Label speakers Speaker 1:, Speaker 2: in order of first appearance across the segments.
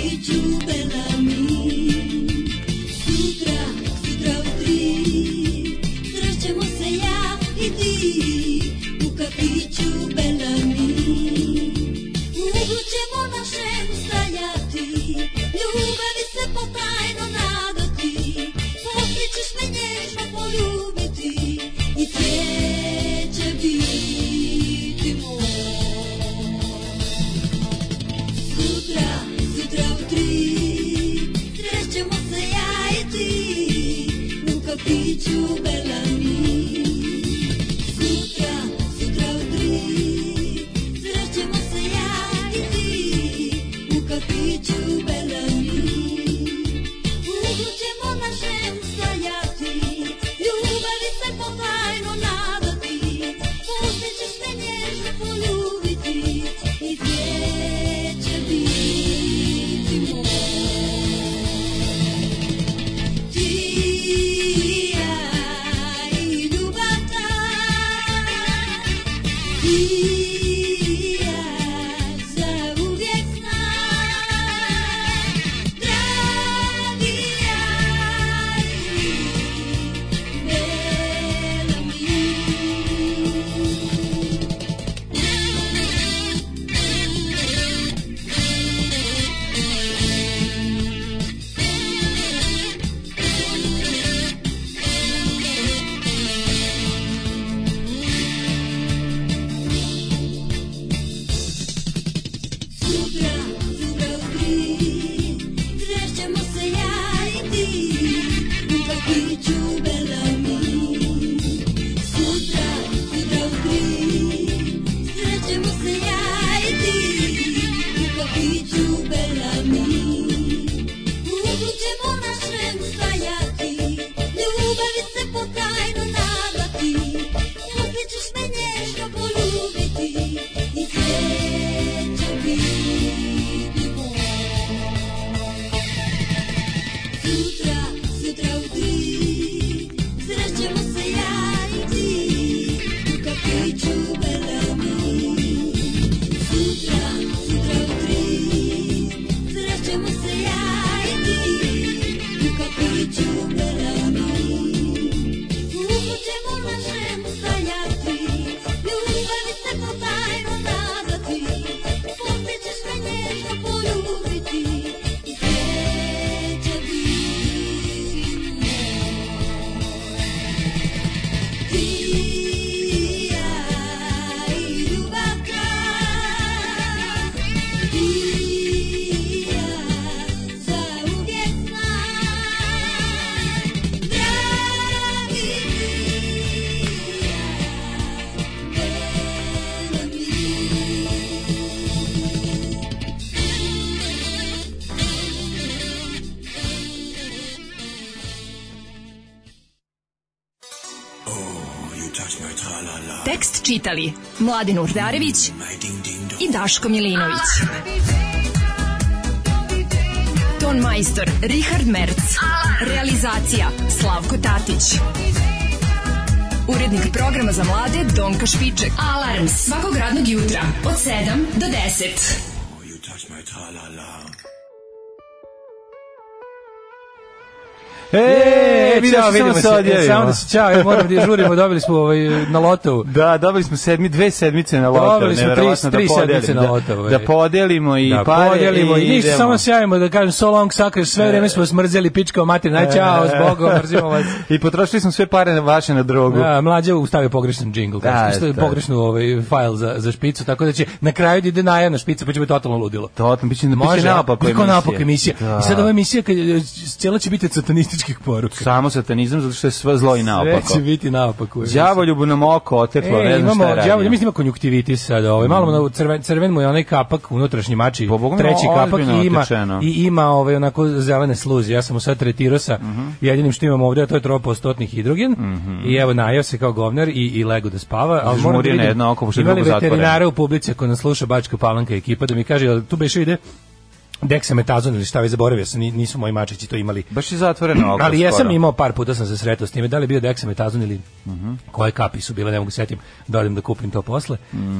Speaker 1: Ljubena mi, sutra, sutra u tri, srećemo se ja i ti, u kafiću Bela mi. Uvijek ćemo našem stajati, ljubavi se potajno nadati, poslije ćeš me nježno poljubiti i cvijeće biti moj. Sutra, sutra u tri, srećemo se ja i ti, u kafiću Belami. Sutra, sutra u tri, srećemo se ja i ti, u kafiću Belami. Uvijek ćemo našem stajati, ljubavi se potajno nadati, pustit ćeš me nježno poljubiti i dječe biti moj. Ti i ja i ljubav ta, ti i ja zauvijek znam, dragi Jari, Bela mi. Sutra, sutra u tri, srećemo se ja i ti, u kafiću Belami. Sutra, sutra u tri, srećemo se ja i ti, u kafiću Belami. U uglu ćemo našem stajati, ljubavi se potajno nadati, poslije ćeš me nježno poljubiti i sreća biti moj. Sutra, sutra u tri, srećemo se ja i ti, u kafiću Belami. Sutra, sutra u tri, srećemo se ja i ti, u kafiću Belami. Dugo ćemo našem stajati, ljubavi se potajno nadati, poslije ćeš me nježno poljubiti i sreća biti moj. Ti i ja i ljubav ta, ti i ja zauvijek znam, dragi
Speaker 2: Tekst čitali Mladin Urdarević i Daško Milinović. Ton majstor Richard Merc. Realizacija Slavko Tatić. Urednik programa za mlade Donka Špiček. Alarms svakog radnog jutra od 7 do 10.
Speaker 3: E,
Speaker 4: E,
Speaker 3: vidio si,
Speaker 4: čao, vidimo
Speaker 3: samo
Speaker 4: se,
Speaker 3: se odjavimo.
Speaker 4: e, samo da se čao, e, moram da žurimo, dobili smo ovaj, na lotovu.
Speaker 3: Da, dobili smo sedmi, dve sedmice na lotav.
Speaker 4: Dobili smo tri-
Speaker 3: nevjerovatno,
Speaker 4: tri
Speaker 3: podelimo,
Speaker 4: sedmice na
Speaker 3: da-
Speaker 4: lotav, ovaj.
Speaker 3: Da podelimo i
Speaker 4: da,
Speaker 3: pare
Speaker 4: podelimo i ništa,
Speaker 3: idemo. E.
Speaker 4: samo se javimo da kažem so long suckers, sve vreme smo smrzeli pička o mater, aj čao, s Bogom, mrzimo vas.
Speaker 3: I potrošili smo sve pare na vaše na drogu.
Speaker 4: Da, mlađe ustavio pogrešan džingl,
Speaker 3: Da,
Speaker 4: da,
Speaker 3: da.
Speaker 4: pogrešnu ovaj fajl za, za špicu, tako da će na kraju da ide najavna špica, pa će biti totalno ludilo.
Speaker 3: Totalno, bit će, bit će
Speaker 4: Može,
Speaker 3: naopako
Speaker 4: kako
Speaker 3: emisija.
Speaker 4: napak emisija.
Speaker 3: Da.
Speaker 4: I sad ova emisija, kad, je- cijela će biti od satanističkih poruka.
Speaker 3: Samo satanizam, zato što je sve zlo i
Speaker 4: Sve
Speaker 3: naopako.
Speaker 4: će biti naopako.
Speaker 3: Đavoljubu nam oko oteklo, ne znam šta
Speaker 4: E, imamo,
Speaker 3: je radio.
Speaker 4: đavo, mislim ima konjuktivitis sad, ovaj malo mu na crven crven mu je onaj kapak unutrašnji mači,
Speaker 3: Pa, Boga mi,
Speaker 4: treći
Speaker 3: o-
Speaker 4: kapak
Speaker 3: ozbiljno
Speaker 4: i ima
Speaker 3: otečeno.
Speaker 4: i ima ovaj onako zelene sluzi. Ja sam mu sad tretirao sa jedinim što imam ovdje, a to je tropostotni hidrogen.
Speaker 3: Mhm.
Speaker 4: I evo najeo se kao govnar i i lego da spava, al moram da
Speaker 3: Žmurio na
Speaker 4: vidim.
Speaker 3: jedno oko, pošto je
Speaker 4: ima li
Speaker 3: drugo zatvoreno.
Speaker 4: veterinara u publici ako nas sluša Bačka Palanka ekipa da mi kaže jel tu beš ide deksametazon ili šta već zaboravio sam, ni- nisu moji mačići to imali
Speaker 3: Baš je zatvoreno oko
Speaker 4: ali jesam
Speaker 3: skoro.
Speaker 4: imao par puta sam se sretao s time, da li je bio deksametazon ili koje kapi su bile, ne mogu setim, da odem da kupim to posle,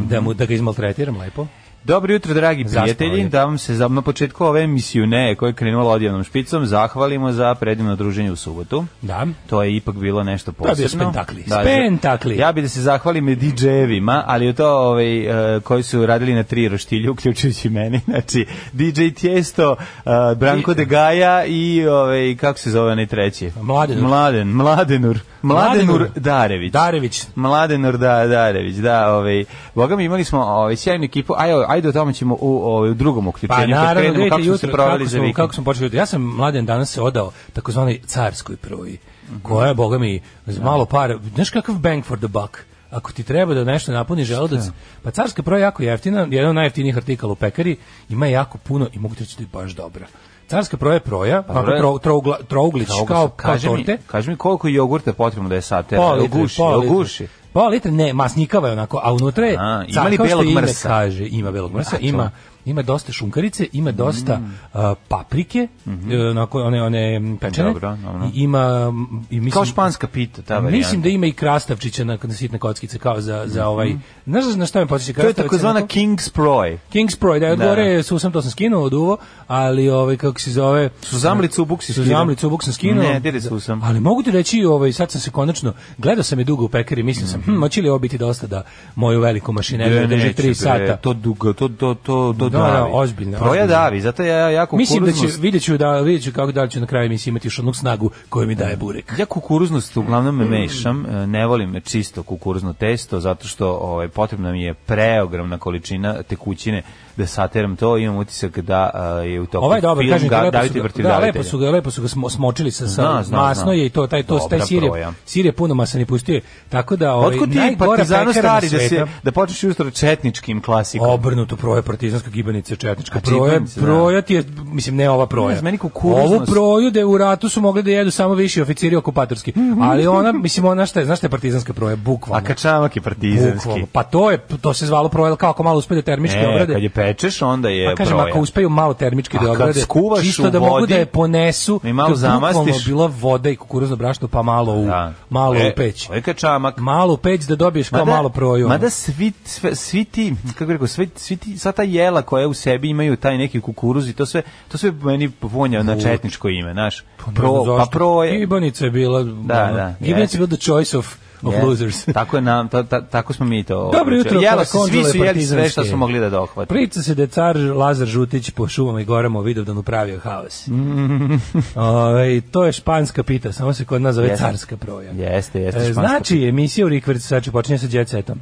Speaker 4: da, mu, da ga izmaltretiram lepo.
Speaker 3: Dobro jutro, dragi
Speaker 4: Zaspao
Speaker 3: prijatelji.
Speaker 4: je.
Speaker 3: Da vam se za, na početku ove emisiju ne, koja je krenula odjavnom špicom, zahvalimo za predivno druženje u subotu.
Speaker 4: Da.
Speaker 3: To je ipak bilo nešto
Speaker 4: je bio
Speaker 3: posebno. Da,
Speaker 4: spektakli. Spektakli.
Speaker 3: Ja bih da se zahvalim DJ-evima, ali to ovaj, e, koji su radili na tri roštilju, uključujući meni. Znači, DJ Tiesto, e, Branko de Gaja i, ovaj, kako se zove onaj treći?
Speaker 4: Mladenur.
Speaker 3: Mladen, Mladenur. Mladenur,
Speaker 4: Mladenur. Da.
Speaker 3: Darević.
Speaker 4: Darević.
Speaker 3: Mladenur da, Darević, da, ovaj. Boga mi imali smo ovaj sjajnu ekipu. Ajde, ajde o tome ćemo u, ovaj, u drugom
Speaker 4: Pa
Speaker 3: uključenju kad
Speaker 4: naravno,
Speaker 3: krenemo
Speaker 4: vidite
Speaker 3: kako smo se
Speaker 4: jutro,
Speaker 3: proveli
Speaker 4: kako
Speaker 3: za
Speaker 4: smo,
Speaker 3: vikend.
Speaker 4: kako smo počeli jutro. Ja sam mladen danas se odao takozvanoj carskoj proji,
Speaker 3: Mhm.
Speaker 4: koja je, boga mi,
Speaker 3: Da.
Speaker 4: za malo para, znaš kakav bang for the buck? Ako ti treba da nešto napuni želudac, pa carska proja je jako jeftina, jedan od najjeftinijih artikala u pekari, ima je jako puno i mogu ti reći da je baš dobra. Carska proja je proja, pa,
Speaker 3: dobro je.
Speaker 4: trougla, trouglić
Speaker 3: Kao,
Speaker 4: kao, kao
Speaker 3: kaže, mi,
Speaker 4: torte. Pa,
Speaker 3: kaže mi koliko jogurta je potrebno da je sate.
Speaker 4: Pola litre,
Speaker 3: Oguši,
Speaker 4: pola litre.
Speaker 3: oguši.
Speaker 4: Pola litre, ne, masnikava je onako, a unutra je,
Speaker 3: A,
Speaker 4: a,
Speaker 3: ima li belog mrsa? Mm.
Speaker 4: Kaže, ima belog mrsa, ima, ima dosta šunkarice, ima dosta a, paprike, e, onako, one, one pečene,
Speaker 3: Mhm. Dobro, dobro.
Speaker 4: i ima, mm, i mislim,
Speaker 3: Kao španska pita, ta varijanta. Mhm.
Speaker 4: Mislim da ima i krastavčića na, na sitne kockice kao za, za ovaj... Znaš na šta me podsjeća
Speaker 3: To je
Speaker 4: krastavčić?
Speaker 3: takozvana
Speaker 4: onako?
Speaker 3: King's Proy.
Speaker 4: King's Pride, da,
Speaker 3: Da.
Speaker 4: odgovore, su sam to sam skinuo od uvo, ali ovaj, kako se zove...
Speaker 3: Suzamlicu u buk si skinuo.
Speaker 4: Suzamlicu u buk sam skinuo.
Speaker 3: Ne, diri susam.
Speaker 4: Ali mogu ti reći, ovaj, sad sam se konačno, gledao sam je dugo u pekari, mislio sam, hm, moći li ovo biti dosta da moju veliku mašineriju drži 3 sata.
Speaker 3: To dugo, to, to, to, to
Speaker 4: Da, da,
Speaker 3: davi.
Speaker 4: ozbiljno,
Speaker 3: Proja
Speaker 4: ozbiljno.
Speaker 3: davi, zato ja jako
Speaker 4: Mislim da će, vidjet ću, da, vidjet ću kako da li ću na kraju emisije imati još onu snagu koju mi
Speaker 3: Mm.
Speaker 4: daje burek.
Speaker 3: Ja kukuruznost uglavnom me mešam, e, ne volim čisto kukuruzno testo zato što ovaj potrebna mi je preogromna količina tekućine da sateram to, imam utisak da a, je u toku
Speaker 4: Ovaj je dobar,
Speaker 3: film
Speaker 4: kažem, ti,
Speaker 3: ga,
Speaker 4: lepo
Speaker 3: Daviti
Speaker 4: su ga,
Speaker 3: protiv
Speaker 4: da,
Speaker 3: davitelja.
Speaker 4: lepo su ga, lepo su ga smo, smočili sa, sa
Speaker 3: Zna, zna,
Speaker 4: masno
Speaker 3: zna.
Speaker 4: je i to, taj, to, taj
Speaker 3: Dobra
Speaker 4: sir je,
Speaker 3: proja.
Speaker 4: sir je puno masani pustio. je. Tako da, ovaj,
Speaker 3: Otkud ti
Speaker 4: najgora
Speaker 3: partizano
Speaker 4: pekara na
Speaker 3: stari da se
Speaker 4: svetu-
Speaker 3: da počneš jutro četničkim klasikom?
Speaker 4: Obrnuto proje partizanska gibanica četnička
Speaker 3: A
Speaker 4: proje
Speaker 3: gibanica, da.
Speaker 4: proja ti je mislim ne ova proja.
Speaker 3: Ne znam, meni kukuruznost-
Speaker 4: Ovu proju da je u ratu su mogli da jedu samo viši oficiri okupatorski. Ali ona mislim ona šta je, znaš šta je partizanska proja
Speaker 3: A
Speaker 4: bukvalno.
Speaker 3: kačamak je partizanski.
Speaker 4: Bukvalno. Pa to je to se zvalo proja, ali kako ako malo uspe da termički
Speaker 3: Ne,
Speaker 4: obrade.
Speaker 3: E, kad je pečeš, onda je
Speaker 4: Pa kažem,
Speaker 3: broja.
Speaker 4: ako uspeju malo termički
Speaker 3: A
Speaker 4: da
Speaker 3: kad
Speaker 4: obrade,
Speaker 3: skuvaš u
Speaker 4: čisto da mogu
Speaker 3: vodi
Speaker 4: da je ponesu,
Speaker 3: i malo
Speaker 4: to je bukvalno
Speaker 3: zamastiš.
Speaker 4: bila voda i kukuruzno brašno, pa malo u,
Speaker 3: Da.
Speaker 4: malo
Speaker 3: E,
Speaker 4: u peć.
Speaker 3: to je kačamak.
Speaker 4: Malo u peć da dobiješ kao
Speaker 3: Mada-
Speaker 4: malo proju.
Speaker 3: Mada svi, sve, svi ti, kako bih rekao, svi, svi ti, sva ta jela koja u sebi imaju taj neki kukuruz i to sve, to sve meni vonja na četničko ime, znaš. Pro, pa pro je...
Speaker 4: Gibanica je bila... Da,
Speaker 3: da,
Speaker 4: Gibanica
Speaker 3: jeste.
Speaker 4: je bila the choice of, of
Speaker 3: Yes.
Speaker 4: losers.
Speaker 3: tako je nam, ta, ta, tako smo mi to.
Speaker 4: Dobro
Speaker 3: obraćali.
Speaker 4: jutro,
Speaker 3: Jela, se,
Speaker 4: Karakonđule
Speaker 3: svi su jeli sve što
Speaker 4: partizanske.
Speaker 3: su mogli da dohvate.
Speaker 4: Priča se da je car Lazar Žutić po šumama i gorama u Vidovdanu pravio haos. Ovaj, to je španska pita, samo se kod nas zove
Speaker 3: Jeste.
Speaker 4: carska proja.
Speaker 3: Jeste, jeste.
Speaker 4: E,
Speaker 3: španska
Speaker 4: znači, emisija u Rikverc sad će počinje sa Jet Setom.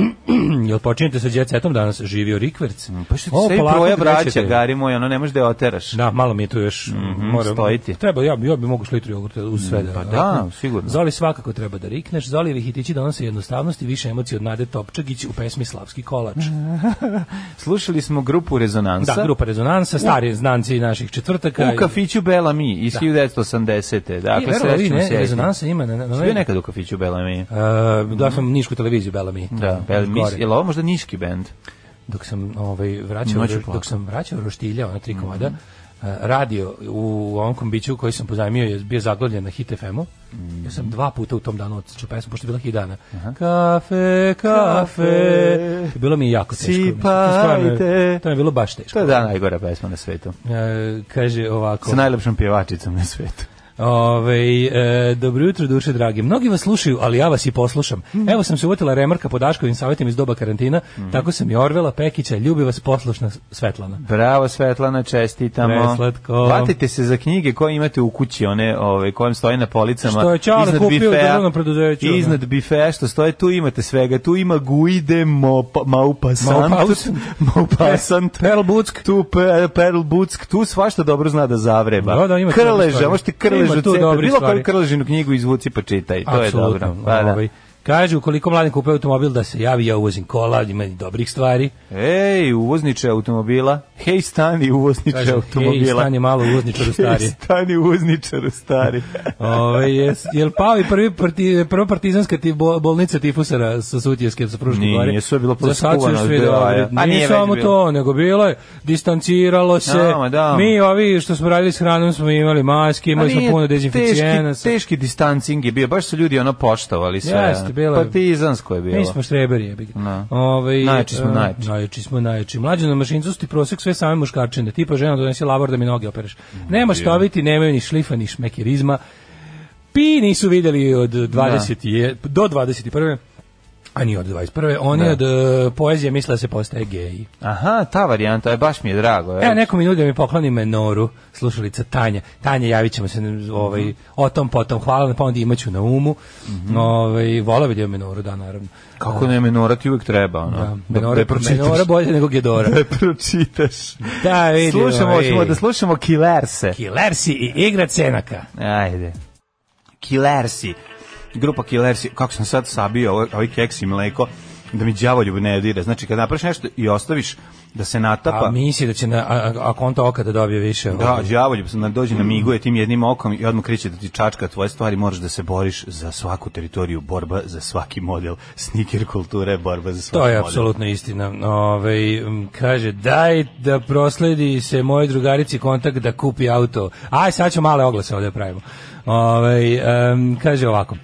Speaker 4: Jel počinjete sa Jet Setom danas? Živio Rikverc?
Speaker 3: Mhm. Pa što ti se i proja vraća, Gari moj, ono ne možeš da je oteraš.
Speaker 4: Da, malo mi je tu još moram-
Speaker 3: Mhm, stojiti.
Speaker 4: Treba, ja, bi- ja bi mogu šli litru jogurta uz sve.
Speaker 3: pa da, sigurno.
Speaker 4: Zoli svakako treba da rikneš, Zoli Vihitići donose jednostavnost i više emocije od Nade Topčagić u pesmi Slavski kolač.
Speaker 3: Mm, Slušali smo grupu Rezonansa.
Speaker 4: Da, grupa Rezonansa, stari znanci naših četvrtaka.
Speaker 3: U kafiću Bellamy iz 1980. Dakle,
Speaker 4: Dakle, verovo,
Speaker 3: srećemo
Speaker 4: Da. ne,
Speaker 3: se. ja i ti.
Speaker 4: Rezonansa ima na, na, na,
Speaker 3: Si bio nekad u kafiću Bellamy?
Speaker 4: Uh, da sam nišku televiziju Bellamy.
Speaker 3: Da, Bellamy.
Speaker 4: Gore.
Speaker 3: Je li ovo možda niški bend?
Speaker 4: dok sam ovaj vraćao
Speaker 3: Noću
Speaker 4: ro-
Speaker 3: plaka.
Speaker 4: dok sam vraćao roštilja ona tri komada eh, radio u ovom kombiću koji sam pozajmio je bio zaglavljen na Hit FM-u. Ja sam dva puta u tom danu odsečao pesmu, pošto je bila hit dana. Kafe, kafe. Bilo mi je jako teško.
Speaker 3: Sipajte.
Speaker 4: Stvarno, To mi je bilo baš teško.
Speaker 3: To je da najgora pesma na svetu.
Speaker 4: Eh, kaže ovako.
Speaker 3: Sa najlepšom pjevačicom na svetu.
Speaker 4: Ove, e, dobro jutro, duše dragi. Mnogi vas slušaju, ali ja vas i poslušam. Evo sam se uvotila remarka po Daškovim savjetima iz doba karantina, tako sam i Orvela Pekića, ljubi vas poslušna Svetlana.
Speaker 3: Bravo Svetlana, čestitamo.
Speaker 4: Preslatko.
Speaker 3: Hvatite se za knjige koje imate u kući, one ove, koje vam stoje na policama.
Speaker 4: Što je Ćale
Speaker 3: iznad
Speaker 4: kupio u
Speaker 3: bifea,
Speaker 4: državnom preduzeću, ono.
Speaker 3: Iznad bifea što stoje, tu imate svega. Tu ima Guide Maupa- Maupassant.
Speaker 4: Maupassant.
Speaker 3: E, Maupassant.
Speaker 4: Perl Buck.
Speaker 3: Tu pe, Perl Buck, tu svašta dobro zna da zavreba.
Speaker 4: Da, da, ima tu dobrih
Speaker 3: krleža,
Speaker 4: stvari.
Speaker 3: možete
Speaker 4: Ima
Speaker 3: krležu
Speaker 4: tu
Speaker 3: cepati.
Speaker 4: dobrih
Speaker 3: Bilo koju
Speaker 4: stvari.
Speaker 3: krležinu knjigu izvuci pa čitaj. To je dobro. Pa, da.
Speaker 4: ovaj. Kaže, ukoliko mladi kupuje automobil da se javi, ja uvozim kola, ima i dobrih stvari.
Speaker 3: Ej, uvozniče automobila. Hej, stani uvozniče
Speaker 4: Kaže,
Speaker 3: automobila.
Speaker 4: hej, stani malo uvozničaru
Speaker 3: Hej,
Speaker 4: stari.
Speaker 3: stani uvozničaru stari.
Speaker 4: Ove, Ovaj, jes, jel pao i prvi parti, prva partizanska ti bo- bolnica tifusara sa Sutjeske sa Pruške
Speaker 3: Nije,
Speaker 4: gore?
Speaker 3: sve je bilo
Speaker 4: Za sad su
Speaker 3: poskuvano
Speaker 4: još
Speaker 3: od
Speaker 4: svi
Speaker 3: Belaja.
Speaker 4: dobri.
Speaker 3: A Pa
Speaker 4: Nije,
Speaker 3: nije već
Speaker 4: samo
Speaker 3: bilo.
Speaker 4: to, nego bilo je, distanciralo se.
Speaker 3: Da, ma da.
Speaker 4: Mi ovi što smo radili s hranom smo imali maske, imali
Speaker 3: A
Speaker 4: smo
Speaker 3: nije,
Speaker 4: puno
Speaker 3: teški,
Speaker 4: dezinficijenasa.
Speaker 3: teški distancing je bio, baš su ljudi ono poštovali sve.
Speaker 4: Jeste, bila...
Speaker 3: Partizansko je bilo.
Speaker 4: Mi smo štreberi, jebi ga.
Speaker 3: Da.
Speaker 4: Ovaj,
Speaker 3: Najjači smo,
Speaker 4: e,
Speaker 3: najjači.
Speaker 4: Najjači smo, najjači. Mlađe na mašincu su ti prosek sve same muškarčine. Tipa žena donesi lavar da mi noge opereš. Nema što biti, nemaju ni šlifa, ni šmekerizma. Pi nisu videli od
Speaker 3: Da.
Speaker 4: 20 je, do 21. A ni od 21. Oni
Speaker 3: Da.
Speaker 4: od e, poezije misle da se postaje geji.
Speaker 3: Aha, ta varijanta, je, baš mi je drago.
Speaker 4: Evo neko mi nudi da mi pokloni menoru, slušalica Tanja. Tanja, javit ćemo se
Speaker 3: Mhm.
Speaker 4: ovaj, o tom potom. Hvala pa na pomoći, imaću na umu. ovaj, volao bi da imam menoru, da, naravno.
Speaker 3: Kako ne menora ti uvijek treba, ono.
Speaker 4: Da,
Speaker 3: Da-
Speaker 4: menora,
Speaker 3: da je pročitaš.
Speaker 4: menora bolje nego Gedora.
Speaker 3: Da je pročitaš.
Speaker 4: Da, vidimo,
Speaker 3: Slušamo,
Speaker 4: ej.
Speaker 3: hoćemo da slušamo Killerse.
Speaker 4: Kilersi i igra cenaka.
Speaker 3: Ajde. Killersi. Grupa Killersi. Kako sam sad sabio ovaj, ovaj keks i mleko da mi đavoljub ne odire. Znači, kad napraviš nešto i ostaviš da se natapa...
Speaker 4: A misli da će na, a, a konta oka da dobije više.
Speaker 3: Da, đavoljub se dođe na miguje tim jednim okom i odmah kreće da ti čačka tvoje stvari, moraš da se boriš za svaku teritoriju, borba za svaki model. Sniker kulture, borba za svaki
Speaker 4: To je
Speaker 3: model.
Speaker 4: apsolutno istina. Ove, kaže, daj da prosledi se moj drugarici kontakt da kupi auto. Aj, sad ću male oglase ovde da pravimo. Ove, em, kaže ovako.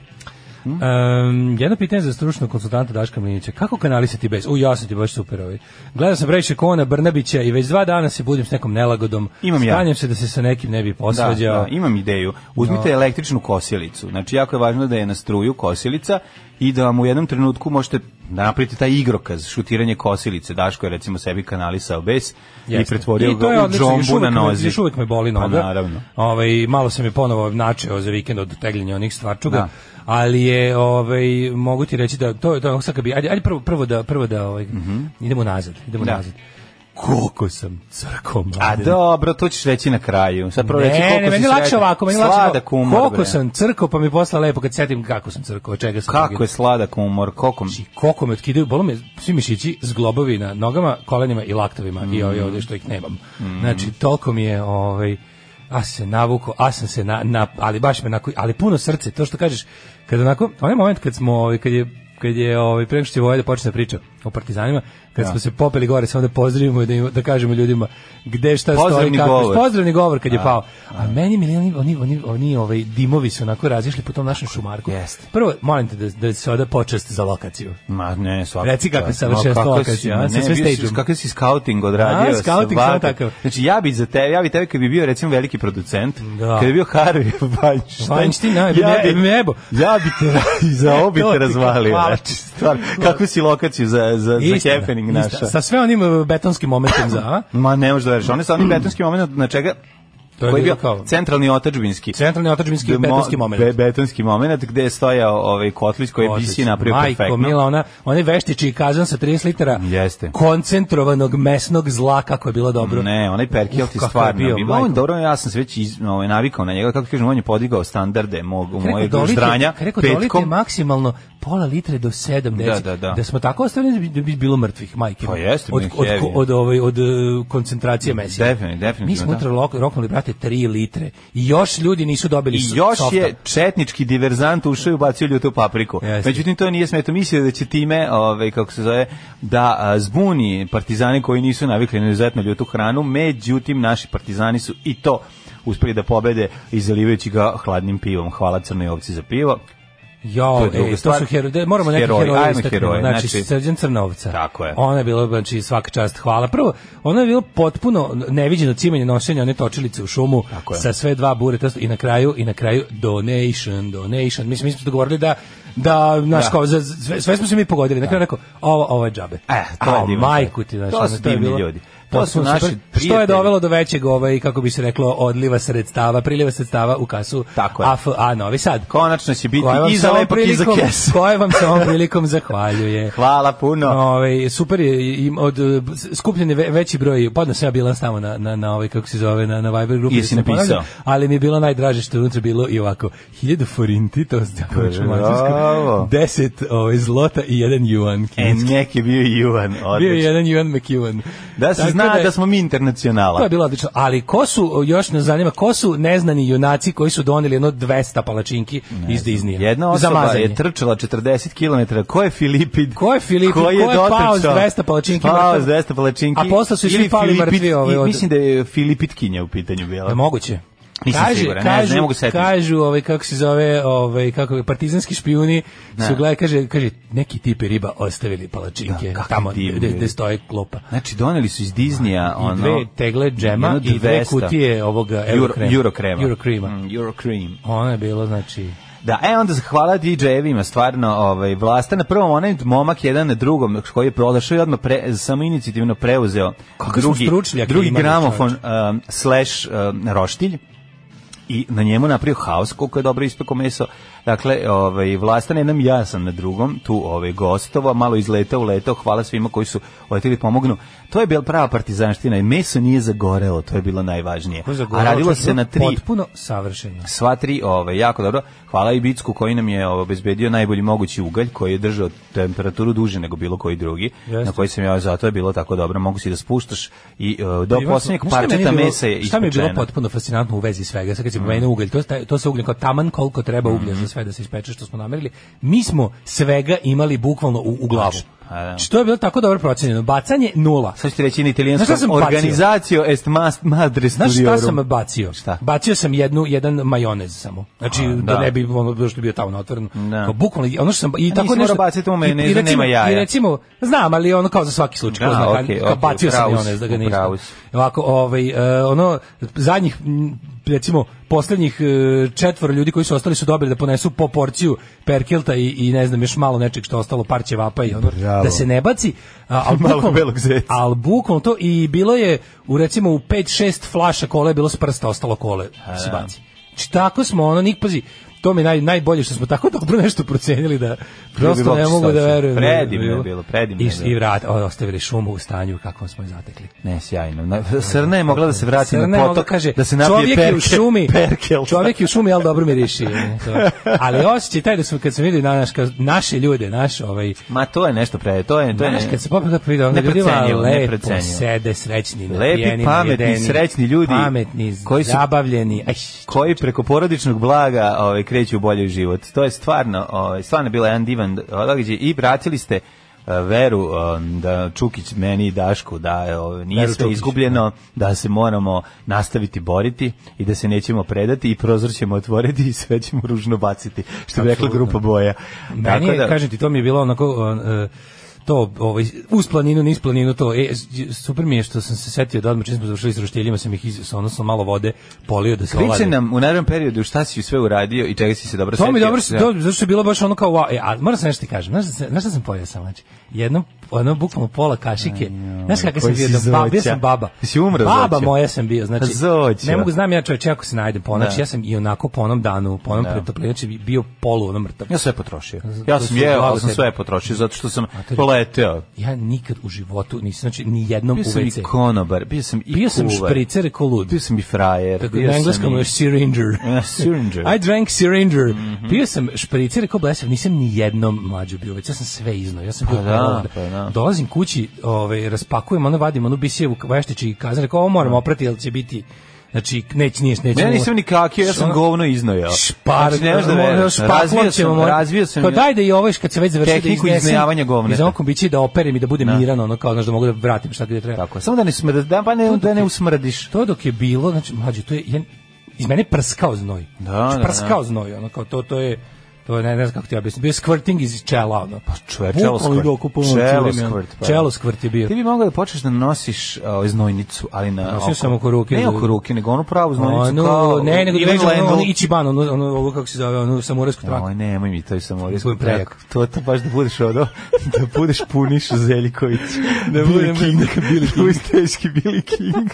Speaker 3: Hm?
Speaker 4: Em, jedno pitanje za stručnog konsultanta Daška Mlinića. Kako kanalisati bez? U, ja sam ti baš super ovaj. Gledao sam previše Kona Brnabića i već dva dana se budim s nekom nelagodom.
Speaker 3: Imam ja.
Speaker 4: Stanjem se da se sa nekim ne bi
Speaker 3: Da,
Speaker 4: posvađao.
Speaker 3: da, imam ideju. Uzmite
Speaker 4: Da.
Speaker 3: električnu kosilicu. Znači, jako je važno da je na struju kosilica i da vam u jednom trenutku možete da napravite taj igrokaz, šutiranje kosilice. Daško je recimo sebi kanalisao bes i
Speaker 4: Jeste.
Speaker 3: pretvorio
Speaker 4: I to je
Speaker 3: ga u
Speaker 4: odlično, još
Speaker 3: džombu
Speaker 4: uvek
Speaker 3: na
Speaker 4: me-
Speaker 3: nozi.
Speaker 4: Još uvek me boli noga.
Speaker 3: Pa naravno.
Speaker 4: Ovaj, malo sam je ponovo načeo za vikend od tegljenja onih stvarčuga.
Speaker 3: Da.
Speaker 4: Ali je, ovaj, mogu ti reći da to je to je ono sad kad bi, ajde, ajde prvo, prvo da, prvo da ovaj, idemo nazad, idemo
Speaker 3: Mhm. Da.
Speaker 4: nazad. Koliko sam crkom
Speaker 3: A dobro, to ćeš reći na kraju. Sad prvo reći
Speaker 4: Ne,
Speaker 3: koliko
Speaker 4: ne, meni
Speaker 3: si
Speaker 4: je lakše
Speaker 3: srećan.
Speaker 4: ovako, meni je lakše
Speaker 3: Slada
Speaker 4: ovako.
Speaker 3: kumor.
Speaker 4: Koliko
Speaker 3: bre.
Speaker 4: sam crkao, pa mi je posla lepo kad sedim kako sam crkao, od čega sam.
Speaker 3: Kako je sladak umor, koliko...
Speaker 4: Znači, koliko me otkidaju, bolo me svi mišići, zglobovi na nogama, kolenima i laktovima i
Speaker 3: Mm.
Speaker 4: ovi ovdje što ih nemam. Znači, toliko mi je, ovaj, a se navuko, a sam se, na, na, ali baš me onako, ali puno srce, to što kažeš, kad onako, onaj moment kad smo, ovaj, kad je kad je ovaj pre nego što će Voja da počne priča o partizanima, kad smo se popeli gore samo da pozdravimo i da, im- da kažemo ljudima gde šta stoji
Speaker 3: Pozdravni
Speaker 4: kako
Speaker 3: govor.
Speaker 4: pozdravni govor kad je
Speaker 3: Da.
Speaker 4: pao. A meni mi oni oni oni oni ovaj dimovi su onako razišli po tom našem šumarku.
Speaker 3: Jeste.
Speaker 4: Prvo molim te da da se oda počast za lokaciju.
Speaker 3: Ma ne, svaka
Speaker 4: Reci kako
Speaker 3: čast.
Speaker 4: je savršenstvo
Speaker 3: Ma, kako
Speaker 4: kad si,
Speaker 3: si,
Speaker 4: a,
Speaker 3: ne,
Speaker 4: sa sve
Speaker 3: bio si-
Speaker 4: stage-om.
Speaker 3: Kakav si scouting odradio.
Speaker 4: A, scouting
Speaker 3: svaka-
Speaker 4: samo takav.
Speaker 3: Znači, ja bi za tebe, ja bi tebe kad bi bio, recimo, veliki producent,
Speaker 4: Da.
Speaker 3: kad bi bio Harvey Weinstein,
Speaker 4: Weinstein, da, a, bi me- bi me jebo.
Speaker 3: ja bi te, i za obi
Speaker 4: To ti
Speaker 3: te
Speaker 4: ka-
Speaker 3: razvalio.
Speaker 4: hvala.
Speaker 3: Znači, stvarno, kakvu si lokaciju za, za, za
Speaker 4: Istina,
Speaker 3: happening
Speaker 4: istina.
Speaker 3: naša?
Speaker 4: Sa sve onim e, betonskim momentom za, a?
Speaker 3: Ma ne možeš da veriš, on je sa onim betonskim momentom na čega
Speaker 4: To je
Speaker 3: koji je
Speaker 4: bilo
Speaker 3: bio
Speaker 4: kao-
Speaker 3: centralni otačbinski.
Speaker 4: Centralni otačbinski
Speaker 3: Be- mo-
Speaker 4: betonski moment.
Speaker 3: be- betonski moment gde je stojao ovaj kotlić koji je
Speaker 4: Odlično.
Speaker 3: bisi napravio
Speaker 4: Majko,
Speaker 3: perfektno.
Speaker 4: mila, ona, onaj veštiči kazan sa 30 litara
Speaker 3: Jeste.
Speaker 4: koncentrovanog mesnog zla, kako je bilo dobro.
Speaker 3: Ne, onaj Perkiel ti
Speaker 4: Uf, kakav je
Speaker 3: stvarno
Speaker 4: bio,
Speaker 3: bio.
Speaker 4: majko.
Speaker 3: on, dobro, ja sam se već iz, ovaj, navikao na njega, kako ti kažem, on je podigao standarde mog, u moje ždranja
Speaker 4: kad rekao, dolite
Speaker 3: petkom.
Speaker 4: maksimalno pola litre do 7 deci.
Speaker 3: da, da.
Speaker 4: smo tako ostavljeni, da bi, da bi bilo mrtvih, majke.
Speaker 3: Pa jeste,
Speaker 4: od,
Speaker 3: bre,
Speaker 4: od,
Speaker 3: heavy.
Speaker 4: od, ovaj, od, e, koncentracije mesija.
Speaker 3: Definitivno, definitivno,
Speaker 4: Mi smo
Speaker 3: da.
Speaker 4: utra lok- roknuli, brate, 3 litre. I još ljudi nisu dobili
Speaker 3: I
Speaker 4: so-
Speaker 3: još
Speaker 4: softa.
Speaker 3: je četnički diverzant ušao i ubacio ljutu papriku.
Speaker 4: Jeste.
Speaker 3: Međutim, to nije smeto. Mislio da će time, ovaj, kako se zove, da a, zbuni partizani koji nisu navikli na izuzetno ljutu hranu. Međutim, naši partizani su i to uspeli da pobede i zalivajući ga hladnim pivom. Hvala crnoj ovci za pivo.
Speaker 4: Jo,
Speaker 3: To
Speaker 4: e,
Speaker 3: je druga
Speaker 4: to
Speaker 3: stvar.
Speaker 4: su heroji. Da, Moramo neke
Speaker 3: Heroji,
Speaker 4: heroje
Speaker 3: ajmo
Speaker 4: istaknemo.
Speaker 3: heroje,
Speaker 4: Znači,
Speaker 3: znači-
Speaker 4: Srđan Crnovca.
Speaker 3: Tako je.
Speaker 4: Ona je bila, znači, svaka čast, hvala. Prvo, ona je bilo potpuno neviđeno cimenje nošenja, one točilice u šumu
Speaker 3: Tako je.
Speaker 4: sa sve dva bureta i na kraju, i na kraju donation, donation. Mislim, mi smo se dogovorili da da naš
Speaker 3: Da.
Speaker 4: kao za sve, sve smo se mi pogodili na kraju rekao ovo ovo je džabe.
Speaker 3: E, to je
Speaker 4: A,
Speaker 3: divno.
Speaker 4: majku ti znači
Speaker 3: To su divni ljudi. To su naši
Speaker 4: što je
Speaker 3: prijatelji.
Speaker 4: dovelo do većeg ovaj kako bi se reklo odliva sredstava, priliva sredstava u kasu
Speaker 3: Tako je.
Speaker 4: AFA Novi Sad.
Speaker 3: Konačno će biti
Speaker 4: Koja vam
Speaker 3: i
Speaker 4: se
Speaker 3: za
Speaker 4: ovom
Speaker 3: lepak i za
Speaker 4: prilikom-
Speaker 3: kes.
Speaker 4: koja vam se ovom prilikom zahvaljuje.
Speaker 3: Hvala puno.
Speaker 4: Ovaj super je im od eh, skupljen je ve- veći broj podno sam ja bila tamo na na na ovaj kako se zove na na Viber grupi
Speaker 3: Jesi
Speaker 4: da se ne
Speaker 3: napisao?
Speaker 4: ponavljam, ali mi je bilo najdraže što je unutra bilo i ovako 1000 forinti to se tako reče
Speaker 3: Bravo.
Speaker 4: 10 ovaj zlota i jedan juan
Speaker 3: E,
Speaker 4: kineski.
Speaker 3: nek je bio i Juan,
Speaker 4: Bio
Speaker 3: odlično.
Speaker 4: je jedan Juan McEwan.
Speaker 3: Da se
Speaker 4: Tako Pa
Speaker 3: zna da smo mi internacionala.
Speaker 4: To je bilo odlično, ali ko su, još ne zanima, ko su neznani junaci koji su doneli jedno 200 palačinki iz Disneya?
Speaker 3: Jedna
Speaker 4: Za
Speaker 3: osoba
Speaker 4: mazanje.
Speaker 3: je trčala 40 km. Ko je Filipid?
Speaker 4: Ko je Filipid?
Speaker 3: Ko je,
Speaker 4: Ko je
Speaker 3: dotrčao?
Speaker 4: pao s 200 palačinki?
Speaker 3: Pao s 200 palačinki.
Speaker 4: A posle su svi
Speaker 3: Ili
Speaker 4: pali mrtvi, ovaj,
Speaker 3: i-
Speaker 4: od-
Speaker 3: Mislim da je Filipitkinja u pitanju
Speaker 4: Da
Speaker 3: bila.
Speaker 4: moguće.
Speaker 3: Nisam siguran, ne, ne mogu setiti.
Speaker 4: Kažu, ovaj, kako se zove, ovaj, kako, partizanski špijuni su
Speaker 3: Da.
Speaker 4: gledali, kaže, kaže, neki tipi riba ostavili palačinke,
Speaker 3: Da, kakvi
Speaker 4: tamo
Speaker 3: divni.
Speaker 4: gde, gde stoje klopa.
Speaker 3: Znači, doneli su iz Disneya
Speaker 4: I
Speaker 3: ono...
Speaker 4: dve tegle džema
Speaker 3: jedno
Speaker 4: i dve
Speaker 3: 200
Speaker 4: kutije ovoga
Speaker 3: Euro,
Speaker 4: eurokrema.
Speaker 3: Eurokrema.
Speaker 4: Eurokrema.
Speaker 3: Mm, Eurocream.
Speaker 4: Ono je bilo, znači...
Speaker 3: Da, e onda hvala DJ-evima stvarno ovaj, vlasta. Na prvom onaj momak jedan na drugom koji je prodašao i odmah pre, samo inicijativno preuzeo
Speaker 4: Kakvi smo
Speaker 3: drugi,
Speaker 4: stručnjaki
Speaker 3: drugi
Speaker 4: imali,
Speaker 3: gramofon um, slash um, roštilj i na njemu napravio haos koliko je dobro ispeko meso. Dakle, ovaj Vlastan jednom ja sam na drugom, tu ovaj gostova, malo izletao, uletao, hvala svima koji su leteli pomognu. To je bila prava partizanština i meso nije zagorelo, to je bilo najvažnije.
Speaker 4: ko zagovara,
Speaker 3: A radilo
Speaker 4: čovjek
Speaker 3: se na tri
Speaker 4: Potpuno savršeno.
Speaker 3: sva tri, ovaj jako dobro. Hvala i Bicku koji nam je ovaj, obezbedio najbolji mogući ugalj koji je držao temperaturu duže nego bilo koji drugi.
Speaker 4: Jeste.
Speaker 3: Na koji sam ja zato je bilo tako dobro, mogu si da spuštaš i eh, do
Speaker 4: Ivan,
Speaker 3: poslednjeg
Speaker 4: Pa znaš šta meni je
Speaker 3: parčeta
Speaker 4: bilo-
Speaker 3: mesa je Mm.
Speaker 4: Šta mi je bilo
Speaker 3: ispečena.
Speaker 4: potpuno fascinantno u vezi svega, sad kad se pomenuo ugalj, to, sta- to se ugljen kao taman koliko treba uglja
Speaker 3: Mm-hmm.
Speaker 4: za sve da se ispeče što smo namerili. Mi smo svega imali bukvalno u, u glavu.
Speaker 3: Pa da.
Speaker 4: Što je bilo tako dobro procenjeno. Bacanje nula.
Speaker 3: Sad ću ti reći na
Speaker 4: Znaš
Speaker 3: italijanskom,
Speaker 4: šta sam bacio?
Speaker 3: organizacio est mast madre
Speaker 4: Znaš šta
Speaker 3: studiorum.
Speaker 4: sam bacio?
Speaker 3: Šta?
Speaker 4: Bacio sam jednu, jedan majonez samo. Znači, da.
Speaker 3: da.
Speaker 4: ne bi ono došlo bio tamo otvoren.
Speaker 3: Da.
Speaker 4: Kao, bukvalno, ono što sam... I
Speaker 3: A
Speaker 4: tako
Speaker 3: nisi
Speaker 4: nešto,
Speaker 3: morao baciti u
Speaker 4: i- i
Speaker 3: majonezu,
Speaker 4: recimo-
Speaker 3: nema jaja.
Speaker 4: I recimo, znam, ali ono kao za svaki slučaj.
Speaker 3: Da,
Speaker 4: Da, zna,
Speaker 3: okej,
Speaker 4: kao
Speaker 3: okej,
Speaker 4: bacio sam
Speaker 3: upravo si,
Speaker 4: majonez da ga ne
Speaker 3: upravo
Speaker 4: izdam.
Speaker 3: si.
Speaker 4: Ovako, ovaj, e, ono, zadnjih, m, recimo, poslednjih e, četvoro ljudi koji su ostali su dobili da ponesu po porciju perkelta i, i ne znam, još malo nečeg što je ostalo, par ćevapa i ono,
Speaker 3: Bravo.
Speaker 4: da se ne baci. A, ali
Speaker 3: Malo
Speaker 4: bukvalno-
Speaker 3: belog zeca.
Speaker 4: ali bukvalno to i bilo je u recimo u 5-6 flaša kole je bilo s prsta ostalo kole se
Speaker 3: da.
Speaker 4: baci. Znači tako smo ono nik pazi to mi je naj, najbolje što smo tako dobro nešto procenili da prosto ne
Speaker 3: uopšte
Speaker 4: mogu da
Speaker 3: savršeno.
Speaker 4: verujem.
Speaker 3: Predivno je bilo, predivno
Speaker 4: I,
Speaker 3: je
Speaker 4: s-
Speaker 3: bilo.
Speaker 4: i vrat, o, ostavili šumu u stanju u kakvom smo je zatekli.
Speaker 3: Ne, sjajno. Na- Srna je mogla da se vrati
Speaker 4: Crna je
Speaker 3: na
Speaker 4: mogla,
Speaker 3: potok,
Speaker 4: kaže,
Speaker 3: da se napije
Speaker 4: čovjek je u
Speaker 3: perke-
Speaker 4: šumi,
Speaker 3: perkelta.
Speaker 4: čovjek je u šumi, ali dobro miriši. je, to. Ali osjećaj taj da smo, kad smo videli na naš, kao naše ljude, naš ovaj,
Speaker 3: Ma to je nešto pre, to je, to je
Speaker 4: Znaš,
Speaker 3: ne-
Speaker 4: kad se popio kako vidio, onda ljudima
Speaker 3: Neprocenjivo,
Speaker 4: lepo
Speaker 3: neprocenjivo.
Speaker 4: sede, srećni,
Speaker 3: Lepi,
Speaker 4: napijeni,
Speaker 3: pametni,
Speaker 4: najedeni,
Speaker 3: srećni ljudi
Speaker 4: pametni,
Speaker 3: koji su-
Speaker 4: zabavljeni. Aj,
Speaker 3: koji preko porodičnog blaga ovaj kreću u bolji život. To je stvarno, ovaj stvarno je bila jedan divan događaj i vratili ste eh, veru eh, da Čukić meni i Dašku da eh, ovaj, nije
Speaker 4: Veru
Speaker 3: sve
Speaker 4: Čukić,
Speaker 3: izgubljeno, da se moramo nastaviti boriti i da se nećemo predati i prozor ćemo otvoriti i sve ćemo ružno baciti, što bi rekla grupa boja. da,
Speaker 4: meni je, kažem ti, to mi je bilo onako... e, to ovaj uz planinu niz planinu to e, super mi je što sam se setio da odmah čim smo završili s roštiljima sam ih iz, ono sam malo vode polio da se
Speaker 3: Priče
Speaker 4: olade.
Speaker 3: nam u narednom periodu šta si sve uradio i čega si se da. dobro
Speaker 4: To mi je
Speaker 3: setio.
Speaker 4: dobro, to, zašto je bilo baš ono kao, wow, e, a moram sam nešto ti kažem, znaš, da se- znaš šta sam pojao sam, znači, jedno, ono, bukvalno pola kašike, znaš kakav
Speaker 3: koji
Speaker 4: sam bio,
Speaker 3: si
Speaker 4: da, ba, bio
Speaker 3: zoća.
Speaker 4: sam baba,
Speaker 3: Si umro
Speaker 4: baba
Speaker 3: zoća.
Speaker 4: moja sam bio, znači,
Speaker 3: Zoća.
Speaker 4: ne mogu, znam ja čoveče, ako se najdem, po, znači,
Speaker 3: Da.
Speaker 4: ja sam i onako po onom danu, po onom pretopljenju, znači, bio polu, ono, mrtav.
Speaker 3: Ja sve potrošio.
Speaker 4: To
Speaker 3: Ja
Speaker 4: su
Speaker 3: sam jeo,
Speaker 4: glave
Speaker 3: ali sam
Speaker 4: tebe.
Speaker 3: sve potrošio zato što sam
Speaker 4: to je-
Speaker 3: poleteo.
Speaker 4: Ja nikad u životu nisam, znači, ni jednom u
Speaker 3: Bio sam i
Speaker 4: WC.
Speaker 3: konobar, bio sam i
Speaker 4: Bio sam
Speaker 3: kuvar.
Speaker 4: špricer ko lud.
Speaker 3: Bio sam i frajer.
Speaker 4: Tako
Speaker 3: bio
Speaker 4: na
Speaker 3: sam
Speaker 4: engleskom
Speaker 3: i-
Speaker 4: je syringer.
Speaker 3: Eh, syringer.
Speaker 4: I drank syringer.
Speaker 3: Mhm.
Speaker 4: Bio sam špricer kao blesav, nisam ni jednom mlađu bio, već ja sam sve iznao. Ja sam bio
Speaker 3: Pa da,
Speaker 4: ovde.
Speaker 3: pa da.
Speaker 4: Dolazim kući, ovaj raspakujem, ono vadim onu bisijevu veštić i kazan, rekao, ovo moram oprati, jel će biti Znači, neć, niješ, neće.
Speaker 3: Ne, Da. nisam ni kakio, ja sam
Speaker 4: Ono-
Speaker 3: govno iznojao.
Speaker 4: Špar,
Speaker 3: znači, ne možeš da veruješ. Razvio sam, razvio sam.
Speaker 4: Kao daj da i ovo još kad se već završi
Speaker 3: Tehniku
Speaker 4: da iznesem
Speaker 3: iznojavanja govneta.
Speaker 4: Iz ovog kombića i da operem i da budem miran, ono kao, znaš, da mogu da vratim šta gde treba.
Speaker 3: Tako, samo da ne smrdiš, da, pa ne, da ne usmrdiš.
Speaker 4: To dok je bilo, znači mlađe, to je jedan- iz mene je prskao znoj.
Speaker 3: Da,
Speaker 4: znači,
Speaker 3: da, da.
Speaker 4: prskao znoj, ono kao to to je to je, ne, ne znam kako ti objasnim. Bio je squirting iz čela, ono. Pa
Speaker 3: čovek, da, čelo squirt. Čelo squirt, pa da.
Speaker 4: Čelo squirt je bio.
Speaker 3: Ti bi mogao da počneš da nosiš uh, znojnicu, ali na
Speaker 4: Nosio sam oko ruke.
Speaker 3: Ne oko ruke, nego onu pravu znojnicu.
Speaker 4: Ono,
Speaker 3: kao,
Speaker 4: ne, nego da
Speaker 3: Ivan
Speaker 4: vežem, ono,
Speaker 3: Lendl.
Speaker 4: ono Ichiban, ono, ono, ovo kako se zove, ono samurajsku traku.
Speaker 3: Oj, nemoj mi to i sam ovdje.
Speaker 4: Svoj prejak.
Speaker 3: To, to baš da budeš odo, da budeš puniš Zeljković.
Speaker 4: Da budem neka Billy King.
Speaker 3: Uz teški Billy King.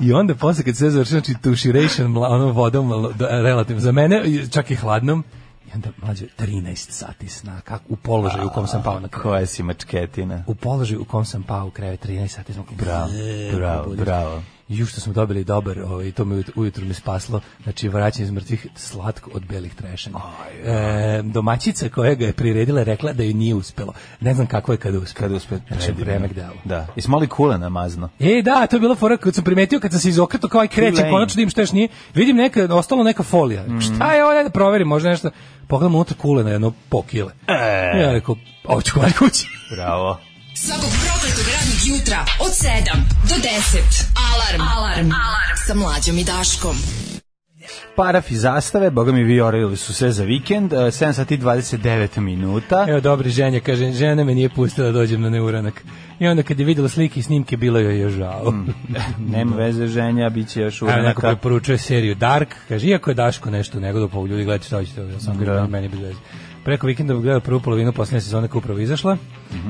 Speaker 4: I onda posle kad se završi, znači tuširation mla- onom vodom malo, da, relativno, za mene i čak i hladnom, i onda mlađe 13 sati sna, kako, u položaju u kom sam pao na krevet.
Speaker 3: Koja si mačketina.
Speaker 4: U položaju u kom sam pao u krevet 13 sati sna.
Speaker 3: Bravo, da.
Speaker 4: E,
Speaker 3: bravo, bravo.
Speaker 4: Ju što smo dobili dobar, ovaj, to me ujut- ujutru mi spaslo, znači vraćanje iz mrtvih slatko od belih trešanja. E, domaćica koja ga je priredila je rekla da joj nije uspelo. Ne znam kako je kada uspelo.
Speaker 3: Kada uspe
Speaker 4: Znači, vremek delo.
Speaker 3: Da. Jesi mali kula namazno?
Speaker 4: E, da, to je bila fora kad sam primetio kad sam se izokretao kao aj kreće,
Speaker 3: Lane. Mm.
Speaker 4: konačno da im što još nije. Vidim neka, ostalo neka folija. Šta je ovo, ajde da proverim, možda nešto. Pogledam unutra kule na jedno po kile.
Speaker 3: E.
Speaker 4: Ja rekao, ovo ću kvar kući.
Speaker 3: Bravo.
Speaker 2: Svakog prokletog radnog jutra od 7 do 10. Alarm. Alarm. Alarm. Sa mlađom i Daškom.
Speaker 3: Paraf i zastave, boga mi vi orili su sve za vikend, e, 7 sati i 29 minuta.
Speaker 4: Evo dobri ženja, kaže, žena me nije pustila da dođem na neuranak. I onda kad je videla slike i snimke, bilo joj je žao.
Speaker 3: Mm. Nema veze ženja, bit će još
Speaker 4: Evo da. neko
Speaker 3: uranaka.
Speaker 4: preporučuje seriju Dark, kaže, iako je Daško nešto negodo, pa ljudi gledajte šta hoćete, ja sam
Speaker 3: Da.
Speaker 4: da. meni bez veze. Preko vikenda gledao prvu polovinu poslednje sezone koja je upravo izašla.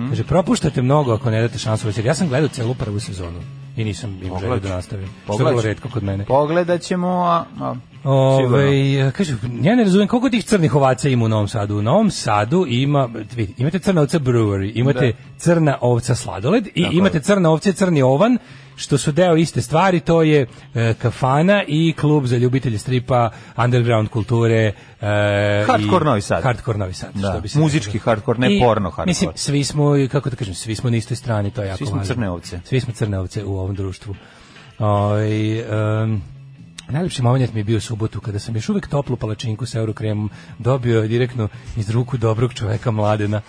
Speaker 4: Kaže, propuštate mnogo ako ne date šansu. Jer ja sam gledao celu prvu sezonu i nisam im želio da nastavim. Što je vrlo redko kod mene.
Speaker 3: Pogledat ćemo, a, a, sigurno.
Speaker 4: Ove, Ovaj, kaže, ja ne razumijem koliko tih crnih ovaca ima u Novom Sadu. U Novom Sadu ima, vidi, imate crna ovca brewery, imate
Speaker 3: Da.
Speaker 4: crna ovca sladoled i imate crna ovca i crni ovan, što su deo iste stvari, to je e, kafana i klub za ljubitelje stripa, underground kulture. E,
Speaker 3: Hardcore
Speaker 4: i-
Speaker 3: Novi Sad.
Speaker 4: Hardcore Novi Sad,
Speaker 3: Da.
Speaker 4: što bi se
Speaker 3: Muzički
Speaker 4: reklo.
Speaker 3: hardcore, ne porno hardcore.
Speaker 4: Mislim, svi smo, kako da kažem, svi smo na istoj strani, to je jako
Speaker 3: Svi smo
Speaker 4: važno.
Speaker 3: crne ovce.
Speaker 4: Svi smo crne ovce u ovom društvu. Oj, em, najlepši moment mi je bio u subotu kada sam još uvek toplu palačinku sa eurokremom dobio direktno iz ruku dobrog čoveka mladena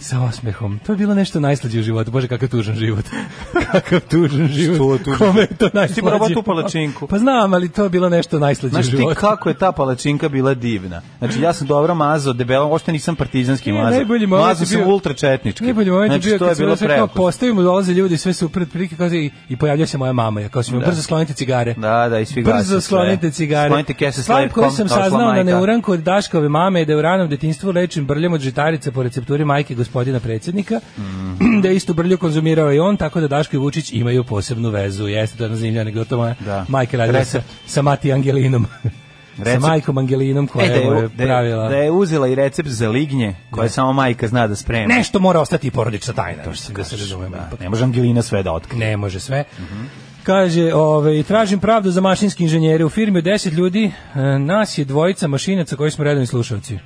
Speaker 4: sa osmehom. To je bilo nešto najslađe u životu. Bože, kakav tužan život. kakav tužan život.
Speaker 3: Što tužan?
Speaker 4: Kome je to najslađe?
Speaker 3: Ti probao tu palačinku?
Speaker 4: Pa znam, ali to je bilo nešto najslađe u
Speaker 3: Znaš ti
Speaker 4: životu.
Speaker 3: kako je ta palačinka bila divna. Znači ja sam dobro mazao, debelo, uopšte nisam partizanski
Speaker 4: E,
Speaker 3: mazao.
Speaker 4: najbolji moment
Speaker 3: Mazao
Speaker 4: je
Speaker 3: sam
Speaker 4: bio-
Speaker 3: ultra četnički.
Speaker 4: Najbolji moment pa je
Speaker 3: znači,
Speaker 4: bio
Speaker 3: to je
Speaker 4: kad sam
Speaker 3: bilo
Speaker 4: ja sve kao
Speaker 3: preko.
Speaker 4: postavimo, dolaze ljudi, sve su pred prilike, kao da i, i pojavlja se moja mama. Ja kao sam, brzo sklonite cigare.
Speaker 3: Da, da, i svi gase sve.
Speaker 4: Brzo sklonite cigare.
Speaker 3: Sklonite kese s
Speaker 4: Stvar koju
Speaker 3: lepkom,
Speaker 4: sam da
Speaker 3: kao
Speaker 4: saznao na
Speaker 3: majka.
Speaker 4: neuranku od Daškove mame je da je u ranom detinjstvu lečim brljem od žitarice po recepturi majke gospodina predsjednika,
Speaker 3: Mhm.
Speaker 4: da je istu brlju konzumirao i on, tako da Daško i Vučić imaju posebnu vezu. Jeste, to je jedna zanimljiva anegdota moja
Speaker 3: Da.
Speaker 4: majke radila sa,
Speaker 3: Recept.
Speaker 4: sa Mati Angelinom. sa
Speaker 3: Recept.
Speaker 4: majkom Angelinom koja
Speaker 3: E, da,
Speaker 4: je,
Speaker 3: je, da,
Speaker 4: pravila...
Speaker 3: je, da je uzela i recept za lignje, koje samo majka zna da sprema.
Speaker 4: Nešto mora ostati i porodična
Speaker 3: E,
Speaker 4: tajna, da se razumemo.
Speaker 3: Da,
Speaker 4: ipak.
Speaker 3: ne može Angelina sve da otkrije.
Speaker 4: Ne može sve. Kaže, ovaj, tražim pravdu za mašinski inženjere. U firmi od 10 ljudi, e, nas je dvojica mašinaca koji smo redovni slušalci.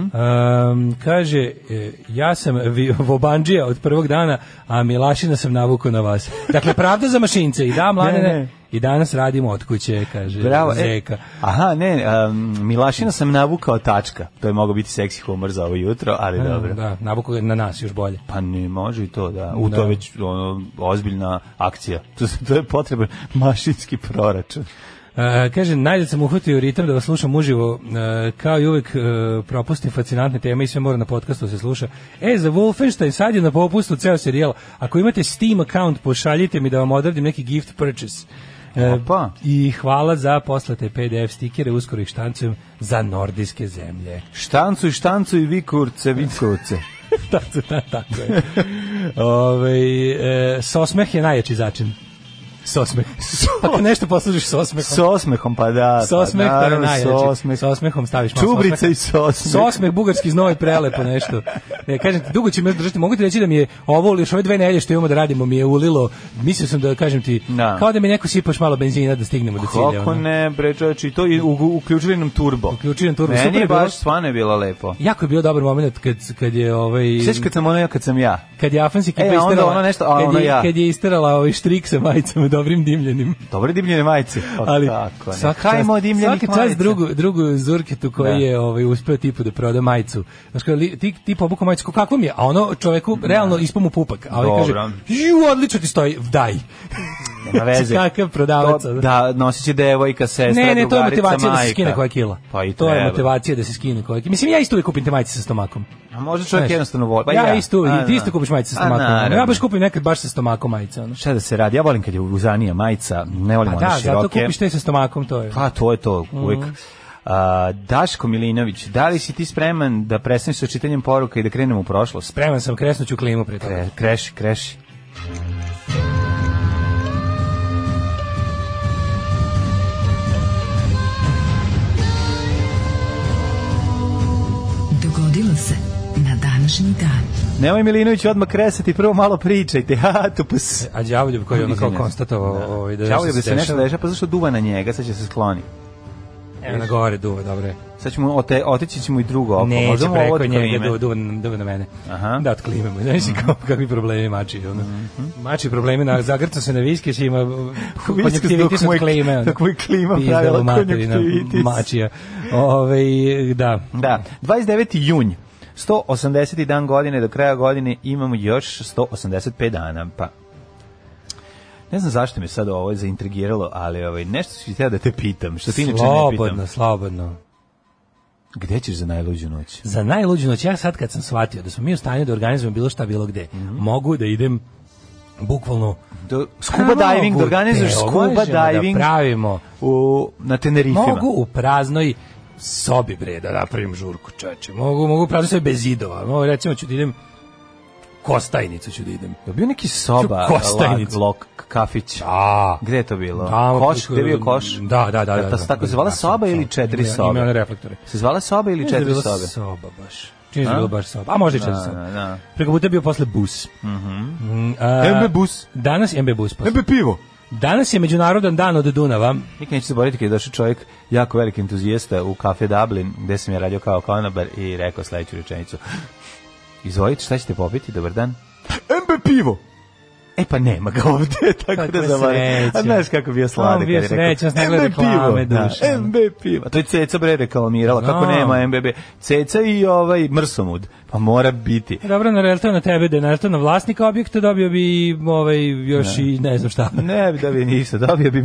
Speaker 4: Em, kaže, e, ja sam vi- Vobandžija od prvog dana, a Milašina sam navukao na vas. Dakle, pravda za mašince. I da,
Speaker 3: Ne, ne.
Speaker 4: mladene, i danas radimo od kuće, kaže
Speaker 3: Bravo, e,
Speaker 4: Zeka.
Speaker 3: aha, ne, um, Milašina sam navukao tačka. To je mogao biti seksi humor za ovo jutro, ali dobro.
Speaker 4: Da, navukao je na nas još bolje.
Speaker 3: Pa ne može i to, da. U
Speaker 4: Da.
Speaker 3: to je već ono, ozbiljna akcija. To, se- to je potreban mašinski proračun.
Speaker 4: E, kaže, najde sam uhvatio ritam da vas slušam uživo, E, kao i uvek e, propustim fascinantne teme i sve mora na podcastu da se sluša. E, za Wolfenstein sad je na popustu ceo serijal. Ako imate Steam account, pošaljite mi da vam odradim neki gift purchase. E,
Speaker 3: Opa.
Speaker 4: I hvala za poslate PDF stikere, uskoro ih štancujem za nordijske zemlje.
Speaker 3: Štancu i štancu i vikurce, vikurce.
Speaker 4: tako, da, tako je. Ove, e, sosmeh je najjači začin. Sosmeh. Pa kad nešto poslužiš sosmehom.
Speaker 3: S osmehom, pa da.
Speaker 4: S osmeh,
Speaker 3: pa,
Speaker 4: to je
Speaker 3: naravno, s
Speaker 4: najjači.
Speaker 3: osmeh.
Speaker 4: S osmehom staviš malo
Speaker 3: Čubrica
Speaker 4: sosmeha.
Speaker 3: i s osmeh.
Speaker 4: S osmeh, bugarski znoj, prelepo nešto. Ne, kažem ti, dugo će me držati. Mogu ti reći da mi je ovo, još ove dve nedelje što imamo da radimo, mi je ulilo. Mislio sam da, kažem ti,
Speaker 3: Da.
Speaker 4: kao da mi neko sipaš malo benzina da stignemo do cilja.
Speaker 3: Kako
Speaker 4: ono.
Speaker 3: ne, bre, čovječe, i to i u, uključili nam turbo.
Speaker 4: Uključili nam turbo,
Speaker 3: Meni
Speaker 4: super
Speaker 3: je
Speaker 4: je bilo.
Speaker 3: baš stvarno je bilo lepo.
Speaker 4: Jako je bio dobar moment kad, kad je ovaj...
Speaker 3: Sjećaš kad sam ono ja, kad sam ja.
Speaker 4: Kad je Afansi ekipa
Speaker 3: E, a onda
Speaker 4: isterala,
Speaker 3: ono nešto, a
Speaker 4: kad, je,
Speaker 3: ono ja.
Speaker 4: kad je isterala ovaj štrik sa majicama dobrim dimljenim.
Speaker 3: Dobre dimljene majice. O,
Speaker 4: ali
Speaker 3: Pa tako ne.
Speaker 4: svaka čast,
Speaker 3: Hajmo dimljenih
Speaker 4: svaka čast
Speaker 3: majica.
Speaker 4: drugu, drugu Zurketu koji
Speaker 3: Da.
Speaker 4: je ovaj, uspeo tipu da proda majicu. Znaš kao, li- ti, ti pobuka majicu, kako mi je? A ono čoveku realno ispomu pupak. A ovaj
Speaker 3: Da. Dobro.
Speaker 4: kaže, ju, odlično ti stoji, daj.
Speaker 3: Nema veze.
Speaker 4: Znači, Kakav prodavac,
Speaker 3: To-
Speaker 4: ono.
Speaker 3: Da, nosit će devojka, sestra,
Speaker 4: Ne, ne, to je
Speaker 3: drugarica,
Speaker 4: motivacija da se
Speaker 3: majka.
Speaker 4: skine koja kila.
Speaker 3: Pa i
Speaker 4: to je
Speaker 3: treba.
Speaker 4: motivacija da se skine koja kila. Mislim, ja isto uvijek kupim te majice sa stomakom.
Speaker 3: A možda čovjek
Speaker 4: Znaš,
Speaker 3: jednostavno voli. Pa i
Speaker 4: ja, isto, uvijek,
Speaker 3: A,
Speaker 4: i ti isto
Speaker 3: da.
Speaker 4: kupiš majice sa
Speaker 3: A,
Speaker 4: stomakom.
Speaker 3: naravno.
Speaker 4: ja baš kupim nekad baš sa stomakom majice. Ono.
Speaker 3: Šta da se radi? Ja volim kad je uzanija majica, ne volim
Speaker 4: A
Speaker 3: one
Speaker 4: da, zato
Speaker 3: široke.
Speaker 4: kupiš te Mhm. sa stomakom, to je.
Speaker 3: Pa to je to, uvek. A, Daško Milinović, da li si ti spreman da prestaneš sa čitanjem poruka i da krenemo u prošlost?
Speaker 4: Spreman sam, kresnuću klimu pre toga.
Speaker 3: Kre, kreši, kreši.
Speaker 2: Dogodilo se na današnji dan.
Speaker 3: Nemoj Milinović odmah kresati, prvo malo pričajte. Ha, tu pa s-
Speaker 4: A đavoljub koji je ono kao
Speaker 3: Izvinjavam se.
Speaker 4: konstatovao ovaj, da,
Speaker 3: Čao je da se nešto
Speaker 4: dešava.
Speaker 3: deša, pa zašto duva na njega, sad će se skloni.
Speaker 4: Evo na gore duva, dobro je.
Speaker 3: Sad ćemo, ote, oteći ćemo i drugo oko.
Speaker 4: Neće
Speaker 3: Možda mu ovo
Speaker 4: preko
Speaker 3: otkrije
Speaker 4: njega
Speaker 3: ime.
Speaker 4: duva, duva, na- duva na mene.
Speaker 3: Aha. Mhm.
Speaker 4: Da, otklimamo. Znaš mm -hmm. kakvi problemi mači. Ono. Mači problemi, na, zagrca se na viskeć ima
Speaker 3: dok
Speaker 4: konjektivitis
Speaker 3: mu je-
Speaker 4: od klime. ono.
Speaker 3: dok mu je klima
Speaker 4: Pizdala
Speaker 3: pravila
Speaker 4: materina
Speaker 3: konjektivitis.
Speaker 4: Mačija. Ove, da.
Speaker 3: Da, 29. junj. 180. dan godine, do kraja godine imamo još 185 dana, pa... Ne znam zašto me sad ovo zaintrigiralo, ali ovaj, nešto ću htio da te pitam, što ti inače ne
Speaker 4: Slobodno,
Speaker 3: pitam.
Speaker 4: slobodno.
Speaker 3: Gde ćeš za najluđu noć?
Speaker 4: Za najluđu noć, ja sad kad sam shvatio da smo mi u stanju da organizujemo bilo šta, bilo gde,
Speaker 3: Mhm.
Speaker 4: mogu da idem bukvalno
Speaker 3: Do, scuba diving, da
Speaker 4: Mogu,
Speaker 3: organizuješ
Speaker 4: te,
Speaker 3: scuba
Speaker 4: možemo
Speaker 3: diving
Speaker 4: Da pravimo.
Speaker 3: u, na Tenerifima.
Speaker 4: Mogu u praznoj sobi bre da napravim žurku čoveče. Mogu mogu prazno sve bez zidova. Mogu recimo ću da idem Kostajnicu ću da idem.
Speaker 3: Je bio neki soba,
Speaker 4: Kostajnicu.
Speaker 3: lak, lok, kafić.
Speaker 4: Da.
Speaker 3: Gde je to bilo?
Speaker 4: Tamo
Speaker 3: koš,
Speaker 4: preko-
Speaker 3: gde je bio koš?
Speaker 4: Da, da, da.
Speaker 3: Jel
Speaker 4: da,
Speaker 3: to
Speaker 4: da,
Speaker 3: se tako
Speaker 4: da,
Speaker 3: zvala
Speaker 4: da,
Speaker 3: soba
Speaker 4: da,
Speaker 3: ili
Speaker 4: da,
Speaker 3: četiri
Speaker 4: ima-
Speaker 3: sobe?
Speaker 4: Ima one reflektore.
Speaker 3: Se zvala soba ili
Speaker 4: Mislim da je
Speaker 3: četiri
Speaker 4: bila
Speaker 3: sobe?
Speaker 4: Soba baš. Čini se da je bila baš soba. A možda i četiri sobe.
Speaker 3: da, da.
Speaker 4: Preko puta je bio posle bus. Mm, a,
Speaker 3: MB bus.
Speaker 4: Danas MB bus. posle.
Speaker 3: pivo.
Speaker 4: Danas je Međunarodan dan od Dunava.
Speaker 3: Nikad neću zaboraviti kada je došao čovjek, jako veliki entuzijasta u kafe Dublin, gde sam ja radio kao konobar i rekao sledeću rečenicu. Izvolite, šta ćete popiti? Dobar dan. MB pivo! E pa nema ga ovde, tako
Speaker 4: Kakva
Speaker 3: da zaboravim.
Speaker 4: sreća.
Speaker 3: A znaš kako je bio sladak.
Speaker 4: On bio
Speaker 3: kad je rekao,
Speaker 4: srećan s njegove
Speaker 3: "MB pivo."
Speaker 4: reklame,
Speaker 3: Da,
Speaker 4: Dušan.
Speaker 3: MB pivo. A To je Ceca bre reklamirala, kako
Speaker 4: Znam.
Speaker 3: nema MBB. Ceca i ovaj mrsomud. Pa mora biti.
Speaker 4: Dobro, nareštao na tebe, da je nareštao na vlasnika objekta, dobio bi ovaj, još i ne znam šta.
Speaker 3: Ne bi da bi ništa, dobio bi...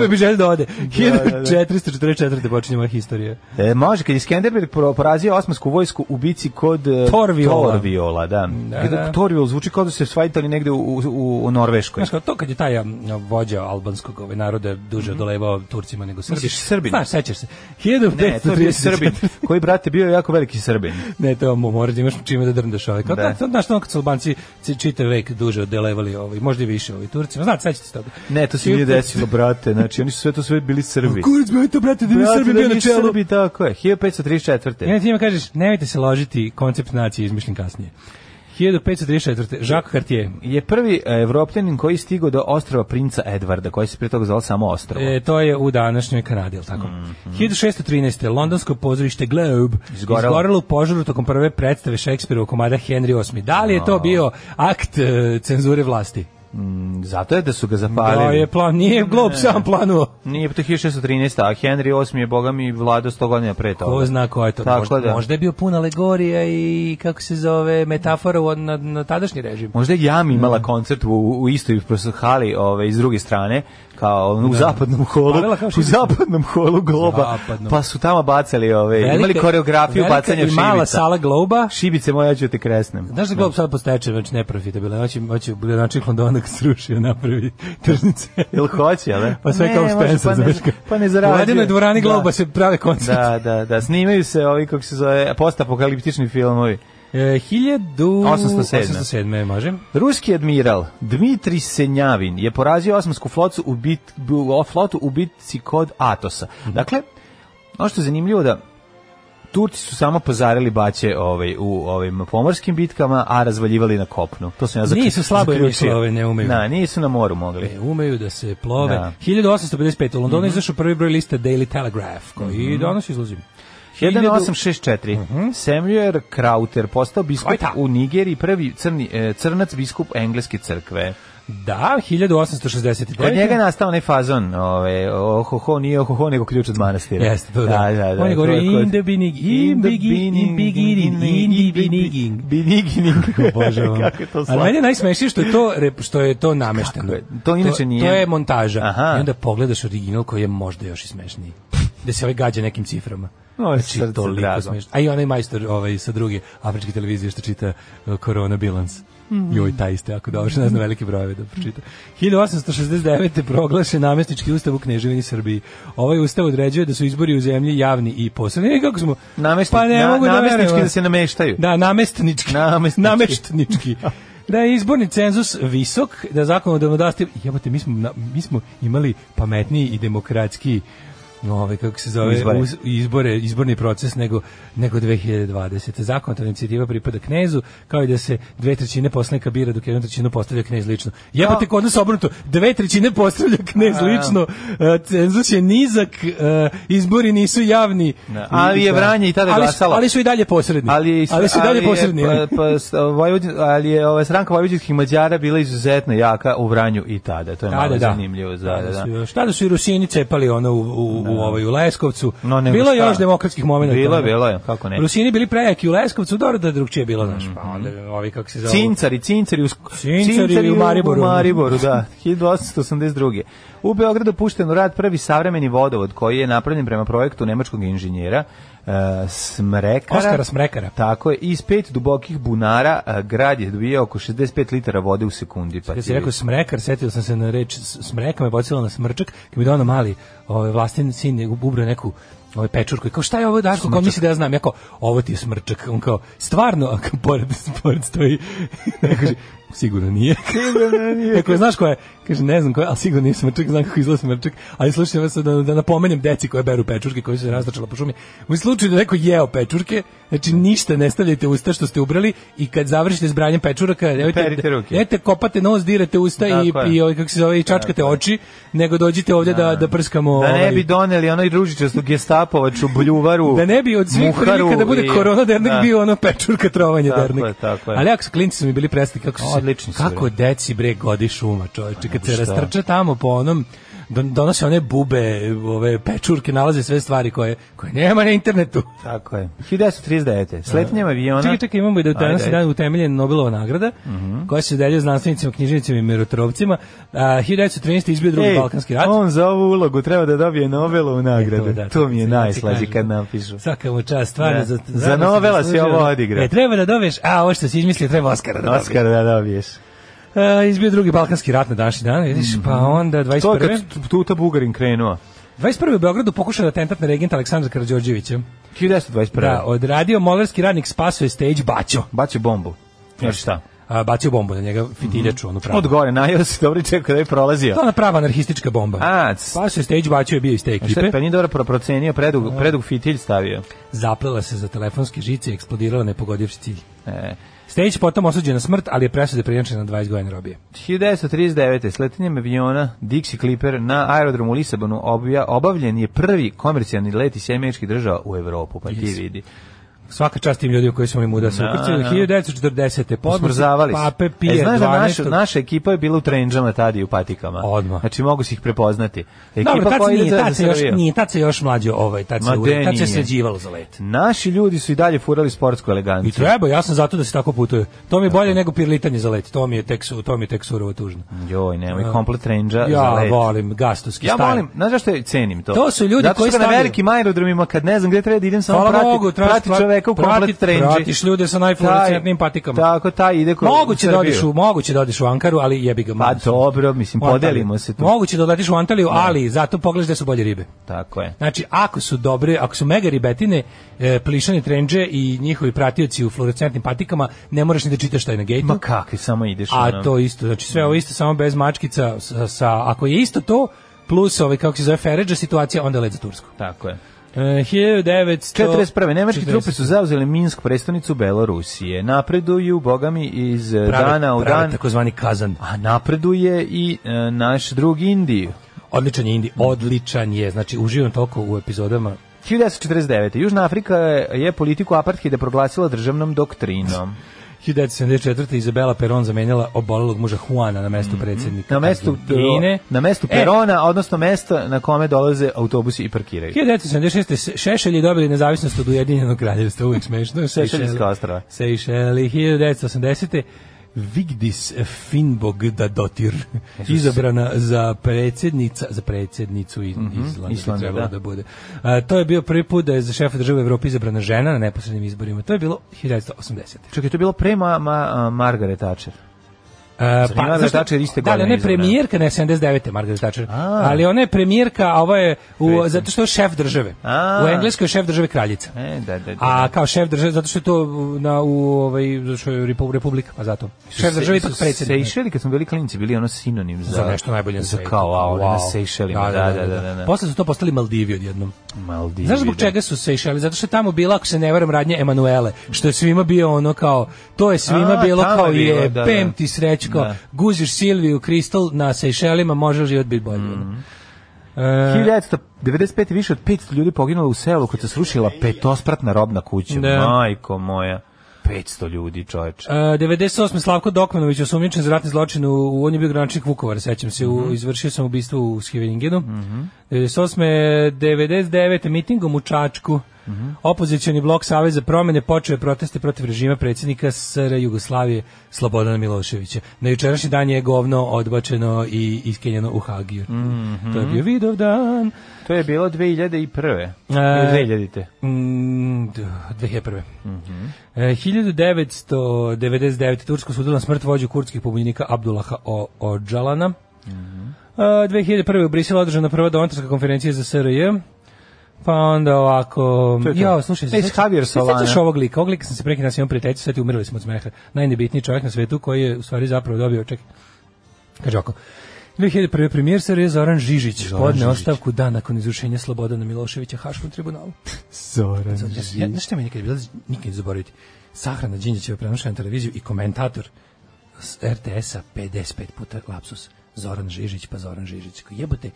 Speaker 4: Da bi želio da ode.
Speaker 3: da, da.
Speaker 4: 1444. počinje moja historija.
Speaker 3: E, može, kad je Skenderbeg pro- porazio osmansku vojsku u bici kod e,
Speaker 4: Torviola.
Speaker 3: Torviola, da.
Speaker 4: Da,
Speaker 3: Kada
Speaker 4: da.
Speaker 3: Torviol zvuči kao da se svajtali negde u, u, u Norveškoj.
Speaker 4: Znaš kao, to kad je taj um, vođa albanskog ovaj, naroda duže odolevao Turcima nego Srbi.
Speaker 3: Misliš Srbin?
Speaker 4: Znaš, sećaš se.
Speaker 3: Ne, to je bio
Speaker 4: 1534.
Speaker 3: Srbin, koji, brate, bio je jako veliki Srbin.
Speaker 4: Ne, to mu moraš da imaš čime da drndaš ovaj. Kao,
Speaker 3: Da.
Speaker 4: da. Znaš, ono kad su Albanci ci- čitav vek duže odelevali ovaj, možda i više ovaj, Turcima. Znate, sećate se toga.
Speaker 3: Ne, to se nije desilo, brate, znači oni su sve to sve bili Srbi.
Speaker 4: Kurac, me to, brate, da mi
Speaker 3: Brate,
Speaker 4: Srbi
Speaker 3: da
Speaker 4: bio na
Speaker 3: nisu
Speaker 4: čelu.
Speaker 3: Srbi, tako je, 1534.
Speaker 4: I onda ti njima kažeš, nemojte se ložiti, koncept nacije je izmišljen kasnije. 1534. Jacques Cartier.
Speaker 3: Je prvi e, evropljanin koji je stigao do ostrava princa Edvarda, koji se prije toga zvao samo ostrovo.
Speaker 4: E, to je u današnjoj Kanadi, je li tako? 1613. Londonsko pozorište Globe
Speaker 3: Mhm. Izgorelo.
Speaker 4: izgorelo. u požaru tokom prve predstave Šekspirovog komada Henry VIII. Da li je to bio akt e, cenzure vlasti?
Speaker 3: Zato je da su ga
Speaker 4: Da
Speaker 3: zapalili.
Speaker 4: je plan, nije Globe sam planuo.
Speaker 3: Nije to 1613, a Henry VIII je, boga mi, vladao 100 godina pre toga.
Speaker 4: Ko zna ko je to?
Speaker 3: Tako
Speaker 4: možda,
Speaker 3: da.
Speaker 4: možda je bio pun alegorija i kako se zove metafora u- na, na tadašnji režim.
Speaker 3: Možda je
Speaker 4: Mm.
Speaker 3: Jam imala koncert u, u istoj prosto hali ove, iz druge strane, kao ono, u zapadnom holu,
Speaker 4: Palila Da. kao
Speaker 3: u
Speaker 4: šibica.
Speaker 3: zapadnom holu globa,
Speaker 4: Zapadnom.
Speaker 3: pa su tamo bacali, ove, imali
Speaker 4: Velika-
Speaker 3: koreografiju
Speaker 4: velika
Speaker 3: bacanja
Speaker 4: i mala
Speaker 3: šibica.
Speaker 4: sala Globa.
Speaker 3: Šibice moja ću te kresnem.
Speaker 4: Znaš da Glob sad postaječe, znači neprofitabilno, hoće, hoće gradonačelnik Londona srušio napravi tržni centar.
Speaker 3: Jel hoće, ali?
Speaker 4: Pa sve kao Spencer,
Speaker 3: pa ne,
Speaker 4: znaš kao.
Speaker 3: pa ne
Speaker 4: U
Speaker 3: zarađuje.
Speaker 4: ledenoj dvorani Globa
Speaker 3: Da.
Speaker 4: se prave koncerti.
Speaker 3: Da, da, da, snimaju se ovi, kako se zove, postapokaliptični filmovi.
Speaker 4: E, 1807.
Speaker 3: 807,
Speaker 4: može.
Speaker 3: Ruski admiral Dmitri Senjavin je porazio osmansku flotu u, bit, bu- o, flotu u bitci kod Atosa.
Speaker 4: Mhm.
Speaker 3: Dakle, ono što je zanimljivo da Turci su samo pozarili baće ovaj, u ovim pomorskim bitkama, a razvaljivali na kopnu. To sam ja zaključio.
Speaker 4: Nisu slabo im išlo, ove ne umeju.
Speaker 3: Da, nisu na moru mogli.
Speaker 4: E, umeju da se plove.
Speaker 3: Da. Mhm.
Speaker 4: 1855. U Londonu izašao prvi broj liste Daily Telegraph, koji i danas izlazim.
Speaker 3: 1864.
Speaker 4: Mhm.
Speaker 3: Samuel Krauter postao biskup
Speaker 4: Krauter.
Speaker 3: u Nigeriji, prvi crni, e, crnac biskup engleske crkve.
Speaker 4: Da, 1869.
Speaker 3: Kod njega je nastao onaj fazon, ove, ohoho, nije ohoho, nego ključ od manastira.
Speaker 4: Jeste, to da.
Speaker 3: da, da
Speaker 4: On je govorio
Speaker 3: to kod-
Speaker 4: in the beginning, in begin- in beginning, in the beginning.
Speaker 3: Beginning.
Speaker 4: Obožavam.
Speaker 3: Kako je to
Speaker 4: Ali
Speaker 3: slatko.
Speaker 4: meni je najsmešnije što je to, rep- što je to namešteno.
Speaker 3: Kako je? To inače nije.
Speaker 4: To je montaža.
Speaker 3: Aha.
Speaker 4: I onda pogledaš original koji je možda još i smešniji. Da se ovaj gađa nekim ciframa.
Speaker 3: Ovo je srce
Speaker 4: znači, toliko
Speaker 3: drago.
Speaker 4: smešno. A i onaj majstor ovaj, sa druge afričke televizije što čita uh, Corona Bilans.
Speaker 3: Mhm.
Speaker 4: Joj, taj ste, ako dobro, što ne znam velike brojeve da pročita. 1869. proglašen namestnički ustav u Kneževini Srbiji. Ovaj ustav određuje da su izbori u zemlji javni i posebni. E, kako smo?
Speaker 3: Namesti-
Speaker 4: pa ne
Speaker 3: na-
Speaker 4: mogu da
Speaker 3: namestnički
Speaker 4: verujem.
Speaker 3: da se nameštaju.
Speaker 4: Da, namestnički.
Speaker 3: Namestnički.
Speaker 4: Nameštnički. Da je izborni cenzus visok, da zakonodavno daste... Jebate, mi smo, na- mi smo imali pametniji i demokratski ove, kako se zove,
Speaker 3: Izbore.
Speaker 4: uz- izbore, izborni proces nego, nego 2020. Zakonodavna inicijativa pripada knezu, kao i da se dve trećine poslanika bira dok jednu trećinu postavlja knez lično. Jebate, kod nas obrnuto, dve trećine postavlja knez
Speaker 3: A, da.
Speaker 4: lično, e, cenzus je nizak, e, izbori nisu javni.
Speaker 3: Da, ali je Vranje i tada
Speaker 4: Ali su-
Speaker 3: glasalo.
Speaker 4: Ali su i dalje posredni.
Speaker 3: Ali,
Speaker 4: ali su i dalje
Speaker 3: ali je-
Speaker 4: posredni.
Speaker 3: Pa,
Speaker 4: ali-
Speaker 3: pa, s- Vojvodin- ali je ova stranka vojvođanskih Mađara bila izuzetno
Speaker 4: Da,
Speaker 3: jaka u Vranju i tada. To je malo zanimljivo. Da, da, da.
Speaker 4: su još- Tada su i Rusini cepali ono u, u, u, ovaj, u Leskovcu.
Speaker 3: No, nego
Speaker 4: bilo je
Speaker 3: šta?
Speaker 4: još demokratskih momenta.
Speaker 3: Bilo je, bilo je, Mhm. kako ne.
Speaker 4: Rusini bili prejaki u Leskovcu, dobro da je drugčije bilo, znaš, pa onda ovi kako se zove.
Speaker 3: Cincari, cincari u, sk-
Speaker 4: Da, Cincari u Mariboru.
Speaker 3: U Mariboru, da, 1882. U Beogradu pušten u rad prvi savremeni vodovod koji je napravljen prema projektu nemačkog inženjera uh, Smrekara.
Speaker 4: Oskara Smrekara.
Speaker 3: Tako je, iz pet dubokih bunara uh, grad je dobio oko 65 litara vode u sekundi. Pa
Speaker 4: Kad
Speaker 3: ti
Speaker 4: si rekao
Speaker 3: vidi.
Speaker 4: smrekar, setio sam se na reč s- smreka, me podsjetila na smrčak, kad mi je dono mali ovaj, vlastin sin je ubrao neku ovaj pečurku i kao šta je ovo Darko, kao misli da ja znam, ja kao ovo ti je smrčak, on kao stvarno, a kao pored, pored stoji, ne kaže, sigurno nije. Sigurno nije. Rekao, znaš ko je? Kaže, ne znam ko je, ali sigurno nije smrčak, znam kako izgleda smrčak, ali slušaj, evo sad da, da napomenem deci koje beru pečurke, koje su se rastačala po šumi. U slučaju da neko jeo pečurke, znači ništa ne stavljajte u usta što ste ubrali i kad završite s branjem pečuraka,
Speaker 3: Perite
Speaker 4: nemojte,
Speaker 3: ruke.
Speaker 4: ne, te kopate nos, dirate usta i,
Speaker 3: Tako je.
Speaker 4: i ovaj, kako se zove, i čačkate oči, nego dođite ovdje da, da prskamo...
Speaker 3: Da ne
Speaker 4: ovaj,
Speaker 3: bi doneli onaj ružičastu gestapovač u buljuvaru.
Speaker 4: da ne bi od svih
Speaker 3: muharu
Speaker 4: prilika da bude
Speaker 3: i-
Speaker 4: korona dernek
Speaker 3: Da.
Speaker 4: bio ono pečurka trovanje
Speaker 3: Tako
Speaker 4: dernek.
Speaker 3: je, tako je.
Speaker 4: Ali ako su klinci su mi bili presni kako su se-
Speaker 3: Odlični su
Speaker 4: kako
Speaker 3: bili.
Speaker 4: deci bre godi šuma, čoveče, kad se
Speaker 3: šta?
Speaker 4: rastrče tamo po onom don- donose one bube, ove pečurke, nalaze sve stvari koje koje nema na internetu.
Speaker 3: Tako je. 1939. Sletnjem aviona...
Speaker 4: Čekaj, čekaj, imamo i da danas je
Speaker 3: Pa Ajde, Mhm. ajde.
Speaker 4: dan utemeljena Nobelova nagrada, koja se deljuje znanstvenicima, knjižnicima i mirotrovcima. A, 1913. izbio drugi
Speaker 3: Ej,
Speaker 4: Balkanski rat.
Speaker 3: On za ovu ulogu treba da dobije Nobelovu nagradu.
Speaker 4: Eto,
Speaker 3: To,
Speaker 4: da,
Speaker 3: mi je
Speaker 4: kako se
Speaker 3: najslađi
Speaker 4: kaže.
Speaker 3: kad napišu.
Speaker 4: Svaka mu čast, stvarno.
Speaker 3: Da.
Speaker 4: Za,
Speaker 3: Za novela si ovo odigrao.
Speaker 4: E, treba da dobiješ, a ovo što si izmislio treba Oscara da dobiješ.
Speaker 3: Oskar da dobiješ.
Speaker 4: E, izbio drugi Balkanski rat na današnji dan, vidiš, pa onda
Speaker 3: Mhm. To je
Speaker 4: 21.
Speaker 3: kad Tuta Bugarin krenuo.
Speaker 4: Da, 21. u Beogradu pokušao da atentat na regenta Aleksandra Karađorđevića.
Speaker 3: 1921.
Speaker 4: Da,
Speaker 3: Da,
Speaker 4: odradio molerski radnik spaso je stage Baćo.
Speaker 3: Bacio bombu. Znaš šta?
Speaker 4: A, bacio bombu na njega, fitiljaču, onu pravu.
Speaker 3: Od gore, najeo se, dobro čekao da je prolazio.
Speaker 4: To je ona prava anarhistička bomba.
Speaker 3: A, c-
Speaker 4: Spaso je stage Baćo je bio iz te
Speaker 3: Šta,
Speaker 4: ekipe. Da.
Speaker 3: pa nije dobro pro- procenio, predug, predug fitilj stavio.
Speaker 4: Zaplela se za telefonske žice i eksplodirala nepogodivši cilj.
Speaker 3: E.
Speaker 4: Stage potom osuđen na smrt, ali je presude prijenčena na 20 godina robije.
Speaker 3: 1939. sletenjem aviona Dixie Clipper na aerodromu u Lisabonu obja, obavljen je prvi komercijalni let iz američkih država u Evropu, pa ti
Speaker 4: Yes.
Speaker 3: vidi.
Speaker 4: Svaka čast tim ljudima koji su imali muda se
Speaker 3: Da,
Speaker 4: ukrcaju.
Speaker 3: da.
Speaker 4: 1940. podmornice
Speaker 3: Smrzavali se.
Speaker 4: Pape Pije
Speaker 3: e, znaš
Speaker 4: 12.
Speaker 3: da naša, naša ekipa je bila u trendžama tada i u patikama.
Speaker 4: Odmah.
Speaker 3: Znači mogu si ih prepoznati. Ekipa
Speaker 4: Dobro, tad se
Speaker 3: koja ide
Speaker 4: nije,
Speaker 3: za-
Speaker 4: tad se
Speaker 3: za
Speaker 4: još,
Speaker 3: Srbiju.
Speaker 4: nije, tad se još mlađo ovaj, tad se,
Speaker 3: Ma
Speaker 4: ure,
Speaker 3: de,
Speaker 4: tad se
Speaker 3: nije.
Speaker 4: sređivalo za let.
Speaker 3: Naši ljudi su i dalje furali sportsku
Speaker 4: I
Speaker 3: eleganciju.
Speaker 4: treba, ja sam zato da se tako putuje. To mi je bolje nego pirlitanje za let. To mi je tek, su- to mi je tek surovo tužno.
Speaker 3: Joj, nemoj, komplet trendža Da, za
Speaker 4: Ja
Speaker 3: let.
Speaker 4: volim gastovski
Speaker 3: Ja
Speaker 4: stan.
Speaker 3: volim, znaš zašto je cenim to?
Speaker 4: To su ljudi
Speaker 3: Zato što
Speaker 4: koji
Speaker 3: na
Speaker 4: stavljaju-
Speaker 3: velikim aerodromima, kad ne znam gde treba da idem, samo
Speaker 4: Hvala
Speaker 3: prati,
Speaker 4: Bogu, traži-
Speaker 3: prati čoveka u
Speaker 4: prati-
Speaker 3: komplet trendži.
Speaker 4: pratiš ljude sa najfluorescentnijim patikama.
Speaker 3: Taj- Tako, taj ide koji
Speaker 4: Moguće da odiš u, moguće da odiš u Ankaru, ali jebi ga.
Speaker 3: Pa
Speaker 4: molim se.
Speaker 3: dobro, mislim,
Speaker 4: U Antaliju.
Speaker 3: podelimo se tu.
Speaker 4: Moguće da odletiš u Antaliju, ali zato pogledaš da su bolje ribe.
Speaker 3: Tako je.
Speaker 4: Znači, ako su dobre, ako su mega ribetine, e, plišani trendže i njihovi pratioci u fluorescentnim patikama, ne moraš ni da čitaš taj na gejtu.
Speaker 3: Ma kakvi, samo ideš. ono.
Speaker 4: A to isto, znači sve ovo isto, samo bez mačkica, sa, sa- ako je isto to, plus ovaj, kako se zove, Feređa situacija, onda let za Tursku.
Speaker 3: Tako je.
Speaker 4: E, 1900...
Speaker 3: 41. Nemačke trupe
Speaker 4: 40.
Speaker 3: su zauzele Minsk, prestonicu Belorusije. Napreduju, bogami, iz eh,
Speaker 4: Prave-
Speaker 3: dana u
Speaker 4: prave
Speaker 3: dan.
Speaker 4: takozvani kazan.
Speaker 3: A napreduje i eh, naš drug Indiju.
Speaker 4: Odličan je Indi, odličan je. Znači, uživam toliko u epizodama.
Speaker 3: 1949. Južna Afrika je politiku apartheida proglasila državnom doktrinom.
Speaker 4: 1974. Izabela Peron zamenjala obolelog muža Juana na mestu
Speaker 3: Mhm.
Speaker 4: predsjednika
Speaker 3: Na mestu,
Speaker 4: Argentine.
Speaker 3: na mestu
Speaker 4: E,
Speaker 3: Perona, odnosno mesto na kome dolaze autobusi i parkiraju.
Speaker 4: 1976. Se- Šešelji dobili nezavisnost od Ujedinjenog kraljevstva, uvijek smešno.
Speaker 3: Šešeljska ostrava.
Speaker 4: Sejšeli, 1980. Vigdis Finbog da dotir izabrana za predsjednica za predsjednicu iz Islanda,
Speaker 3: Mhm, Islanda,
Speaker 4: trebalo da.
Speaker 3: da.
Speaker 4: bude. A, to je bio prvi put da je za šefa države Evrope izabrana žena na neposrednim izborima. To je bilo 1980.
Speaker 3: Čekaj, to je bilo pre ma, ma, a, Margaret Thatcher.
Speaker 4: E,
Speaker 3: Zanima me da
Speaker 4: zašto-
Speaker 3: Thatcher iste
Speaker 4: da, ali
Speaker 3: godine
Speaker 4: ona je
Speaker 3: izabrana.
Speaker 4: premijerka, ne 79. Margaret Thatcher.
Speaker 3: A.
Speaker 4: Ali ona je premijerka, a ovo je u,
Speaker 3: Vidite.
Speaker 4: zato što je šef države.
Speaker 3: A.
Speaker 4: U Engleskoj je šef države kraljica.
Speaker 3: E, da, da, da.
Speaker 4: A kao šef države, zato što je to u- na, u, ovaj, zato što je repu- republika, pa zato. Šef države je ipak predsjednik.
Speaker 3: Sejšeli, kad smo bili klinici, bili ono sinonim za,
Speaker 4: Za nešto najbolje na
Speaker 3: Da. za
Speaker 4: svetu.
Speaker 3: kao, a, wow. na
Speaker 4: Wow.
Speaker 3: Sejšelima, da, da, da, da, da.
Speaker 4: Posle su to postali Maldivi odjednom.
Speaker 3: Maldivi,
Speaker 4: Znaš zbog
Speaker 3: da.
Speaker 4: čega su Sejšeli? Zato što je tamo bila, ako se ne varam, radnja Emanuele, što je svima bio ono kao, to je svima
Speaker 3: A,
Speaker 4: bilo
Speaker 3: tamo
Speaker 4: kao
Speaker 3: je bilo,
Speaker 4: je,
Speaker 3: da, da.
Speaker 4: pem ti sreću, kao,
Speaker 3: Da.
Speaker 4: guziš Silviju Kristal na Sejšelima, može život biti bolji.
Speaker 3: Mm.
Speaker 4: E,
Speaker 3: 1995. više od 500 ljudi poginulo u selu kad se srušila petospratna robna kuća.
Speaker 4: Da.
Speaker 3: Majko moja. 500 ljudi, čoveče.
Speaker 4: E, 98. Slavko Dokmanović osumnjičen za ratni zločin u, u on je bio graničnik Vukovara, sećam se, u, izvršio sam ubistvo u Skeveningenu. Mm -hmm. 98. 99. mitingom u Čačku Mm -hmm. Opozicioni blok Saveza promene počeo je proteste protiv režima predsjednika SR Jugoslavije Slobodana Miloševića. Na jučerašnji dan je govno odbačeno i iskenjeno u Hagiju. Mm -hmm. To je bio vidov dan.
Speaker 3: To je bilo 2001. E...
Speaker 4: E,
Speaker 3: 2000.
Speaker 4: Mm, d- 2001. Mm
Speaker 3: Mhm.
Speaker 4: e, 1999. Tursko sudilo smrt vođu kurdskih pobunjenika Abdullaha o Ođalana.
Speaker 3: Mhm.
Speaker 4: Mm e, 2001. u Briselu održana prva donatorska konferencija za SRJ. Pa onda ovako...
Speaker 3: To je to.
Speaker 4: Jo, slušaj,
Speaker 3: Ej,
Speaker 4: se sećaš-
Speaker 3: Javier
Speaker 4: se sećaš
Speaker 3: Solana.
Speaker 4: ovog lika? Ovog lika sam se prekid nas imam prijateljicu, sad i umrli smo od smeha. Najnebitniji čovjek na svetu koji je u stvari zapravo dobio... Čekaj, kaže ovako... 2001. premijer Sarajeva Zoran Žižić podne ostavku dan nakon izrušenja Slobodana Miloševića Haškom tribunalu.
Speaker 3: Zoran
Speaker 4: Ja, ja, znaš šta mi je nikad bilo, nikad neću zaboraviti. Sahrana Đinđićeva prenošena na televiziju i komentator s RTS-a 55 puta lapsus. Zoran Žižić, pa Zoran Žižić. Ko Jebote,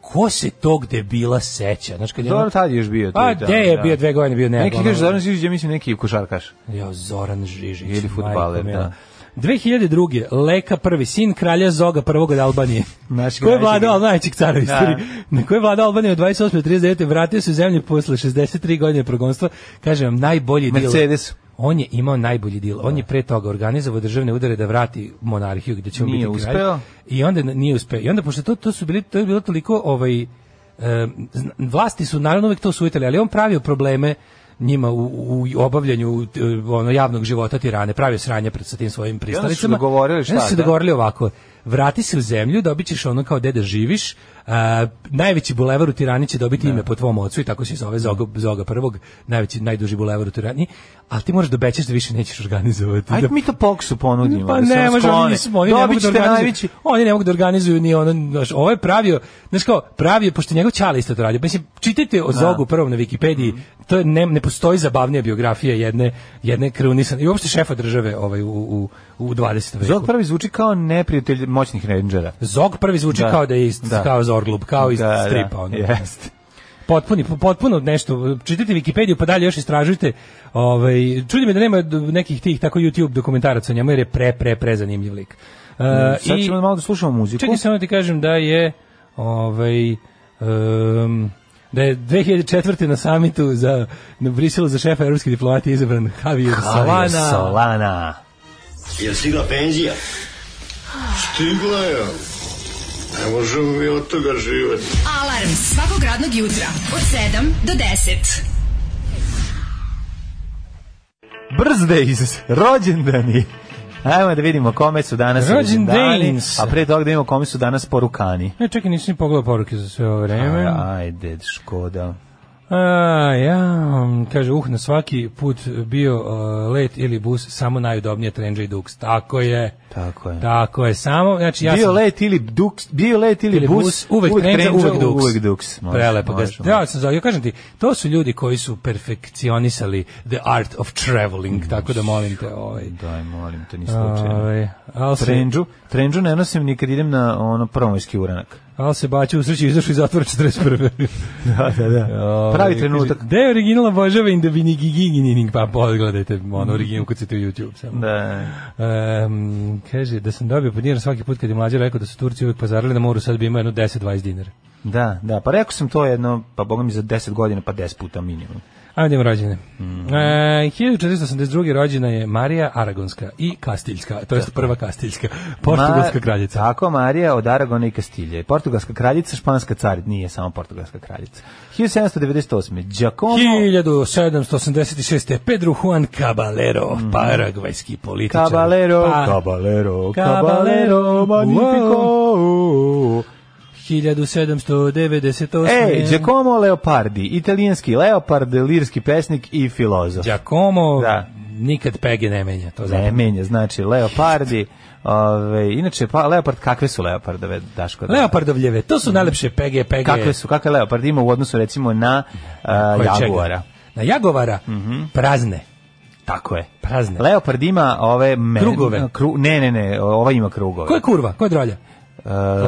Speaker 4: ko se tog debila seća? Znaš, kad je ono-
Speaker 3: Zoran tad je još bio. tu
Speaker 4: Pa
Speaker 3: i tamo,
Speaker 4: gde je
Speaker 3: da.
Speaker 4: bio dve godine, bio nego.
Speaker 3: Neki
Speaker 4: ono-
Speaker 3: kaže Zoran Žižić, ja mislim neki košarkaš.
Speaker 4: Jo, Zoran Žižić.
Speaker 3: Ili fudbaler,
Speaker 4: majko mila.
Speaker 3: da.
Speaker 4: 2002. Leka prvi, sin kralja Zoga prvog od Albanije.
Speaker 3: Naš
Speaker 4: Ko je
Speaker 3: kralj.
Speaker 4: vladao Al- najvećeg cara u
Speaker 3: Da.
Speaker 4: istoriji. Na koje je vladao Albanije od 28. do 39. Vratio se u zemlju posle 63 godine progonstva. Kažem vam, najbolji deal.
Speaker 3: Mercedes.
Speaker 4: On je imao najbolji deal.
Speaker 3: Da.
Speaker 4: On je pre toga organizovao državne udare da vrati monarhiju gde će on
Speaker 3: Nije
Speaker 4: biti kralj.
Speaker 3: uspeo.
Speaker 4: I onda n- nije uspeo. I onda pošto to to su bili to je bilo toliko ovaj em, zna- vlasti su naravno uvek to sujetali, ali on pravio probleme njima u, u obavljanju t- ono javnog života Tirane, pravio sranja pred sa tim svojim
Speaker 3: su
Speaker 4: pristalicama.
Speaker 3: dogovorili šta,
Speaker 4: Onda su se
Speaker 3: da?
Speaker 4: dogovorili ovako. Vrati se u zemlju, dobit ćeš ono kao deda živiš, a, najveći bulevar u Tirani će dobiti
Speaker 3: Da.
Speaker 4: ime po tvom ocu i tako se zove Zoga, Zoga prvog, najveći, najduži bulevar u Tirani, ali ti možeš da obećaš da više nećeš organizovati.
Speaker 3: Ajde
Speaker 4: da
Speaker 3: mi to Poksu ponudimo.
Speaker 4: pa
Speaker 3: da se
Speaker 4: ne,
Speaker 3: on
Speaker 4: može,
Speaker 3: sklone.
Speaker 4: oni, nismo, oni, ne mogu
Speaker 3: Dobit ćete
Speaker 4: da organizuju,
Speaker 3: najveći.
Speaker 4: oni ne mogu da organizuju ni ono, znaš, ovo je pravio, znaš kao, pravio, pošto njegov čale isto to radio, mislim, čitajte
Speaker 3: Da.
Speaker 4: o Zogu prvom na
Speaker 3: Mhm.
Speaker 4: Wikipediji, to je ne, ne postoji zabavnija biografija jedne, jedne krunisan, i uopšte šefa države ovaj, u, u, u 20. veku.
Speaker 3: Zog prvi zvuči kao neprijatelj moćnih rendžera.
Speaker 4: Zog prvi zvuči
Speaker 3: Da.
Speaker 4: kao da je iz,
Speaker 3: Da.
Speaker 4: kao Zorglub, kao iz
Speaker 3: Da, da,
Speaker 4: stripa. ono.
Speaker 3: jeste.
Speaker 4: Potpuni, potpuno nešto, čitajte Wikipediju pa dalje još istražujte. Ovaj, čudi me da nema d- nekih tih tako YouTube dokumentaraca o njemu jer je pre, pre, pre zanimljiv lik. Uh,
Speaker 3: Sad
Speaker 4: i-
Speaker 3: ćemo malo da slušamo muziku.
Speaker 4: Čekaj samo da ti kažem da je ovaj em, da je 2004. na samitu za na Briselu za šefa evropske diplomatije izabran Javier Solana.
Speaker 3: Solana.
Speaker 5: Jel stigla penzija?
Speaker 6: Stigla je. Ne možemo mi od toga živati.
Speaker 2: Alarm svakog radnog jutra od 7 do 10.
Speaker 3: Birthdays, rođendani. Ajmo da vidimo kome su danas rođendani,
Speaker 4: Rođendans.
Speaker 3: a pre toga da vidimo kome su danas porukani.
Speaker 4: E, čekaj, nisam ni pogledao poruke za sve ovo vreme.
Speaker 3: Ajde, da. škoda.
Speaker 4: A, ja, um, kaže, uh, na svaki put bio uh, let ili bus, samo najudobnije Trenđa i Dux. Tako je.
Speaker 3: Tako je.
Speaker 4: Tako je, samo, znači Da, ja
Speaker 3: bio
Speaker 4: sam...
Speaker 3: let ili duks, bio let ili,
Speaker 4: ili
Speaker 3: bus,
Speaker 4: uvek, uvek trenđa, uvek duks.
Speaker 3: Uvek duks. Može,
Speaker 4: Prelepo. Da.
Speaker 3: može,
Speaker 4: Može,
Speaker 3: može.
Speaker 4: Ja sam za, ja kažem ti, to su ljudi koji su perfekcionisali the art of traveling, tako da molim te, ovaj.
Speaker 3: Daj, molim te, ni slučajno.
Speaker 4: Ovaj, al se,
Speaker 3: Trenđu, trenđu ne nosim ni kad idem na ono prvomajski uranak.
Speaker 4: al se bače u sreći izašli iz zatvora 41.
Speaker 3: Da, da, da. Pravi trenutak.
Speaker 4: Gde je original Božava in the Vinigigininining? Pa pogledajte, ono original kucite u YouTube samo.
Speaker 3: Da.
Speaker 4: Ehm, kaže, da sam dobio po dinar svaki put kad je mlađe rekao da su Turci uvek pazarili na moru, sad bi imao jedno 10-20 dinara.
Speaker 3: Da, da, pa rekao sam to jedno, pa boga mi za 10 godina, pa 10 puta minimum.
Speaker 4: Ajmo da idemo rođene.
Speaker 3: Mhm.
Speaker 4: E, 1482. rođena je Marija Aragonska i Kastiljska, to jest prva Kastiljska, portugalska
Speaker 3: Ma-
Speaker 4: kraljica.
Speaker 3: Tako, Marija od Aragona i Kastilje. Portugalska kraljica, španska carica, nije samo portugalska kraljica. 1798. Giacomo...
Speaker 4: 1786. Pedro Juan Caballero, paragvajski političar.
Speaker 3: Mhm. Caballero,
Speaker 4: Pa,
Speaker 3: Caballero,
Speaker 4: Caballero,
Speaker 3: Caballero, Magnifico.
Speaker 4: wow. 1798.
Speaker 3: Ej, E, Giacomo Leopardi, italijanski leopard, lirski pesnik i filozof.
Speaker 4: Giacomo,
Speaker 3: Da.
Speaker 4: nikad pege ne menja, to
Speaker 3: Ne
Speaker 4: znači.
Speaker 3: menja, znači Leopardi. Ove, inače, pa, Leopard, kakve su Leopardove, Daško? da-
Speaker 4: Leopardovljeve, to su najlepše pege, pege.
Speaker 3: Kakve su, kakve Leopard ima u odnosu recimo na uh,
Speaker 4: Koje čega?
Speaker 3: Jaguara? Mhm.
Speaker 4: Na Jagovara, prazne.
Speaker 3: Tako je.
Speaker 4: Prazne.
Speaker 3: Leopard ima ove... Me,
Speaker 4: Krugove.
Speaker 3: Kru, ne, ne, ne, ova ima krugove. E,
Speaker 4: Ko je kurva? Ko je drolja?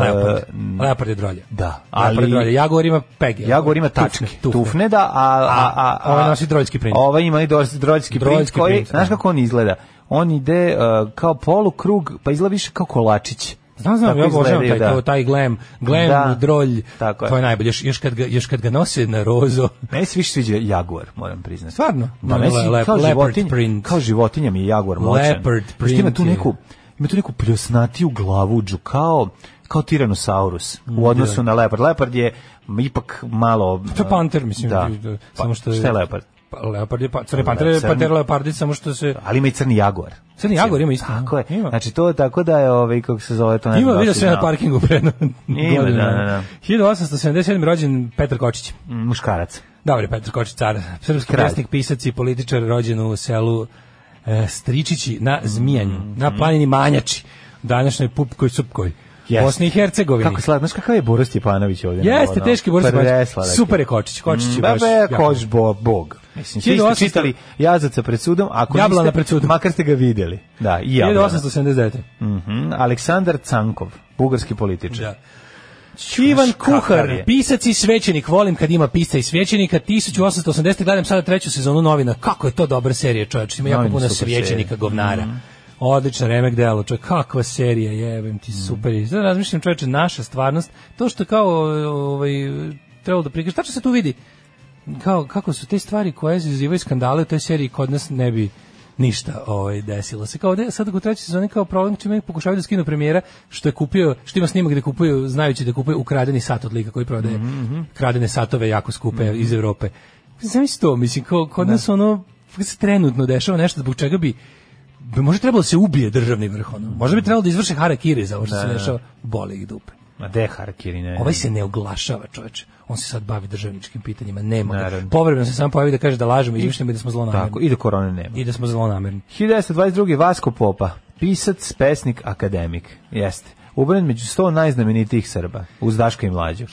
Speaker 4: Leopard. Leopard je drolja.
Speaker 3: Da,
Speaker 4: ali... Leopard je drolja.
Speaker 3: ali
Speaker 4: Jaguar ima pege.
Speaker 3: Jaguar ima tačke, tufne,
Speaker 4: Tufne. tufne.
Speaker 3: da, a... a, a, a
Speaker 4: ovaj nosi droljski print.
Speaker 3: Ovaj ima i dor- droljski print,
Speaker 4: Droljski
Speaker 3: koji,
Speaker 4: print,
Speaker 3: znaš
Speaker 4: da.
Speaker 3: kako on izgleda? On ide uh, kao polukrug, pa izgleda više kao kolačić.
Speaker 4: Znam, znam,
Speaker 3: Tako
Speaker 4: ja obožavam taj,
Speaker 3: izgledaju,
Speaker 4: to, taj glam, glam,
Speaker 3: Da.
Speaker 4: drolj,
Speaker 3: Tako je.
Speaker 4: to je najbolje. Još, još, kad ga, još kad ga nose na rozo,
Speaker 3: Meni se više sviđa Jaguar, moram priznati.
Speaker 4: Stvarno?
Speaker 3: Da,
Speaker 4: No,
Speaker 3: meni
Speaker 4: le-
Speaker 3: se
Speaker 4: lep-
Speaker 3: kao
Speaker 4: leopard
Speaker 3: životinja,
Speaker 4: print.
Speaker 3: kao životinja mi je Jaguar moćan.
Speaker 4: Leopard
Speaker 3: Znaš, Ima tu
Speaker 4: print je.
Speaker 3: neku, ima tu neku pljosnatiju glavuđu, kao kao Tyrannosaurus u odnosu na Leopard. Leopard je ipak malo...
Speaker 4: Da. Pa to je panter, mislim.
Speaker 3: Da.
Speaker 4: da,
Speaker 3: Pa,
Speaker 4: samo što je,
Speaker 3: šta je leopard?
Speaker 4: Pa, leopard je, pa, crni panter je
Speaker 3: Da, Crni-
Speaker 4: panter leopardić, samo što se...
Speaker 3: Ali ima i crni Jaguar.
Speaker 4: Crni Jaguar ima isto.
Speaker 3: Tako je.
Speaker 4: Ima.
Speaker 3: Znači to je tako da je ovaj kako se zove to ne znam
Speaker 4: Ima,
Speaker 3: da li
Speaker 4: vidio
Speaker 3: si
Speaker 4: sve na
Speaker 3: znao.
Speaker 4: parkingu pre jedno
Speaker 3: Ima,
Speaker 4: godinu
Speaker 3: da, da,
Speaker 4: dana.
Speaker 3: da.
Speaker 4: 1877. rođen Petar Kočić.
Speaker 3: Mm, Muškarac.
Speaker 4: Dobar je Petar Kočić, car. Srpski
Speaker 3: Kralj.
Speaker 4: pesnik, pisac i političar rođen u selu e, Stričići na Zmijanju,
Speaker 3: Mhm.
Speaker 4: na planini Manjači, u današnjoj Pupkoj Supkoj.
Speaker 3: Jeste.
Speaker 4: Bosni i Hercegovini.
Speaker 3: Kako slatko, znaš kakav je Boris Stjepanović ovdje?
Speaker 4: Jeste,
Speaker 3: Ono,
Speaker 4: teški Boris Stjepanović.
Speaker 3: presladak je.
Speaker 4: Super je Kočić, Kočić je
Speaker 3: Mm, ba,
Speaker 4: baš
Speaker 3: ba,
Speaker 4: jako-
Speaker 3: koš bo, bog. Mislim, svi ste
Speaker 4: 1800
Speaker 3: čitali Jazaca pred sudom, ako
Speaker 4: Jablana
Speaker 3: niste,
Speaker 4: pred sudom.
Speaker 3: makar ste ga vidjeli. Da, i jablana.
Speaker 4: 1879.
Speaker 3: Mhm, Aleksandar Cankov, bugarski političar.
Speaker 4: Da. Ivan
Speaker 3: kakav
Speaker 4: Kuhar,
Speaker 3: je.
Speaker 4: pisac i svećenik, volim kad ima pisca i svećenika, 1880. gledam sada treću sezonu novina, kako je to dobra serija čovječ, ima jako
Speaker 3: Novine
Speaker 4: puno
Speaker 3: super Mhm.
Speaker 4: svećenika
Speaker 3: serija.
Speaker 4: govnara. Odlična remek delo, čovječ, kakva serija, jebem
Speaker 3: Mhm.
Speaker 4: ti, super. je. Sada razmišljam čovječe, naša stvarnost, to što kao ovaj, trebalo da prikaže, tačno se tu vidi, kao, kako su te stvari koje izazivaju skandale u toj seriji kod nas ne bi ništa ovaj, desilo se. Kao da sad u trećoj sezoni kao problem čime pokušavaju da skinu premijera što je kupio, što ima snimak gde kupuju, znajući da kupuju ukradeni sat od lika koji prodaje kradene satove jako skupe iz Europe. Zamisli to, mislim, kao, kod nas ono se trenutno dešava nešto zbog čega bi bi možda trebalo da se ubije državni vrh ono. Možda bi trebalo da izvrše harakiri za ovo što se dešava. Bole ih dupe.
Speaker 3: Ma de Harkiri, ne.
Speaker 4: Ovaj se ne oglašava, čoveče. On se sad bavi državničkim pitanjima, nema ga.
Speaker 3: Naravno.
Speaker 4: Povremeno se samo pojavi da kaže da lažemo, izmišljamo i da smo zlonamerni.
Speaker 3: Tako, i do korone nema.
Speaker 4: I da smo zlonamerni.
Speaker 3: 1922. Vasko Popa, pisac, pesnik, akademik. Jeste. Ubran među 100 najznamenitijih Srba, uz Daška i Mlađu.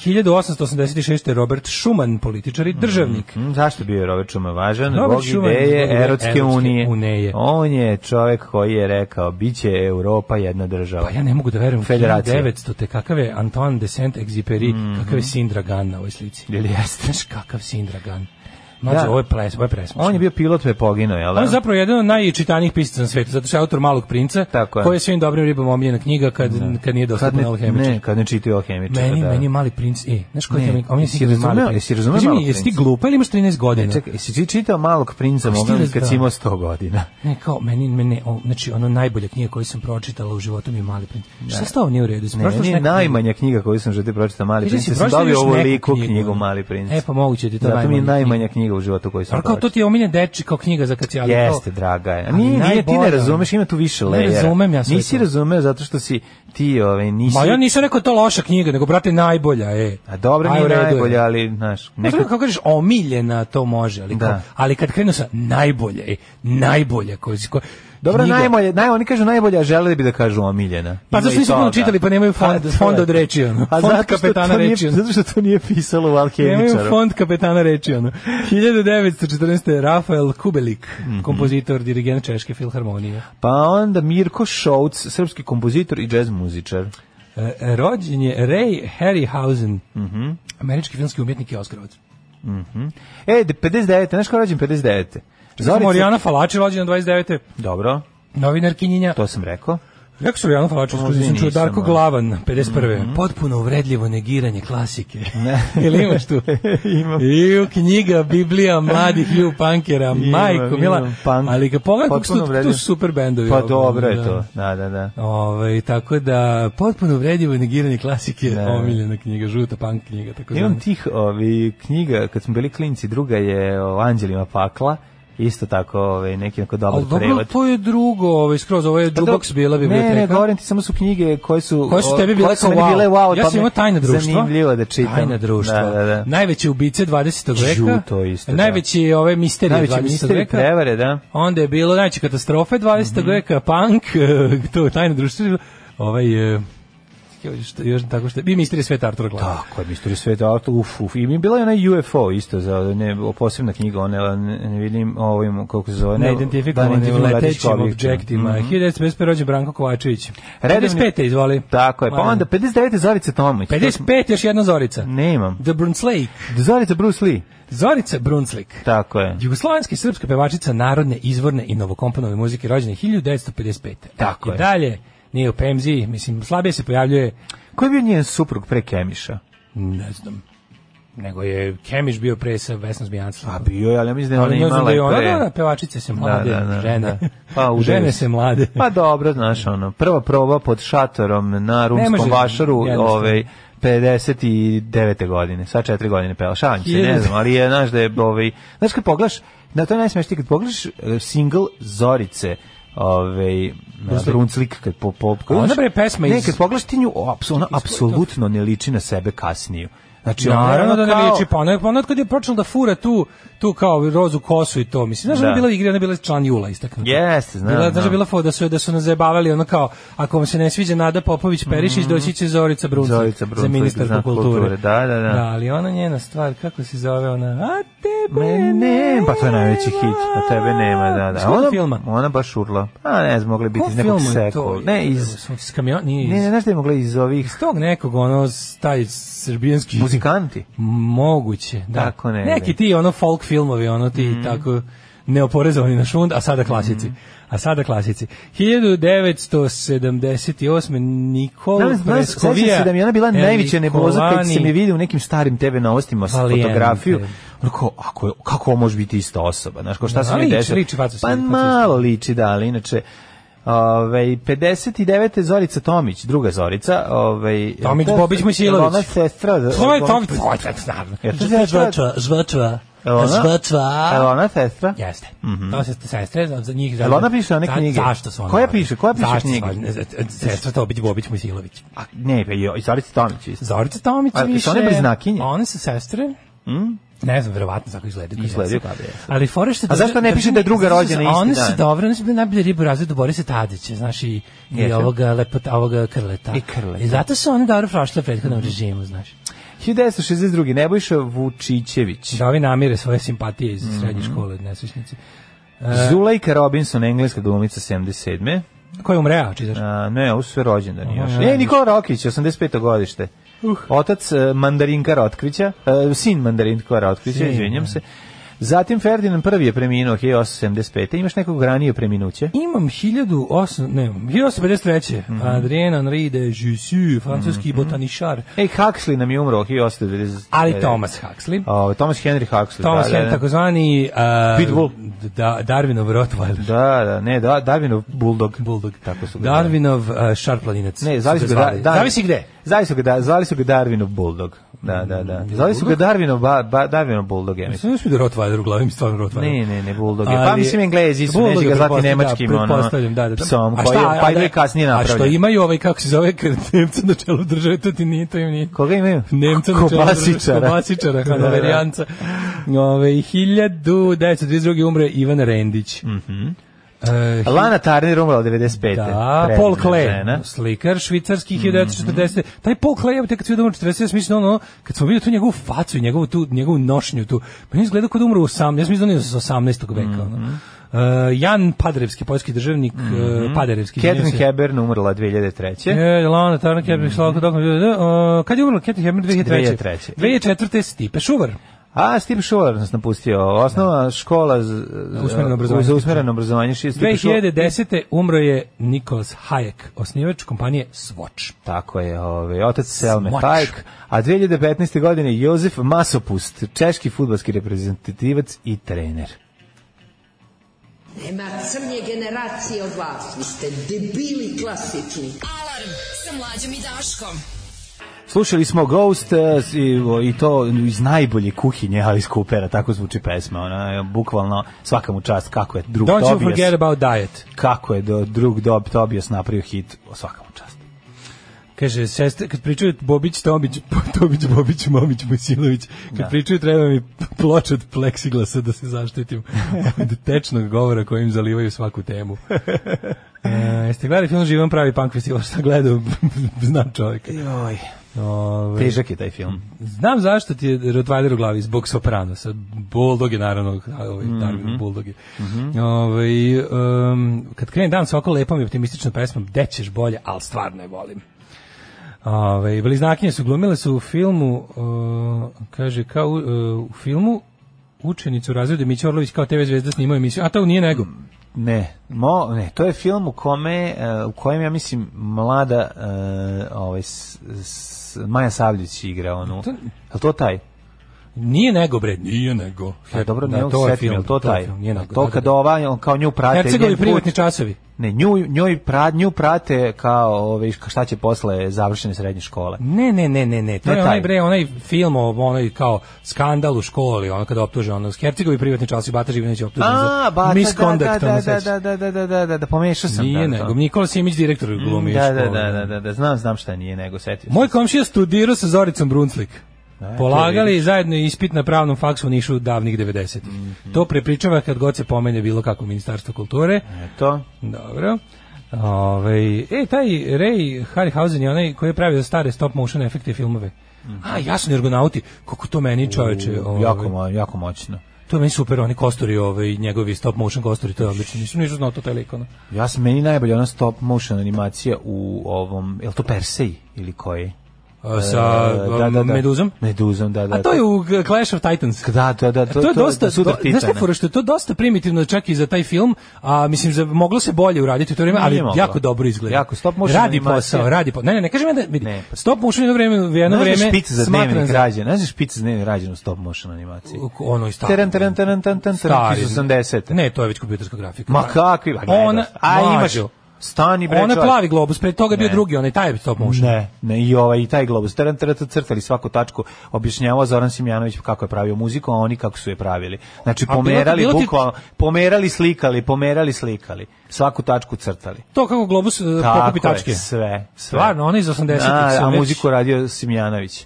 Speaker 4: 1886. Robert Schumann, političar i državnik.
Speaker 3: Mm, Zašto bio je Robert Šuma važan?
Speaker 4: Robert
Speaker 3: Robert
Speaker 4: Schumann
Speaker 3: ideje
Speaker 4: zbog
Speaker 3: erotske,
Speaker 4: erotske
Speaker 3: unije.
Speaker 4: unije.
Speaker 3: On je čovjek koji je rekao, bit će Europa jedna država.
Speaker 4: Pa ja ne mogu da verujem,
Speaker 3: Federacija. Mhm.
Speaker 4: 1900. te kakav je Antoine de Saint-Exupéry, kakav je Sindragan na ovoj slici.
Speaker 3: Jel jeste?
Speaker 4: Znaš kakav Sindragan? Mlađe,
Speaker 3: Da.
Speaker 4: ovo je ples, ovo je presmešno.
Speaker 3: On je bio pilot pa je poginuo, jel da?
Speaker 4: On je zapravo jedan od najčitanijih pisaca na svetu, zato što je autor Malog princa,
Speaker 3: Tako je. Da.
Speaker 4: koji je svim dobrim ribama omiljena knjiga kad, kad nije
Speaker 3: Kad
Speaker 4: dostupna
Speaker 3: ne,
Speaker 4: alhemičar.
Speaker 3: ne, kad ne čitaju alhemičara.
Speaker 4: Meni,
Speaker 3: da.
Speaker 4: meni je mali princ, e, znaš koji
Speaker 3: Ne,
Speaker 4: je meni, on je
Speaker 3: jesi
Speaker 4: sigurno
Speaker 3: razumeo-
Speaker 4: mali princ.
Speaker 3: jesi razumeo
Speaker 4: Kaži mi,
Speaker 3: Malog
Speaker 4: jesi ti
Speaker 3: princa?
Speaker 4: glupa ili imaš 13 godina?
Speaker 3: Čekaj, jesi ti čitao Malog princa
Speaker 4: si ti
Speaker 3: Mogana kad
Speaker 4: razdao?
Speaker 3: si imao 100 godina?
Speaker 4: Ne, kao, meni, meni, o, znači, ono najbolja knjiga koju sam pročitala u životu mi je mali princ.
Speaker 3: Da.
Speaker 4: Šta s tobom nije u redu? Jesi
Speaker 3: Ne,
Speaker 4: pročitala
Speaker 3: meni
Speaker 4: još
Speaker 3: je
Speaker 4: neku knjigu?
Speaker 3: najmanja knjiga koju sam želite pročitao Mali
Speaker 4: Ili si
Speaker 3: princ. Ja sam
Speaker 4: pročitala
Speaker 3: dobio
Speaker 4: još
Speaker 3: ovu
Speaker 4: neku
Speaker 3: liku knjigu,
Speaker 4: knjigu?
Speaker 3: Mali princ.
Speaker 4: E, pa moguće ti je to
Speaker 3: Zato mi je
Speaker 4: najmanja
Speaker 3: najmanja knjiga u životu koju sam
Speaker 4: Ali kao, to
Speaker 3: pročitao.
Speaker 4: ti je omiljen deči kao knjiga za kad si, ali
Speaker 3: Jeste,
Speaker 4: kao,
Speaker 3: draga je.
Speaker 4: Ali
Speaker 3: Nije, nije, ti ne
Speaker 4: najbolja.
Speaker 3: razumeš, ima tu više
Speaker 4: Ne
Speaker 3: lejera.
Speaker 4: razumem ja sve
Speaker 3: Nisi
Speaker 4: to.
Speaker 3: razumeo zato što si ti, ove, nisi...
Speaker 4: Ma ja nisam rekao to loša knjiga, nego, brate, najbolja, e.
Speaker 3: A dobro,
Speaker 4: Aj, u
Speaker 3: nije
Speaker 4: redu je.
Speaker 3: najbolja, ali, znaš...
Speaker 4: Neka...
Speaker 3: Nekad...
Speaker 4: Kako kažeš, omiljena to može, ali, kao,
Speaker 3: Da.
Speaker 4: ali kad krenu sa najbolje, e, najbolje, koji ko,
Speaker 3: Dobro,
Speaker 4: knjiga-
Speaker 3: najbolje, naj, oni kažu najbolje, a želeli bi da kažu omiljena.
Speaker 4: Pa
Speaker 3: Ima
Speaker 4: zašto
Speaker 3: i
Speaker 4: nisu puno
Speaker 3: toga.
Speaker 4: čitali, pa nemaju fond-
Speaker 3: to je.
Speaker 4: fond od reči, ono.
Speaker 3: A
Speaker 4: Fond
Speaker 3: zato što
Speaker 4: kapetana
Speaker 3: to nije-
Speaker 4: reči, ono.
Speaker 3: Zato što to nije pisalo u
Speaker 4: Nemaju
Speaker 3: Alkemičaru.
Speaker 4: fond kapetana reči, ono. 1914. Rafael Kubelik,
Speaker 3: Mhm.
Speaker 4: kompozitor, dirigent Češke filharmonije.
Speaker 3: Pa onda Mirko Šouc, srpski kompozitor i džez muzičar.
Speaker 4: E, rođen je Ray Harryhausen,
Speaker 3: Mhm.
Speaker 4: američki filmski umjetnik i Oskarovac.
Speaker 3: E, de- 59. Znaš kao rođen 59.
Speaker 4: Zorica Morijana Falači, rođena 29.
Speaker 3: Dobro,
Speaker 4: Novinar Kinjinja.
Speaker 3: to sam rekao.
Speaker 4: Rekao sam Morijana Falači, skoro
Speaker 3: možda i
Speaker 4: nisam čuo
Speaker 3: nisam, da. Mhm.
Speaker 4: Darko
Speaker 3: ali.
Speaker 4: Glavan, 51. Potpuno uvredljivo negiranje klasike. Ili imaš tu?
Speaker 3: Imam.
Speaker 4: Iju, knjiga, Biblija, mladih Hugh Punkera,
Speaker 3: Imam,
Speaker 4: majko, mila.
Speaker 3: imam, punk.
Speaker 4: Ali kad pogledam, kako su
Speaker 3: Potpuno
Speaker 4: tu- tu
Speaker 3: uvredljivo.
Speaker 4: su super bendovi.
Speaker 3: Pa
Speaker 4: ovo,
Speaker 3: dobro je
Speaker 4: da.
Speaker 3: to. Da, da, da.
Speaker 4: Ovaj tako da potpuno uvredljivo negiranje klasike,
Speaker 3: Da.
Speaker 4: omiljena knjiga, žuta punk knjiga, tako da.
Speaker 3: Imam tih ovi, knjiga, kad smo bili klinci, druga je o Anđelima pakla, isto tako ovaj, neki neko dobar
Speaker 4: Ali dobro,
Speaker 3: prevod.
Speaker 4: to je drugo, ovaj, skroz, ovo je
Speaker 3: Pa dobro,
Speaker 4: Jukebox bila biblioteka.
Speaker 3: Ne, ne, govorim ti, samo su knjige koje su...
Speaker 4: Koje su
Speaker 3: o,
Speaker 4: tebi bile
Speaker 3: koje su
Speaker 4: kao
Speaker 3: meni
Speaker 4: wow.
Speaker 3: bile wow,
Speaker 4: ja
Speaker 3: pa
Speaker 4: sam
Speaker 3: me
Speaker 4: imao tajna društva.
Speaker 3: Zanimljivo da čitam.
Speaker 4: Tajna društva.
Speaker 3: Da, da, da.
Speaker 4: Najveće ubice 20. veka.
Speaker 3: Žuto isto, da.
Speaker 4: Najveći ove misterije
Speaker 3: Najveći
Speaker 4: 20.
Speaker 3: misteri
Speaker 4: veka.
Speaker 3: prevare, da.
Speaker 4: Onda je bilo najveće
Speaker 3: Mhm.
Speaker 4: katastrofe 20. veka, punk, to je tajna društva. Ovaj, e, još, još tako što... Bi misterije sveta Artura Glava.
Speaker 3: Tako je, Misterij sveta, auto, uf, uf. I mi je bila je onaj UFO isto, za, ne, posebna knjiga, one, ne, ne vidim ovim, kako se zove, da
Speaker 4: Neidentifikovanim
Speaker 3: neidentifikovan
Speaker 4: letećim
Speaker 3: objekt.
Speaker 4: objektima.
Speaker 3: Mhm.
Speaker 4: 1955. rođen Branko Kovačević.
Speaker 3: Redovni-
Speaker 4: 55. izvoli.
Speaker 3: Tako je, pa
Speaker 4: Ajmo.
Speaker 3: onda 59. Zorica Tomić.
Speaker 4: 55. još jedna Zorica.
Speaker 3: Ne imam.
Speaker 4: The Brunslake.
Speaker 3: Zorica Bruce Lee.
Speaker 4: Zorica Brunslik.
Speaker 3: Tako je.
Speaker 4: Jugoslovenska i srpska pevačica narodne, izvorne i novokomponove muzike rođene 1955.
Speaker 3: Tako
Speaker 4: I
Speaker 3: je.
Speaker 4: dalje nije u pemziji, mislim, slabije se pojavljuje,
Speaker 3: Ko je bio njen suprug pre Kemiša?
Speaker 4: ne znam, nego je Kemiš bio pre sa Vesnom Zmijancom.
Speaker 3: A bio je, ali ja mislim da je ona
Speaker 4: Ali ne znam
Speaker 3: imala
Speaker 4: da je
Speaker 3: i
Speaker 4: ona,
Speaker 3: pre.
Speaker 4: da, da, pevačice se mlade,
Speaker 3: Da, da, da,
Speaker 4: žene.
Speaker 3: da. Pa, udaju
Speaker 4: žene
Speaker 3: se.
Speaker 4: se mlade.
Speaker 3: Pa dobro, znaš, ono, prva proba pod šatorom na rumskom
Speaker 4: može,
Speaker 3: vašaru,
Speaker 4: jednostavno.
Speaker 3: ovaj, 59. godine, sva četiri godine pevala, šalim se, ne
Speaker 4: Hiljadu-
Speaker 3: znam, ali je, znaš da je, ovaj, znaš kad pogledaš, na to je najsmešnije, kad pogledaš eh, single Zorice, ovaj Brunslik kad po po
Speaker 4: A Da, ona, bre,
Speaker 3: pogledaš-
Speaker 4: pesma iz-
Speaker 3: Ne, kad pogledaš ti nju, o, apsu- ona apsolutno ne liči na sebe kasniju. Znači, ona je
Speaker 4: Naravno da
Speaker 3: ono
Speaker 4: ne
Speaker 3: kao-
Speaker 4: liči, pa ona, pa ona kad je počela da fura tu, tu kao rozu kosu i to, mislim, znaš da, je
Speaker 3: Da.
Speaker 4: bila igra, ona je bila član Jula istaknuta.
Speaker 3: Jeste, znam,
Speaker 4: Bila, znaš da je
Speaker 3: znam.
Speaker 4: bila fo da su, da su nas zajebavali, ono kao, ako vam se ne sviđa Nada Popović Perišić, doći će Zorica Brunslik,
Speaker 3: Mhm. Zorica
Speaker 4: za
Speaker 3: Brunslik,
Speaker 4: ministarku
Speaker 3: za
Speaker 4: kulture.
Speaker 3: kulture, da, da, da.
Speaker 4: Da, ali ona njena stvar, kako se zove ona, a tebe
Speaker 3: Mene,
Speaker 4: nema.
Speaker 3: pa to je najveći hit, pa tebe nema, da,
Speaker 4: Iz
Speaker 3: da.
Speaker 4: kog
Speaker 3: Ona,
Speaker 4: filma?
Speaker 3: ona baš urla. A ne znam, mogla je biti
Speaker 4: Kog
Speaker 3: iz nekog
Speaker 4: filma je to?
Speaker 3: sekula. Ne, iz...
Speaker 4: Iz kamion, nije iz...
Speaker 3: Ne, ne, znaš da je mogla iz ovih
Speaker 4: iz tog nekog, ono, s- taj srbijanski...
Speaker 3: muzikanti.
Speaker 4: Moguće, da.
Speaker 3: Tako Mhm. negde.
Speaker 4: Neki ti ono folk filmovi, ono ti tako neoporezovani na šund, a
Speaker 3: Mhm.
Speaker 4: sada klasici. A sada klasici. 1978. Nikola
Speaker 3: Znam, znam, sećam
Speaker 4: Preskovija.
Speaker 3: se da mi je ona bila najveća neboza kad
Speaker 4: Erlikovani.
Speaker 3: sam je vidio u nekim starim TV novostima s
Speaker 4: Valijente.
Speaker 3: fotografiju. Ono kao, ako je, kako ovo može biti ista osoba? Znaš, kao šta
Speaker 4: Da,
Speaker 3: se mi
Speaker 4: liči,
Speaker 3: desilo?
Speaker 4: liči, faca se
Speaker 3: Pa
Speaker 4: mi, faca
Speaker 3: malo liči, da, ali inače... Ove, 59. Zorica Tomić, druga Zorica. ovaj, Ove,
Speaker 4: Tomić Bobić Mojsilović.
Speaker 3: Ona sestra...
Speaker 4: To je to, to je naravno.
Speaker 3: Jel to sestra?
Speaker 4: Žvačva, žvačva,
Speaker 3: Jel ona?
Speaker 4: žvačva.
Speaker 3: Jel ona sestra?
Speaker 4: Jeste. To se sestre za, za njih.
Speaker 3: Jel ona piše one knjige?
Speaker 4: Zašto su one?
Speaker 3: Koja
Speaker 4: važne?
Speaker 3: piše? Koja piše
Speaker 4: Zašto su
Speaker 3: knjige?
Speaker 4: važne? Sestra Tobić, Bobić, Mojsilović.
Speaker 3: A, ne, pa jo, i Zorica Tomić isto.
Speaker 4: Zorica Tomić
Speaker 3: A, jesu
Speaker 4: više.
Speaker 3: one bliznakinje? Mm?
Speaker 4: One su sestre. Ne znam, verovatno tako izgledaju.
Speaker 3: Izgledaju
Speaker 4: kao
Speaker 3: kao
Speaker 4: da
Speaker 3: da
Speaker 4: jesu.
Speaker 3: jesu.
Speaker 4: Ali fore što
Speaker 3: A zašto ne piše da je druga
Speaker 4: Znaš,
Speaker 3: rođena
Speaker 4: a
Speaker 3: isti
Speaker 4: One su
Speaker 3: dan?
Speaker 4: dobre, one su bile najbolje ribe razred do Borisa Tadića, znaš, i, i
Speaker 3: Jeste.
Speaker 4: ovoga, lepota, ovoga krleta.
Speaker 3: I Krleta. Mhm.
Speaker 4: I zato su one dobro prošle u prethodnom režimu, znaš.
Speaker 3: 1962. Nebojša Vučićević.
Speaker 4: Da ovi namire svoje simpatije iz
Speaker 3: Mhm.
Speaker 4: srednje škole, nesvećnici.
Speaker 3: Zulejka Robinson, engleska glumica 77.
Speaker 4: Ko je umreo, čitaš?
Speaker 3: A, ne, ovo su sve rođendani još.
Speaker 4: ja,
Speaker 3: E, Nikola Rokić, 85. godište.
Speaker 4: Uh.
Speaker 3: Otac e, mandarinka Rotkrića, e, sin mandarinka Rotkrića,
Speaker 4: Sin, da.
Speaker 3: izvinjam se. Zatim Ferdinand prvi je preminuo 1875. Imaš nekog ranije preminuće?
Speaker 4: Imam 1008, ne, 1853.
Speaker 3: Mhm.
Speaker 4: Adrien Henri de Jussieu, francuski botaničar.
Speaker 3: Ej, Huxley nam je umro 1890.
Speaker 4: Ali Thomas Huxley.
Speaker 3: O, Thomas Henry Huxley.
Speaker 4: Thomas
Speaker 3: da, da,
Speaker 4: Henry,
Speaker 3: da.
Speaker 4: takozvani uh,
Speaker 3: Pitbull.
Speaker 4: Da, Darwinov Rottweiler.
Speaker 3: Da, da, ne, da, Darwinov Bulldog.
Speaker 4: Bulldog.
Speaker 3: Tako su ga zvali.
Speaker 4: Darwinov uh, šarplaninec.
Speaker 3: Da. Ne, zvali su ga da,
Speaker 4: zvali.
Speaker 3: Dar-
Speaker 4: Zavisi gde.
Speaker 3: Zvali su ga, da, zvali su ga Darwinov Bulldog. Da, da, da.
Speaker 4: Mm,
Speaker 3: Zvali su ga Darwinov, ba, ba, Darwinov Bulldog, ja mislim.
Speaker 4: Sve su da Rottweiler u glavi, mi stvarno Rottweiler.
Speaker 3: Ne, ne, ne, Bulldog je.
Speaker 4: Ali-
Speaker 3: Pa mislim Englezi su,
Speaker 4: Bulldog
Speaker 3: neće
Speaker 4: je,
Speaker 3: ga zvati
Speaker 4: pretpostavljam,
Speaker 3: nemačkim,
Speaker 4: da,
Speaker 3: ono,
Speaker 4: pretpostavljam, da, da, da.
Speaker 3: psom,
Speaker 4: A
Speaker 3: koji
Speaker 4: šta,
Speaker 3: je- pa
Speaker 4: a
Speaker 3: je
Speaker 4: da-
Speaker 3: kasnije
Speaker 4: A
Speaker 3: napravljen.
Speaker 4: što imaju ovaj, kako se zove, kad Nemca na čelu države, to ti nije, to im nije.
Speaker 3: Koga imaju?
Speaker 4: Nemca na čelu
Speaker 3: Kobasičara.
Speaker 4: Kobasičara,
Speaker 3: da,
Speaker 4: Hanoverijanca. Ovaj, Ove, 1932. umre Ivan Rendić. Mhm. e,
Speaker 3: Lana Turner umrla 95.
Speaker 4: Da,
Speaker 3: Predivna
Speaker 4: Paul Klee,
Speaker 3: žena. Mhm.
Speaker 4: slikar švicarski 1940. Taj Paul Klee, evo te kad sve domo 46, mislim da ono, kad smo videli tu njegovu facu i njegovu, tu, njegovu nošnju tu, meni izgleda kod umro u 18, ja sam izgledao iz 18. veka. ono.
Speaker 3: Mhm.
Speaker 4: Uh, Jan Paderevski, poljski državnik, uh, Paderevski.
Speaker 3: Catherine Mhm.
Speaker 4: izvinjavam se.
Speaker 3: Hebern umrla 2003.
Speaker 4: E, Lana Tarnak, ja bih slao dok... Uh, kad je umrla Catherine Hebner
Speaker 3: 2003.
Speaker 4: 2003? 2004. Stipe Šuvar.
Speaker 3: A Steve Schuller nas napustio. Osnovna škola z-
Speaker 4: usmereno Da. obrazovanje.
Speaker 3: za usmereno obrazovanje. Steve Schuller-
Speaker 4: 2010. umro je Nikolas Hayek, osnivač kompanije Swatch.
Speaker 3: Tako je, ovaj, otac Selme
Speaker 4: Smoč.
Speaker 3: Hajk, a 2015. godine Jozef Masopust, češki futbalski reprezentativac i trener.
Speaker 7: Nema crnje generacije od vas, vi ste debili klasični.
Speaker 2: Alarm sa mlađom i Daškom.
Speaker 3: Slušali smo Ghost eh, s- i, o, i to iz najbolje kuhinje Alice Coopera, tako zvuči pesma, ona je bukvalno svaka mu čast kako je drug
Speaker 4: Don't you
Speaker 3: Tobias,
Speaker 4: forget about diet.
Speaker 3: kako je do, drug Dob Tobias napravio hit, svaka mu čast.
Speaker 4: Kaže, sestre, kad pričaju Bobić, Tomić, Tomić, Bobić, Momić, Mojsilović, kad pričaju treba mi ploč od pleksiglasa da se zaštitim od tečnog govora kojim zalivaju svaku temu. E, jeste gledali film Živan pravi punk festival, šta gledao, znam čovjeka.
Speaker 3: Joj,
Speaker 4: Ove,
Speaker 3: težak je taj film.
Speaker 4: Znam zašto ti je Rottweiler u glavi, zbog Sopranosa. Bulldog je naravno, ovaj, mm -hmm. Bulldog je. Ovaj, um, kad krene dan sa oko lepom i optimističnom pesmom, dećeš bolje, ali stvarno je volim. Ove, bliznakinje su glumile su u filmu, uh, kaže, kao uh, u filmu učenicu razreda Mića Orlović kao TV zvezda snimao emisiju, a to nije nego.
Speaker 3: Ne, mo, ne, to je film u kome e, u kojem ja mislim mlada e, ovaj s, s, Maja Savljić igra onu.
Speaker 4: To-
Speaker 3: Al to taj.
Speaker 4: Nije nego, bre, nije nego.
Speaker 3: A dobro,
Speaker 4: Da,
Speaker 3: ne mogu
Speaker 4: je
Speaker 3: setim, jel to
Speaker 4: je
Speaker 3: taj.
Speaker 4: film, nije nego,
Speaker 3: to
Speaker 4: da, da,
Speaker 3: kad
Speaker 4: da.
Speaker 3: ova on kao nju prate
Speaker 4: Hercegovi
Speaker 3: njen put-
Speaker 4: privatni časovi.
Speaker 3: Ne, nju, njoj pra, nju prate kao ovaj šta će posle završene srednje škole.
Speaker 4: Ne, ne, ne, ne, ne. To
Speaker 3: Ne
Speaker 4: je
Speaker 3: taj.
Speaker 4: onaj bre, onaj film o onaj kao skandal u školi, ono kada optuže ono Hercegovi privatni časovi Bata Živinović je optužen
Speaker 3: A,
Speaker 4: za
Speaker 3: ba,
Speaker 4: misconduct,
Speaker 3: da,
Speaker 4: ono
Speaker 3: da,
Speaker 4: sećaš.
Speaker 3: da, da, da, da, da, da, da, da, pomešao sam.
Speaker 4: Nije
Speaker 3: da,
Speaker 4: nego, Nikola Simić direktor glumi.
Speaker 3: Da, da,
Speaker 4: školu.
Speaker 3: da, da, da, da, znam, znam šta nije nego, setio sam.
Speaker 4: Moj komšija studirao sa Zoricom Brunslik.
Speaker 3: E, to
Speaker 4: Polagali zajedno ispit na pravnom faksu u Nišu davnih 90-ih.
Speaker 3: Mhm.
Speaker 4: To prepričava kad god se pomene bilo kako Ministarstvo kulture.
Speaker 3: To,
Speaker 4: Dobro. Ove, e, taj Ray Harryhausen je onaj koji je pravio stare stop motion efekte i filmove. A, jasno, Ergonauti, kako to meni čoveče. ovaj,
Speaker 3: jako, mo- jako moćno.
Speaker 4: To je meni super, oni kosturi, ovaj, njegovi stop motion kosturi, to je odlično. Nisam ništa znao to taj lik, ono.
Speaker 3: Ja sam meni najbolje ona stop motion animacija u ovom, je li to Persej ili koji?
Speaker 4: A, Sa
Speaker 3: E,
Speaker 4: da, meduzom.
Speaker 3: Meduzom, da, da.
Speaker 4: A to je u G- Clash of Titans.
Speaker 3: Da, da, da,
Speaker 4: E, To, je dosta, do,
Speaker 3: sudar
Speaker 4: znaš šta je
Speaker 3: Titana.
Speaker 4: fora, što je to dosta primitivno čak i za taj film, a mislim za, moglo se bolje uraditi u to vrijeme, ali
Speaker 3: Nije moglo.
Speaker 4: jako dobro izgleda.
Speaker 3: Jako, stop motion
Speaker 4: Radi
Speaker 3: animacija.
Speaker 4: posao, radi posao. Ne, ne, ne, kažem ja da, vidi,
Speaker 3: Ne. pa-
Speaker 4: stop motion jedno vrijeme, jedno
Speaker 3: Znaš da je
Speaker 4: vrijeme
Speaker 3: špic za
Speaker 4: smatran
Speaker 3: dnevnik
Speaker 4: za-
Speaker 3: rađen, znaš da je špic za dnevnik rađen u stop motion animaciji?
Speaker 4: ono i staro.
Speaker 3: Teren, teren, teren, teren, teren, teren, iz 80.
Speaker 4: Ne, to je već kompjuterska grafika.
Speaker 3: Ma kakvi, ba, gledaš.
Speaker 4: Ona,
Speaker 3: A imaš,
Speaker 4: mlađo,
Speaker 3: stani bre
Speaker 4: Ona
Speaker 3: čovječe.
Speaker 4: plavi globus, pre toga je bio
Speaker 3: Ne.
Speaker 4: drugi, onaj taj stop motion.
Speaker 3: Ne, ne, i ovaj, i taj globus. Teren, teren, teren, crtali svaku tačku, objašnjavao Zoran Simjanović kako je pravio muziku, a oni kako su je pravili. Znači,
Speaker 4: bilo ti-
Speaker 3: pomerali,
Speaker 4: bilo ti-
Speaker 3: bukvalno, pomerali, slikali, pomerali, slikali. Svaku tačku crtali.
Speaker 4: To kako globus e, pokupi
Speaker 3: Tako je,
Speaker 4: tačke.
Speaker 3: sve. sve.
Speaker 4: Stvarno, oni iz 80-ih
Speaker 3: Da,
Speaker 4: su
Speaker 3: a
Speaker 4: već-
Speaker 3: muziku radio Simjanović.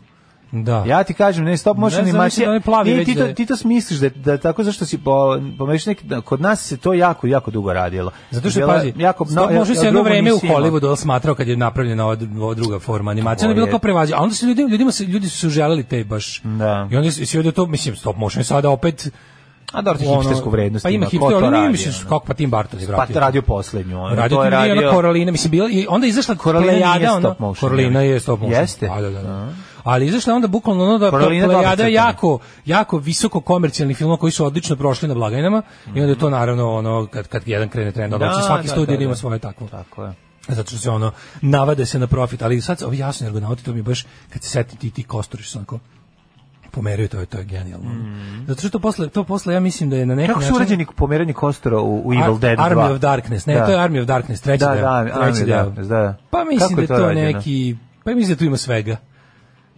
Speaker 4: Da.
Speaker 3: Ja ti kažem, ne stop motion
Speaker 4: Ne znam,
Speaker 3: animacija.
Speaker 4: mislim da oni plavi
Speaker 3: nije,
Speaker 4: već
Speaker 3: ti,
Speaker 4: da
Speaker 3: to,
Speaker 4: je.
Speaker 3: ti to smisliš da, da tako zašto si po, pomešao neki- da, kod nas se to jako, jako dugo radilo.
Speaker 4: Zato što
Speaker 3: Bila-
Speaker 4: pazi,
Speaker 3: jako,
Speaker 4: stop motion se jedno
Speaker 3: drugo
Speaker 4: vreme u
Speaker 3: nisi imao.
Speaker 4: Hollywoodu ali smatrao kad je napravljena ova, ova druga forma animacije,
Speaker 3: To
Speaker 4: onda je bilo
Speaker 3: je-
Speaker 4: kao prevađa. A onda se ljudi, ljudima se, ljudi su želeli te baš.
Speaker 3: Da.
Speaker 4: I onda se sve to, mislim, stop motion je sada opet
Speaker 3: A dobro, ti
Speaker 4: ono,
Speaker 3: hipstersku vrednost.
Speaker 4: Pa ima
Speaker 3: ko
Speaker 4: hipster,
Speaker 3: to
Speaker 4: ali nije
Speaker 3: radi,
Speaker 4: mislim,
Speaker 3: ono?
Speaker 4: kako pa Tim Burton je
Speaker 3: Pa
Speaker 4: vratio.
Speaker 3: radio poslednju. ono,
Speaker 4: Radio
Speaker 3: to je
Speaker 4: Tim
Speaker 3: radio...
Speaker 4: ona Korolina, mislim bila i onda je izašla
Speaker 3: Korolina
Speaker 4: Korolina
Speaker 3: nije
Speaker 4: plejada, ono,
Speaker 3: stop motion,
Speaker 4: Korolina
Speaker 3: je li?
Speaker 4: je stop motion.
Speaker 3: Jeste?
Speaker 4: Da, da, da. Ali izašla je onda bukvalno ono da
Speaker 3: Korolina je
Speaker 4: plejada
Speaker 3: dobro crtana.
Speaker 4: jako jako visoko komercijalni film koji su odlično prošli na blagajnama i onda je to naravno ono kad kad jedan krene trend, onda
Speaker 3: Da,
Speaker 4: hoće svaki
Speaker 3: da,
Speaker 4: studij
Speaker 3: da,
Speaker 4: da ima
Speaker 3: da.
Speaker 4: svoje takvo.
Speaker 3: Tako je.
Speaker 4: Zato što se ono navade se na profit, ali sad ovi jasni ergonauti to mi je baš kad se setim ti ti kosturiš su onako pomeraju to je to je genijalno. Zato što to posle to posle ja mislim da je na neki
Speaker 3: Mm. Kako su
Speaker 4: način-
Speaker 3: urađeni pomeranje kostora u, u Evil
Speaker 4: Ar-
Speaker 3: Dead 2?
Speaker 4: Army of Darkness, ne,
Speaker 3: Da.
Speaker 4: to je Army of Darkness, treći
Speaker 3: Da,
Speaker 4: deo.
Speaker 3: da, Army
Speaker 4: treći
Speaker 3: of
Speaker 4: deo.
Speaker 3: Darkness, da, da.
Speaker 4: Pa mislim
Speaker 3: Kako
Speaker 4: da
Speaker 3: je
Speaker 4: je
Speaker 3: to
Speaker 4: to
Speaker 3: rađeno?
Speaker 4: neki, pa mislim da tu ima svega.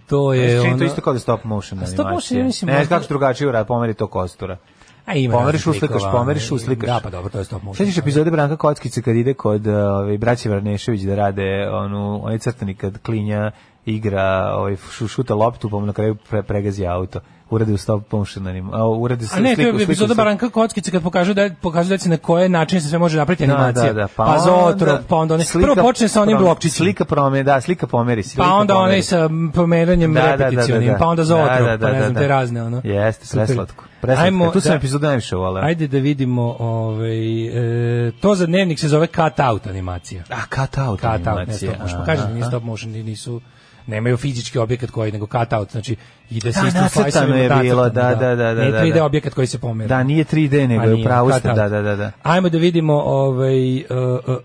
Speaker 4: To je
Speaker 3: Čini
Speaker 4: ono...
Speaker 3: to isto kao da je stop motion
Speaker 4: A
Speaker 3: animacija.
Speaker 4: stop motion, ja mislim,
Speaker 3: Ne,
Speaker 4: možda-
Speaker 3: kako se drugačije uradi, pomeri to kostura.
Speaker 4: A ima
Speaker 3: pomeriš,
Speaker 4: raznih
Speaker 3: uslikaš,
Speaker 4: likova,
Speaker 3: pomeriš,
Speaker 4: ono,
Speaker 3: uslikaš.
Speaker 4: Da, pa dobro, to je stop motion.
Speaker 3: Sećaš epizode Branka Kockice kad ide kod uh, ovaj braće Varnešević da rade onu onaj crtani kad klinja igra, ovaj šu- šuta loptu pa mu na kraju pre, pregazi auto. Uradi u stop motion anim. A uradi se
Speaker 4: A ne, to
Speaker 3: sliku,
Speaker 4: je
Speaker 3: sliku,
Speaker 4: epizoda
Speaker 3: sliku.
Speaker 4: Baranka Kockice kad pokažu da pokažu da se na koje načine se sve može napraviti
Speaker 3: Da, da,
Speaker 4: animacija.
Speaker 3: da,
Speaker 4: pa, zootrop, pa onda one, prvo počne sa onim
Speaker 3: prom-
Speaker 4: blokčićima.
Speaker 3: Slika promeni, da, slika pomeri, slika
Speaker 4: pa onda
Speaker 3: pomeri.
Speaker 4: onaj sa pomeranjem
Speaker 3: Da, da, da, da,
Speaker 4: repeticionim,
Speaker 3: da.
Speaker 4: pa onda za otrov,
Speaker 3: Da, da,
Speaker 4: pa ne
Speaker 3: da,
Speaker 4: znam,
Speaker 3: da.
Speaker 4: te razne, ono.
Speaker 3: Jeste,
Speaker 4: Super.
Speaker 3: preslatko. Preslatko. E,
Speaker 4: Ajmo
Speaker 3: tu sam
Speaker 4: da-
Speaker 3: epizodu najviše volao.
Speaker 4: Ajde da vidimo, ovaj, e, to za dnevnik se zove cut-out animacija.
Speaker 3: A, cut out
Speaker 4: Cut out, ne
Speaker 3: animacija. Da,
Speaker 4: stop motion. Pa
Speaker 3: Aha,
Speaker 4: kažem, nije
Speaker 3: aha.
Speaker 4: stop motion, ni- nisu, nemaju fizički objekat koji, nego cut out, znači ide se
Speaker 3: Da,
Speaker 4: istim
Speaker 3: nacrtano
Speaker 4: slicerom,
Speaker 3: je bilo,
Speaker 4: nacrtano,
Speaker 3: da, da, da,
Speaker 4: Ne
Speaker 3: da,
Speaker 4: 3D
Speaker 3: da.
Speaker 4: objekat koji se pomera.
Speaker 3: Da, nije 3D, nego
Speaker 4: A
Speaker 3: je
Speaker 4: nije,
Speaker 3: pravo ste,
Speaker 4: cut out.
Speaker 3: da, da, da. da.
Speaker 4: Ajmo da vidimo ovaj, e, e,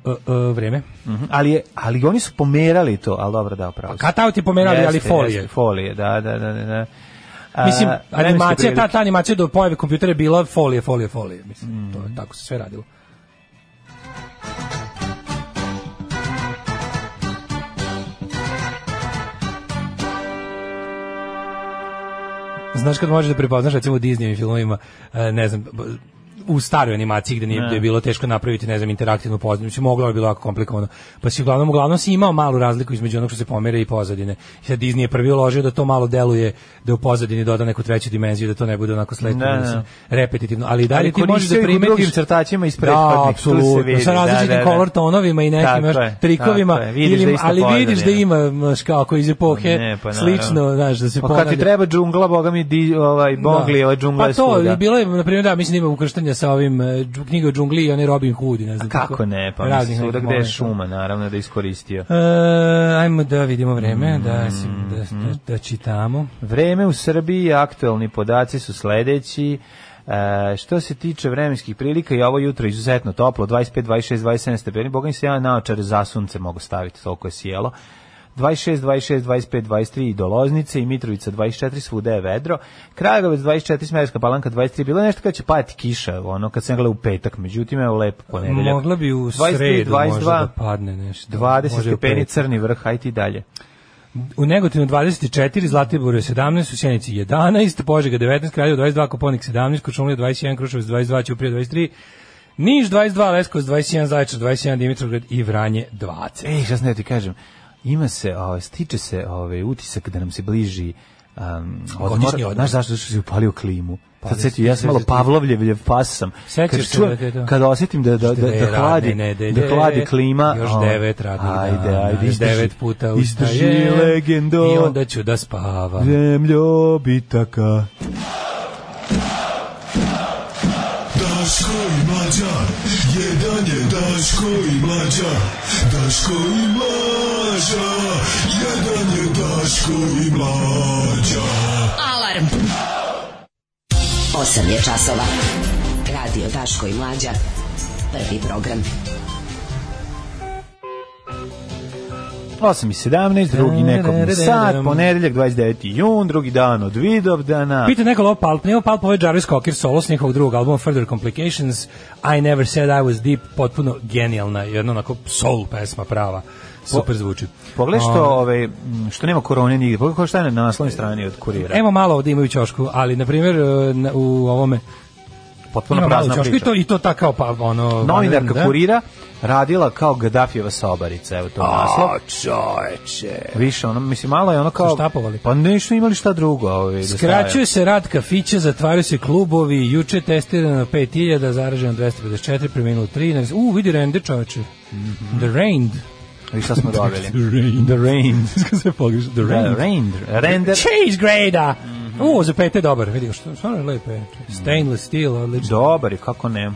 Speaker 4: e, e, vreme.
Speaker 3: Mhm, Ali, je, ali oni su pomerali to, ali dobro, da, pravo ste.
Speaker 4: Cut out je Pa pomerali, ali
Speaker 3: Jeste,
Speaker 4: folije.
Speaker 3: jeste, folije, da, da, da, da, da. A,
Speaker 4: Mislim,
Speaker 3: vremenske
Speaker 4: animacija, ta,
Speaker 3: prilike.
Speaker 4: ta animacija do pojave kompjutera je bila folije, folije, folije. Mislim,
Speaker 3: Mm.
Speaker 4: to je, tako se sve radilo. Znaš kad možeš da prepoznaš recimo u Disneyovim filmovima, e, ne znam, b- u staroj animaciji gde nije, gde je bilo teško napraviti, ne znam, interaktivnu pozadinu, mislim, moglo je bilo jako komplikovano. Pa si uglavnom, uglavnom si imao malu razliku između onog što se pomera i pozadine. I sad Disney je prvi uložio da to malo deluje, da u pozadini doda neku treću dimenziju, da to ne bude onako sletno,
Speaker 3: Da,
Speaker 4: da,
Speaker 3: da.
Speaker 4: se repetitivno. Ali i dalje
Speaker 3: Ali
Speaker 4: ti možeš
Speaker 3: koristio
Speaker 4: da
Speaker 3: ih u
Speaker 4: primetiš...
Speaker 3: drugim crtačima iz prethodnih, tu
Speaker 4: Da,
Speaker 3: se
Speaker 4: apsolutno,
Speaker 3: vidi,
Speaker 4: sa
Speaker 3: da,
Speaker 4: različitim
Speaker 3: da, da.
Speaker 4: color tonovima i nekim
Speaker 3: Tako
Speaker 4: još
Speaker 3: je,
Speaker 4: trikovima,
Speaker 3: tako je, vidiš da je
Speaker 4: ili,
Speaker 3: ista
Speaker 4: ali vidiš da
Speaker 3: pozadina.
Speaker 4: ima, znaš, kao ako iz epohe,
Speaker 3: Ne, pa naravno.
Speaker 4: slično, znaš, da se
Speaker 3: Pa kad ti
Speaker 4: ponavlja.
Speaker 3: treba džungla, boga mi di, ovaj, bongli, da. ova džungla
Speaker 4: Pa
Speaker 3: je
Speaker 4: to,
Speaker 3: svuda.
Speaker 4: bilo je, na primjer, da, mislim da ima ukrštanja sa ovim e, dž- knjige o džungli i onaj Robin Hood, i ne znam.
Speaker 3: Kako ne, pa mislim,
Speaker 4: raznih
Speaker 3: svuda
Speaker 4: nekih
Speaker 3: gde je
Speaker 4: momenata.
Speaker 3: šuma, naravno da je iskoristio.
Speaker 4: E, ajmo da vidimo vreme,
Speaker 3: Mm,
Speaker 4: da, si, da, da, da čitamo.
Speaker 3: Vreme u Srbiji, aktuelni podaci su sledeći. E, što se tiče vremenskih prilika i ovo jutro je izuzetno toplo, 25, 26, 27 stepeni, boga mi se ja naočar za sunce mogu staviti, toliko je sjelo. 26, 26, 25, 23 i Doloznice i Mitrovica 24, svuda je vedro. Kragovac 24, Smerska palanka 23, bilo je nešto kad će pajati kiša, ono kad sam gledao u petak, međutim evo lepo ponedeljak.
Speaker 4: Mogla bi u
Speaker 3: 23,
Speaker 4: sredu
Speaker 3: 22,
Speaker 4: možda da padne nešto.
Speaker 3: 20
Speaker 4: Može u
Speaker 3: stepeni
Speaker 4: petak.
Speaker 3: crni vrh, hajde i dalje.
Speaker 4: U Negotinu 24, Zlatiboru je 17, u Sjenici 11, Požega 19, Kraljevo 22, Koponik 17, Kočumlija 21, Kruševac 22, Ćuprija 23, Niš 22, Leskovac 21, Zaječar 21, Dimitrovgrad i Vranje 20.
Speaker 3: Ej, šta sam da ti kažem, ima se, ovaj, stiče se ovaj, utisak da nam se bliži um, odmor.
Speaker 4: Godišnji odmor.
Speaker 3: Znaš zašto? Zašto si upalio klimu. Sad
Speaker 4: da
Speaker 3: setio, ja sam malo
Speaker 4: se-
Speaker 3: Pavlovljevljev pas sam.
Speaker 4: Sećaš
Speaker 3: Kad
Speaker 4: se
Speaker 3: čujem-
Speaker 4: da te to-
Speaker 3: Kad osetim da, da, da,
Speaker 4: Dve
Speaker 3: da,
Speaker 4: radne
Speaker 3: hladi,
Speaker 4: nedelje,
Speaker 3: da hladi klima.
Speaker 4: Još
Speaker 3: o,
Speaker 4: devet radnih
Speaker 3: ajde,
Speaker 4: dana,
Speaker 3: Ajde,
Speaker 4: još
Speaker 3: izdrži.
Speaker 4: devet puta
Speaker 3: Izdrži
Speaker 4: ustajem
Speaker 3: legendo.
Speaker 4: I onda ću da spavam.
Speaker 3: Zemljo bitaka.
Speaker 8: Daško i mlađa, jedan je Daško i mlađa, Daško i mlađa, jedan je Daško i mlađa.
Speaker 2: Alarm.
Speaker 7: 8 je časova. Radio Daško i Mlađa. Prvi program.
Speaker 3: 8 i 17, drugi nekom sat, ponedeljak 29. jun, drugi dan od Vidovdana.
Speaker 4: Pita neko Lop Palp, nije Palp ovo je Jarvis Cocker solo s njihovog drugog albuma Further Complications, I Never Said I Was Deep, potpuno genijalna, jedna onako soul pesma prava, super zvuči.
Speaker 3: Pogledaj što,
Speaker 4: Um,
Speaker 3: ovaj, m, što nema korone nigde. Pogledaj šta je na
Speaker 4: E,
Speaker 3: naslovnoj strani od kurira.
Speaker 4: Evo malo ovde imaju ćošku, ali na primjer e, na- u ovome
Speaker 3: Potpuno
Speaker 4: ima malo
Speaker 3: prazna
Speaker 4: ćošku i
Speaker 3: priča.
Speaker 4: to, i to ta kao pa ono...
Speaker 3: Novinarka
Speaker 4: da?
Speaker 3: kurira radila kao Gaddafijeva sobarica, evo to je naslov.
Speaker 4: A, čoveče.
Speaker 3: Više ono, mislim, malo je ono kao...
Speaker 4: Su štapovali.
Speaker 3: Pa nešto imali šta drugo. Ovaj, da
Speaker 4: Skraćuje
Speaker 3: stavljaju.
Speaker 4: se rad kafića, zatvaraju se klubovi, juče testirano 5000, zaraženo 254, preminulo 13. U, vidi rende čoveče.
Speaker 3: Mhm.
Speaker 4: The rained.
Speaker 3: I šta smo dobili?
Speaker 4: rained. The rained. Kako se pogriš? The
Speaker 3: Da, Mhm.
Speaker 4: rained.
Speaker 3: Render. Render.
Speaker 4: Cheese grader. U, za pete dobar, vidi, što, stvarno je lepo je. Stainless steel, odlično.
Speaker 3: Dobar je, kako ne.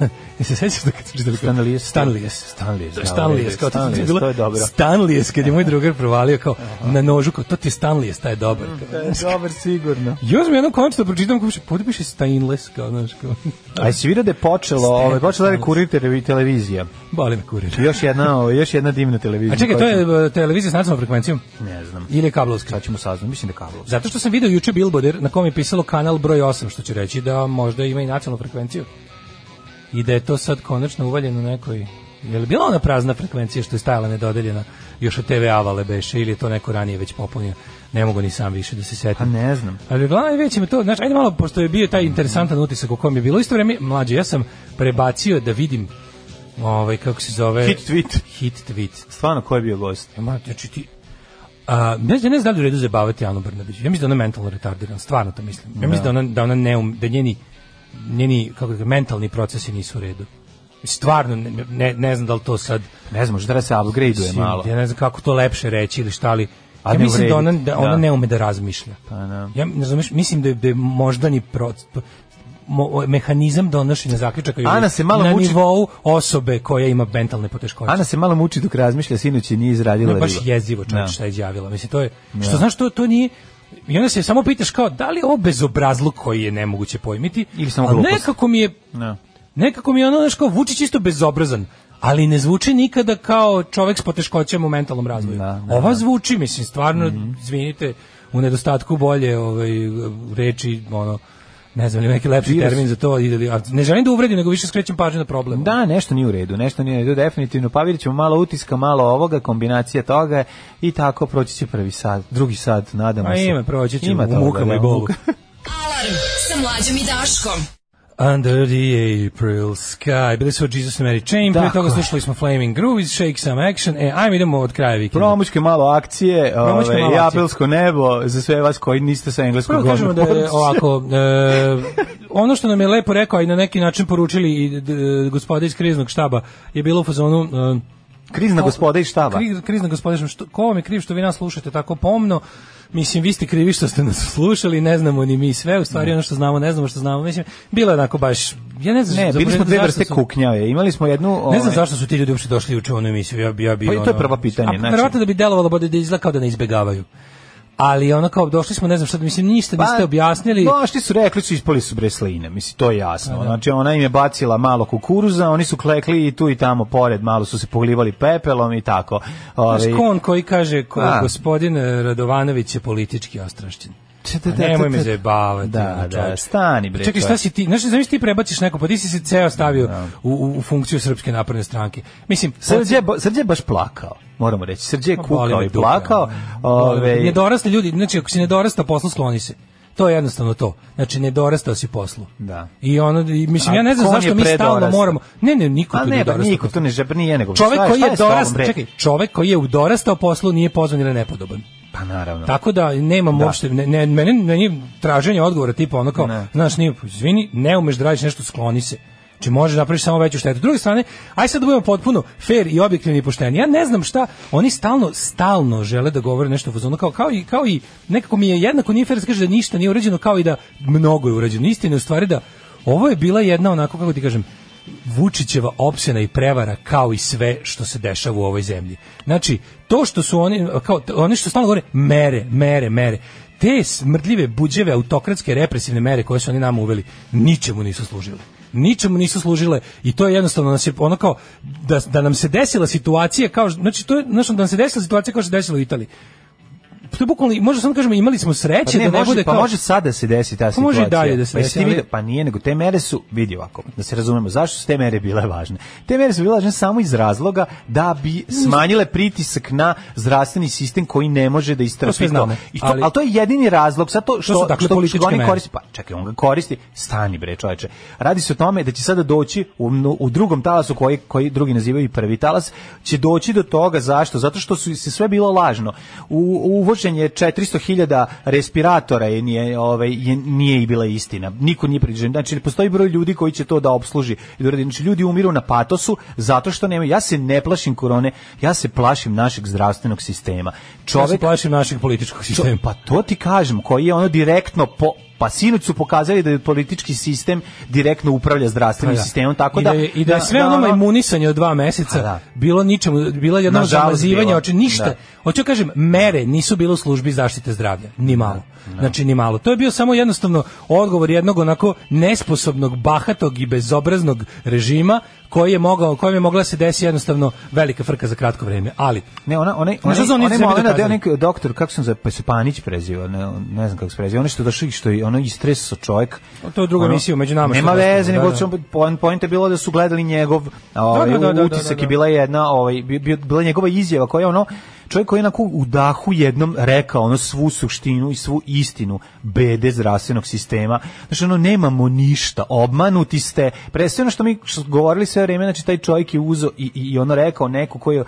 Speaker 4: Jel se sećaš da kad se čitali?
Speaker 3: Stanlijes.
Speaker 4: Stanlijes.
Speaker 3: Stanlijes, da,
Speaker 4: Stanlijes, kao to ti je
Speaker 3: Stanlijes,
Speaker 4: bilo.
Speaker 3: to je dobro.
Speaker 4: Stanlijes, kad je moj drugar provalio kao na nožu, kao to ti je Stanlijes, taj je dobar.
Speaker 3: Mhm.
Speaker 4: Kao,
Speaker 3: Dobar sigurno.
Speaker 4: Ja sam jednom koncu da pročitam kako se podi piše stainless, kao, znaš, kao,
Speaker 3: A jesi vidio da je počelo, ovaj, počela da kurir televi- televizija.
Speaker 4: boli me kurir.
Speaker 3: Još jedna, ovaj, još jedna divna televizija.
Speaker 4: A čekaj, to
Speaker 3: koja će-
Speaker 4: je e, televizija s nacionalnom frekvencijom?
Speaker 3: Ne znam.
Speaker 4: Ili je kablovska?
Speaker 3: Sad ćemo saznati, mislim da je kablovska.
Speaker 4: Zato što sam video juče billboarder na kom je pisalo kanal broj 8, što će reći da možda ima i nacionalnu frekvenciju. I da je to sad konačno uvaljeno nekoj... Je li bila ona prazna frekvencija što je stajala nedodeljena još od TV Avale beše ili je to neko ranije već popunio? Ne mogu ni sam više da se
Speaker 3: Pa
Speaker 4: setim.
Speaker 3: ne znam.
Speaker 4: Ali uglavnom već ima to, znači ajde malo, pošto je bio taj interesantan utisak u kom je bilo isto vreme, mlađe, ja sam prebacio da vidim ovaj, kako se zove...
Speaker 3: Hit tweet.
Speaker 4: Hit tweet.
Speaker 3: Stvarno, ko je bio gost?
Speaker 4: Ma, znači ti... A, ne znam, ne znam da li je u redu zabavati Anu Brnabić. Ja mislim da ona je mentalno retardirana, stvarno to mislim. Ja mislim da ona, da ona ne um, da njeni, njeni kako da, kažem, mentalni procesi nisu u redu. Stvarno, ne, ne, ne znam da li to sad...
Speaker 3: Ne znam, možda da se upgrade-uje malo.
Speaker 4: Ja ne znam kako to lepše reći ili šta li...
Speaker 3: A
Speaker 4: ja
Speaker 3: ne
Speaker 4: mislim da ona,
Speaker 3: uvrediti,
Speaker 4: da ona
Speaker 3: da.
Speaker 4: ne ume da razmišlja.
Speaker 3: Pa da.
Speaker 4: Ja ne znam, mislim da je, da je moždani proces mo, mehanizam donošenja zaključaka je
Speaker 3: Ana se malo
Speaker 4: na
Speaker 3: muči-
Speaker 4: nivou osobe koja ima mentalne poteškoće.
Speaker 3: Ana se malo muči dok razmišlja, sinoć je nije izradila
Speaker 4: Ne, baš
Speaker 3: riba.
Speaker 4: jezivo
Speaker 3: Da.
Speaker 4: čovječ šta je izjavila. Mislim, to je, što znaš, to, to nije, I onda se samo pitaš kao, da li je ovo bezobrazluk koji je nemoguće pojmiti?
Speaker 3: Ili samo
Speaker 4: ali
Speaker 3: glupost.
Speaker 4: nekako mi je,
Speaker 3: Da.
Speaker 4: nekako mi je ono, znaš, kao, Vučić isto bezobrazan, ali ne zvuči nikada kao čovek s poteškoćama u mentalnom razvoju.
Speaker 3: Da, da, Mhm.
Speaker 4: Ova zvuči, mislim, stvarno, izvinite, u nedostatku bolje ovaj, reči, ono, ne znam, ili neki lepši
Speaker 3: Virus.
Speaker 4: termin za to, ili, a ne želim da uvredim, nego više skrećem pažnju na problem.
Speaker 3: Da, nešto nije u redu, nešto nije u redu, definitivno. Pa vidjet ćemo malo utiska, malo ovoga, kombinacija toga i tako proći će prvi sat, drugi sat, nadamo
Speaker 4: A
Speaker 3: se.
Speaker 4: ima, proći ćemo u
Speaker 3: toga, da,
Speaker 4: mukama i bolu.
Speaker 3: muka.
Speaker 2: Alarm sa mlađom i Daškom.
Speaker 4: Under the April Sky. Bili su od Jesus and Mary Chain, pre
Speaker 3: Tako
Speaker 4: toga
Speaker 3: je.
Speaker 4: slušali smo Flaming Grooves, Shake Some Action. E, ajmo idemo od kraja vikenda.
Speaker 3: Promučke malo akcije,
Speaker 4: Promućke
Speaker 3: ove,
Speaker 4: malo
Speaker 3: i
Speaker 4: akcije.
Speaker 3: apelsko nebo za sve vas koji niste sa engleskog
Speaker 4: Prvo kažemo da je ovako, e, ono što nam je lepo rekao a i na neki način poručili i d- gospoda iz kriznog štaba je bilo u fazonu e,
Speaker 3: Krizna gospoda i štaba.
Speaker 4: Kri, krizna gospodina, što, ko vam je kriv što vi nas slušate tako pomno? Mislim, vi ste krivi što ste nas slušali, ne znamo ni mi sve, u stvari ono što znamo, ne znamo što znamo. Mislim, bilo je onako baš, ja ne znam
Speaker 3: Ne,
Speaker 4: za-
Speaker 3: bili smo dve
Speaker 4: zašto
Speaker 3: vrste
Speaker 4: su-
Speaker 3: kuknjave. Imali smo jednu... ovaj,
Speaker 4: Ne znam
Speaker 3: ove,
Speaker 4: zašto su ti ljudi uopšte došli juče u onu emisiju. Ja bi ja bi
Speaker 3: Pa i to
Speaker 4: ono-
Speaker 3: je prvo pitanje,
Speaker 4: A
Speaker 3: znači-
Speaker 4: verovatno da bi delovalo bude da izgleda kao da ne izbegavaju. Ali ono kao došli smo, ne znam šta, mislim ništa niste objasnili. Pa, da.
Speaker 3: Došli Pa, su, rekli su, ispali su bresline, mislim, to je jasno. Znači, ona im je bacila malo kukuruza, oni su klekli i tu i tamo pored, malo su se poglivali pepelom i tako. Ovaj, Ove,
Speaker 4: Znaš, kon koji kaže ko,
Speaker 3: Da.
Speaker 4: gospodin e, Radovanović je politički ostrašćen.
Speaker 3: Te, te,
Speaker 4: A
Speaker 3: te, te,
Speaker 4: nemoj me
Speaker 3: te.
Speaker 4: zajebavati.
Speaker 3: Da,
Speaker 4: ono,
Speaker 3: da,
Speaker 4: čoveče.
Speaker 3: stani, bre,
Speaker 4: Čekaj, šta
Speaker 3: čoveče.
Speaker 4: si ti? Znaš, znaš ti prebaciš neko, pa ti si se ceo stavio
Speaker 3: Da.
Speaker 4: u, u, u funkciju Srpske napredne stranke. Mislim,
Speaker 3: Srđe, je ba- Srđe je baš plakao, moramo reći. Srđe je
Speaker 4: Ma, boli
Speaker 3: kukao
Speaker 4: me
Speaker 3: i
Speaker 4: dupe,
Speaker 3: plakao. ovaj-
Speaker 4: ono. Boli me
Speaker 3: Ove,
Speaker 4: dupe. Nedorasli ljudi, znači ako si nedorastao poslu, skloni se. To je jednostavno to. Znači, nedorastao si poslu.
Speaker 3: Da.
Speaker 4: I ono, i, mislim,
Speaker 3: A
Speaker 4: ja ne znam
Speaker 3: kon je
Speaker 4: zašto mi stalno
Speaker 3: predorastao.
Speaker 4: moramo... Ne, ne, niko
Speaker 3: a
Speaker 4: tu
Speaker 3: ne,
Speaker 4: nije
Speaker 3: pa
Speaker 4: dorastao.
Speaker 3: niko to ne žebe, nije nego.
Speaker 4: Čovek
Speaker 3: šta
Speaker 4: koji
Speaker 3: šta
Speaker 4: je
Speaker 3: s tobom,
Speaker 4: dorastao,
Speaker 3: bre?
Speaker 4: čekaj, čovek koji je dorastao poslu nije pozvan ili nepodoban.
Speaker 3: Pa naravno.
Speaker 4: Tako da nemam
Speaker 3: Da.
Speaker 4: uopšte, ne, ne, mene, meni traženje odgovora tipa ono kao,
Speaker 3: Ne.
Speaker 4: znaš, nije, izvini, ne umeš da radiš nešto, skloni se. Či može da napraviš samo veću štetu. S druge strane, aj sad da budemo potpuno fair i objektivni i pošteni. Ja ne znam šta, oni stalno, stalno žele da govore nešto u fazonu, kao, kao, i, kao i nekako mi je jednako nije fair da se kaže da ništa nije urađeno, kao i da mnogo je urađeno. Istina je u stvari da ovo je bila jedna onako, kako ti kažem, Vučićeva opsena i prevara kao i sve što se dešava u ovoj zemlji. Znači, to što su oni, kao, t- oni što stalno govore, mere, mere, mere, te smrdljive, buđeve, autokratske, represivne mere koje su oni nama uveli, ničemu nisu služile. Ničemu nisu služile i to je jednostavno nas je ono kao da, da nam se desila situacija kao znači to je znači da nam se desila situacija kao što se desila u Italiji. To je bukvalno možda samo kažemo imali smo
Speaker 3: Pa
Speaker 4: sreće
Speaker 3: ne,
Speaker 4: da ne
Speaker 3: može,
Speaker 4: bude
Speaker 3: pa
Speaker 4: kao
Speaker 3: može sad da se desi ta
Speaker 4: Pa
Speaker 3: situacija.
Speaker 4: može i dalje da se
Speaker 3: Pa jesi ti
Speaker 4: desi, ali-
Speaker 3: vidio- Pa nije, nego te mere su, vidi ovako, da se razumemo, zašto su te mere bile važne? Te mere su bile važne samo iz razloga da bi smanjile pritisak na zdravstveni sistem koji ne može da istrpi
Speaker 4: sve znamo,
Speaker 3: I to, ali,
Speaker 4: ali-
Speaker 3: to je jedini razlog, sad to što,
Speaker 4: su, dakle,
Speaker 3: što,
Speaker 4: političke
Speaker 3: što oni
Speaker 4: mere.
Speaker 3: koriste, pa čekaj, on ga koristi, stani bre čoveče. Radi se o tome da će sada doći u, mno- u drugom talasu koji, koji drugi nazivaju i prvi talas, će doći do toga zašto? Zato što su se sve bilo lažno. U, uvoženje 400.000 respiratora je nije, ovaj, je, nije i bila istina. Niko nije priđen. Znači, ne postoji broj ljudi koji će to da obsluži. I da uradi. Znači, ljudi umiru na patosu zato što nemaju. Ja se ne plašim korone, ja se plašim našeg zdravstvenog sistema.
Speaker 4: ja da se
Speaker 3: Čovek
Speaker 4: plašim našeg političkog sistema.
Speaker 3: Čo- Pa to ti kažem, koji je ono direktno po Pa sinoć su pokazali da je politički sistem direktno upravlja zdravstvenim
Speaker 4: Pa da.
Speaker 3: sistemom, tako
Speaker 4: I
Speaker 3: da...
Speaker 4: da, je- i da, je sve ono majmunisanje od dva meseca
Speaker 3: Pa da.
Speaker 4: bilo ničemu, bilo jedno
Speaker 3: Nažalost,
Speaker 4: zamazivanje
Speaker 3: bilo.
Speaker 4: oči, ništa.
Speaker 3: Da.
Speaker 4: Hoću da kažem, mere nisu bile u službi zaštite zdravlja,
Speaker 3: Da,
Speaker 4: ni malo. Znači, ni malo. To je bio samo jednostavno odgovor jednog onako nesposobnog, bahatog i bezobraznog režima koji je mogao, kojem je mogla da se desi jednostavno velika frka za kratko vreme. Ali,
Speaker 3: Ne, ona, ona,
Speaker 4: Znaš
Speaker 3: ona,
Speaker 4: šta su oni
Speaker 3: ona,
Speaker 4: sebi
Speaker 3: ona, ona,
Speaker 4: dokazali?
Speaker 3: neki da doktor, kako sam za pa se Panić prezivao, ne, ne znam kako se prezivao, ono što je došao i što je ono istresao čovjek.
Speaker 4: To je druga emisija među nama,
Speaker 3: Nema
Speaker 4: što je
Speaker 3: veze,
Speaker 4: došlo,
Speaker 3: nego
Speaker 4: da,
Speaker 3: da, point, point je bilo da su gledali njegov ovaj,
Speaker 4: da, da, da,
Speaker 3: utisak
Speaker 4: da, da.
Speaker 3: je bila jedna, ovaj, bi- bi- bila njegova izjava koja je ono, čovjek koji je onako u dahu jednom rekao ono svu suštinu i svu istinu bede zdravstvenog sistema. Znači ono, nemamo ništa, obmanuti ste. Pre sve ono što mi što smo govorili sve vreme, znači taj čovjek je uzo i, i, i ono rekao neko koji je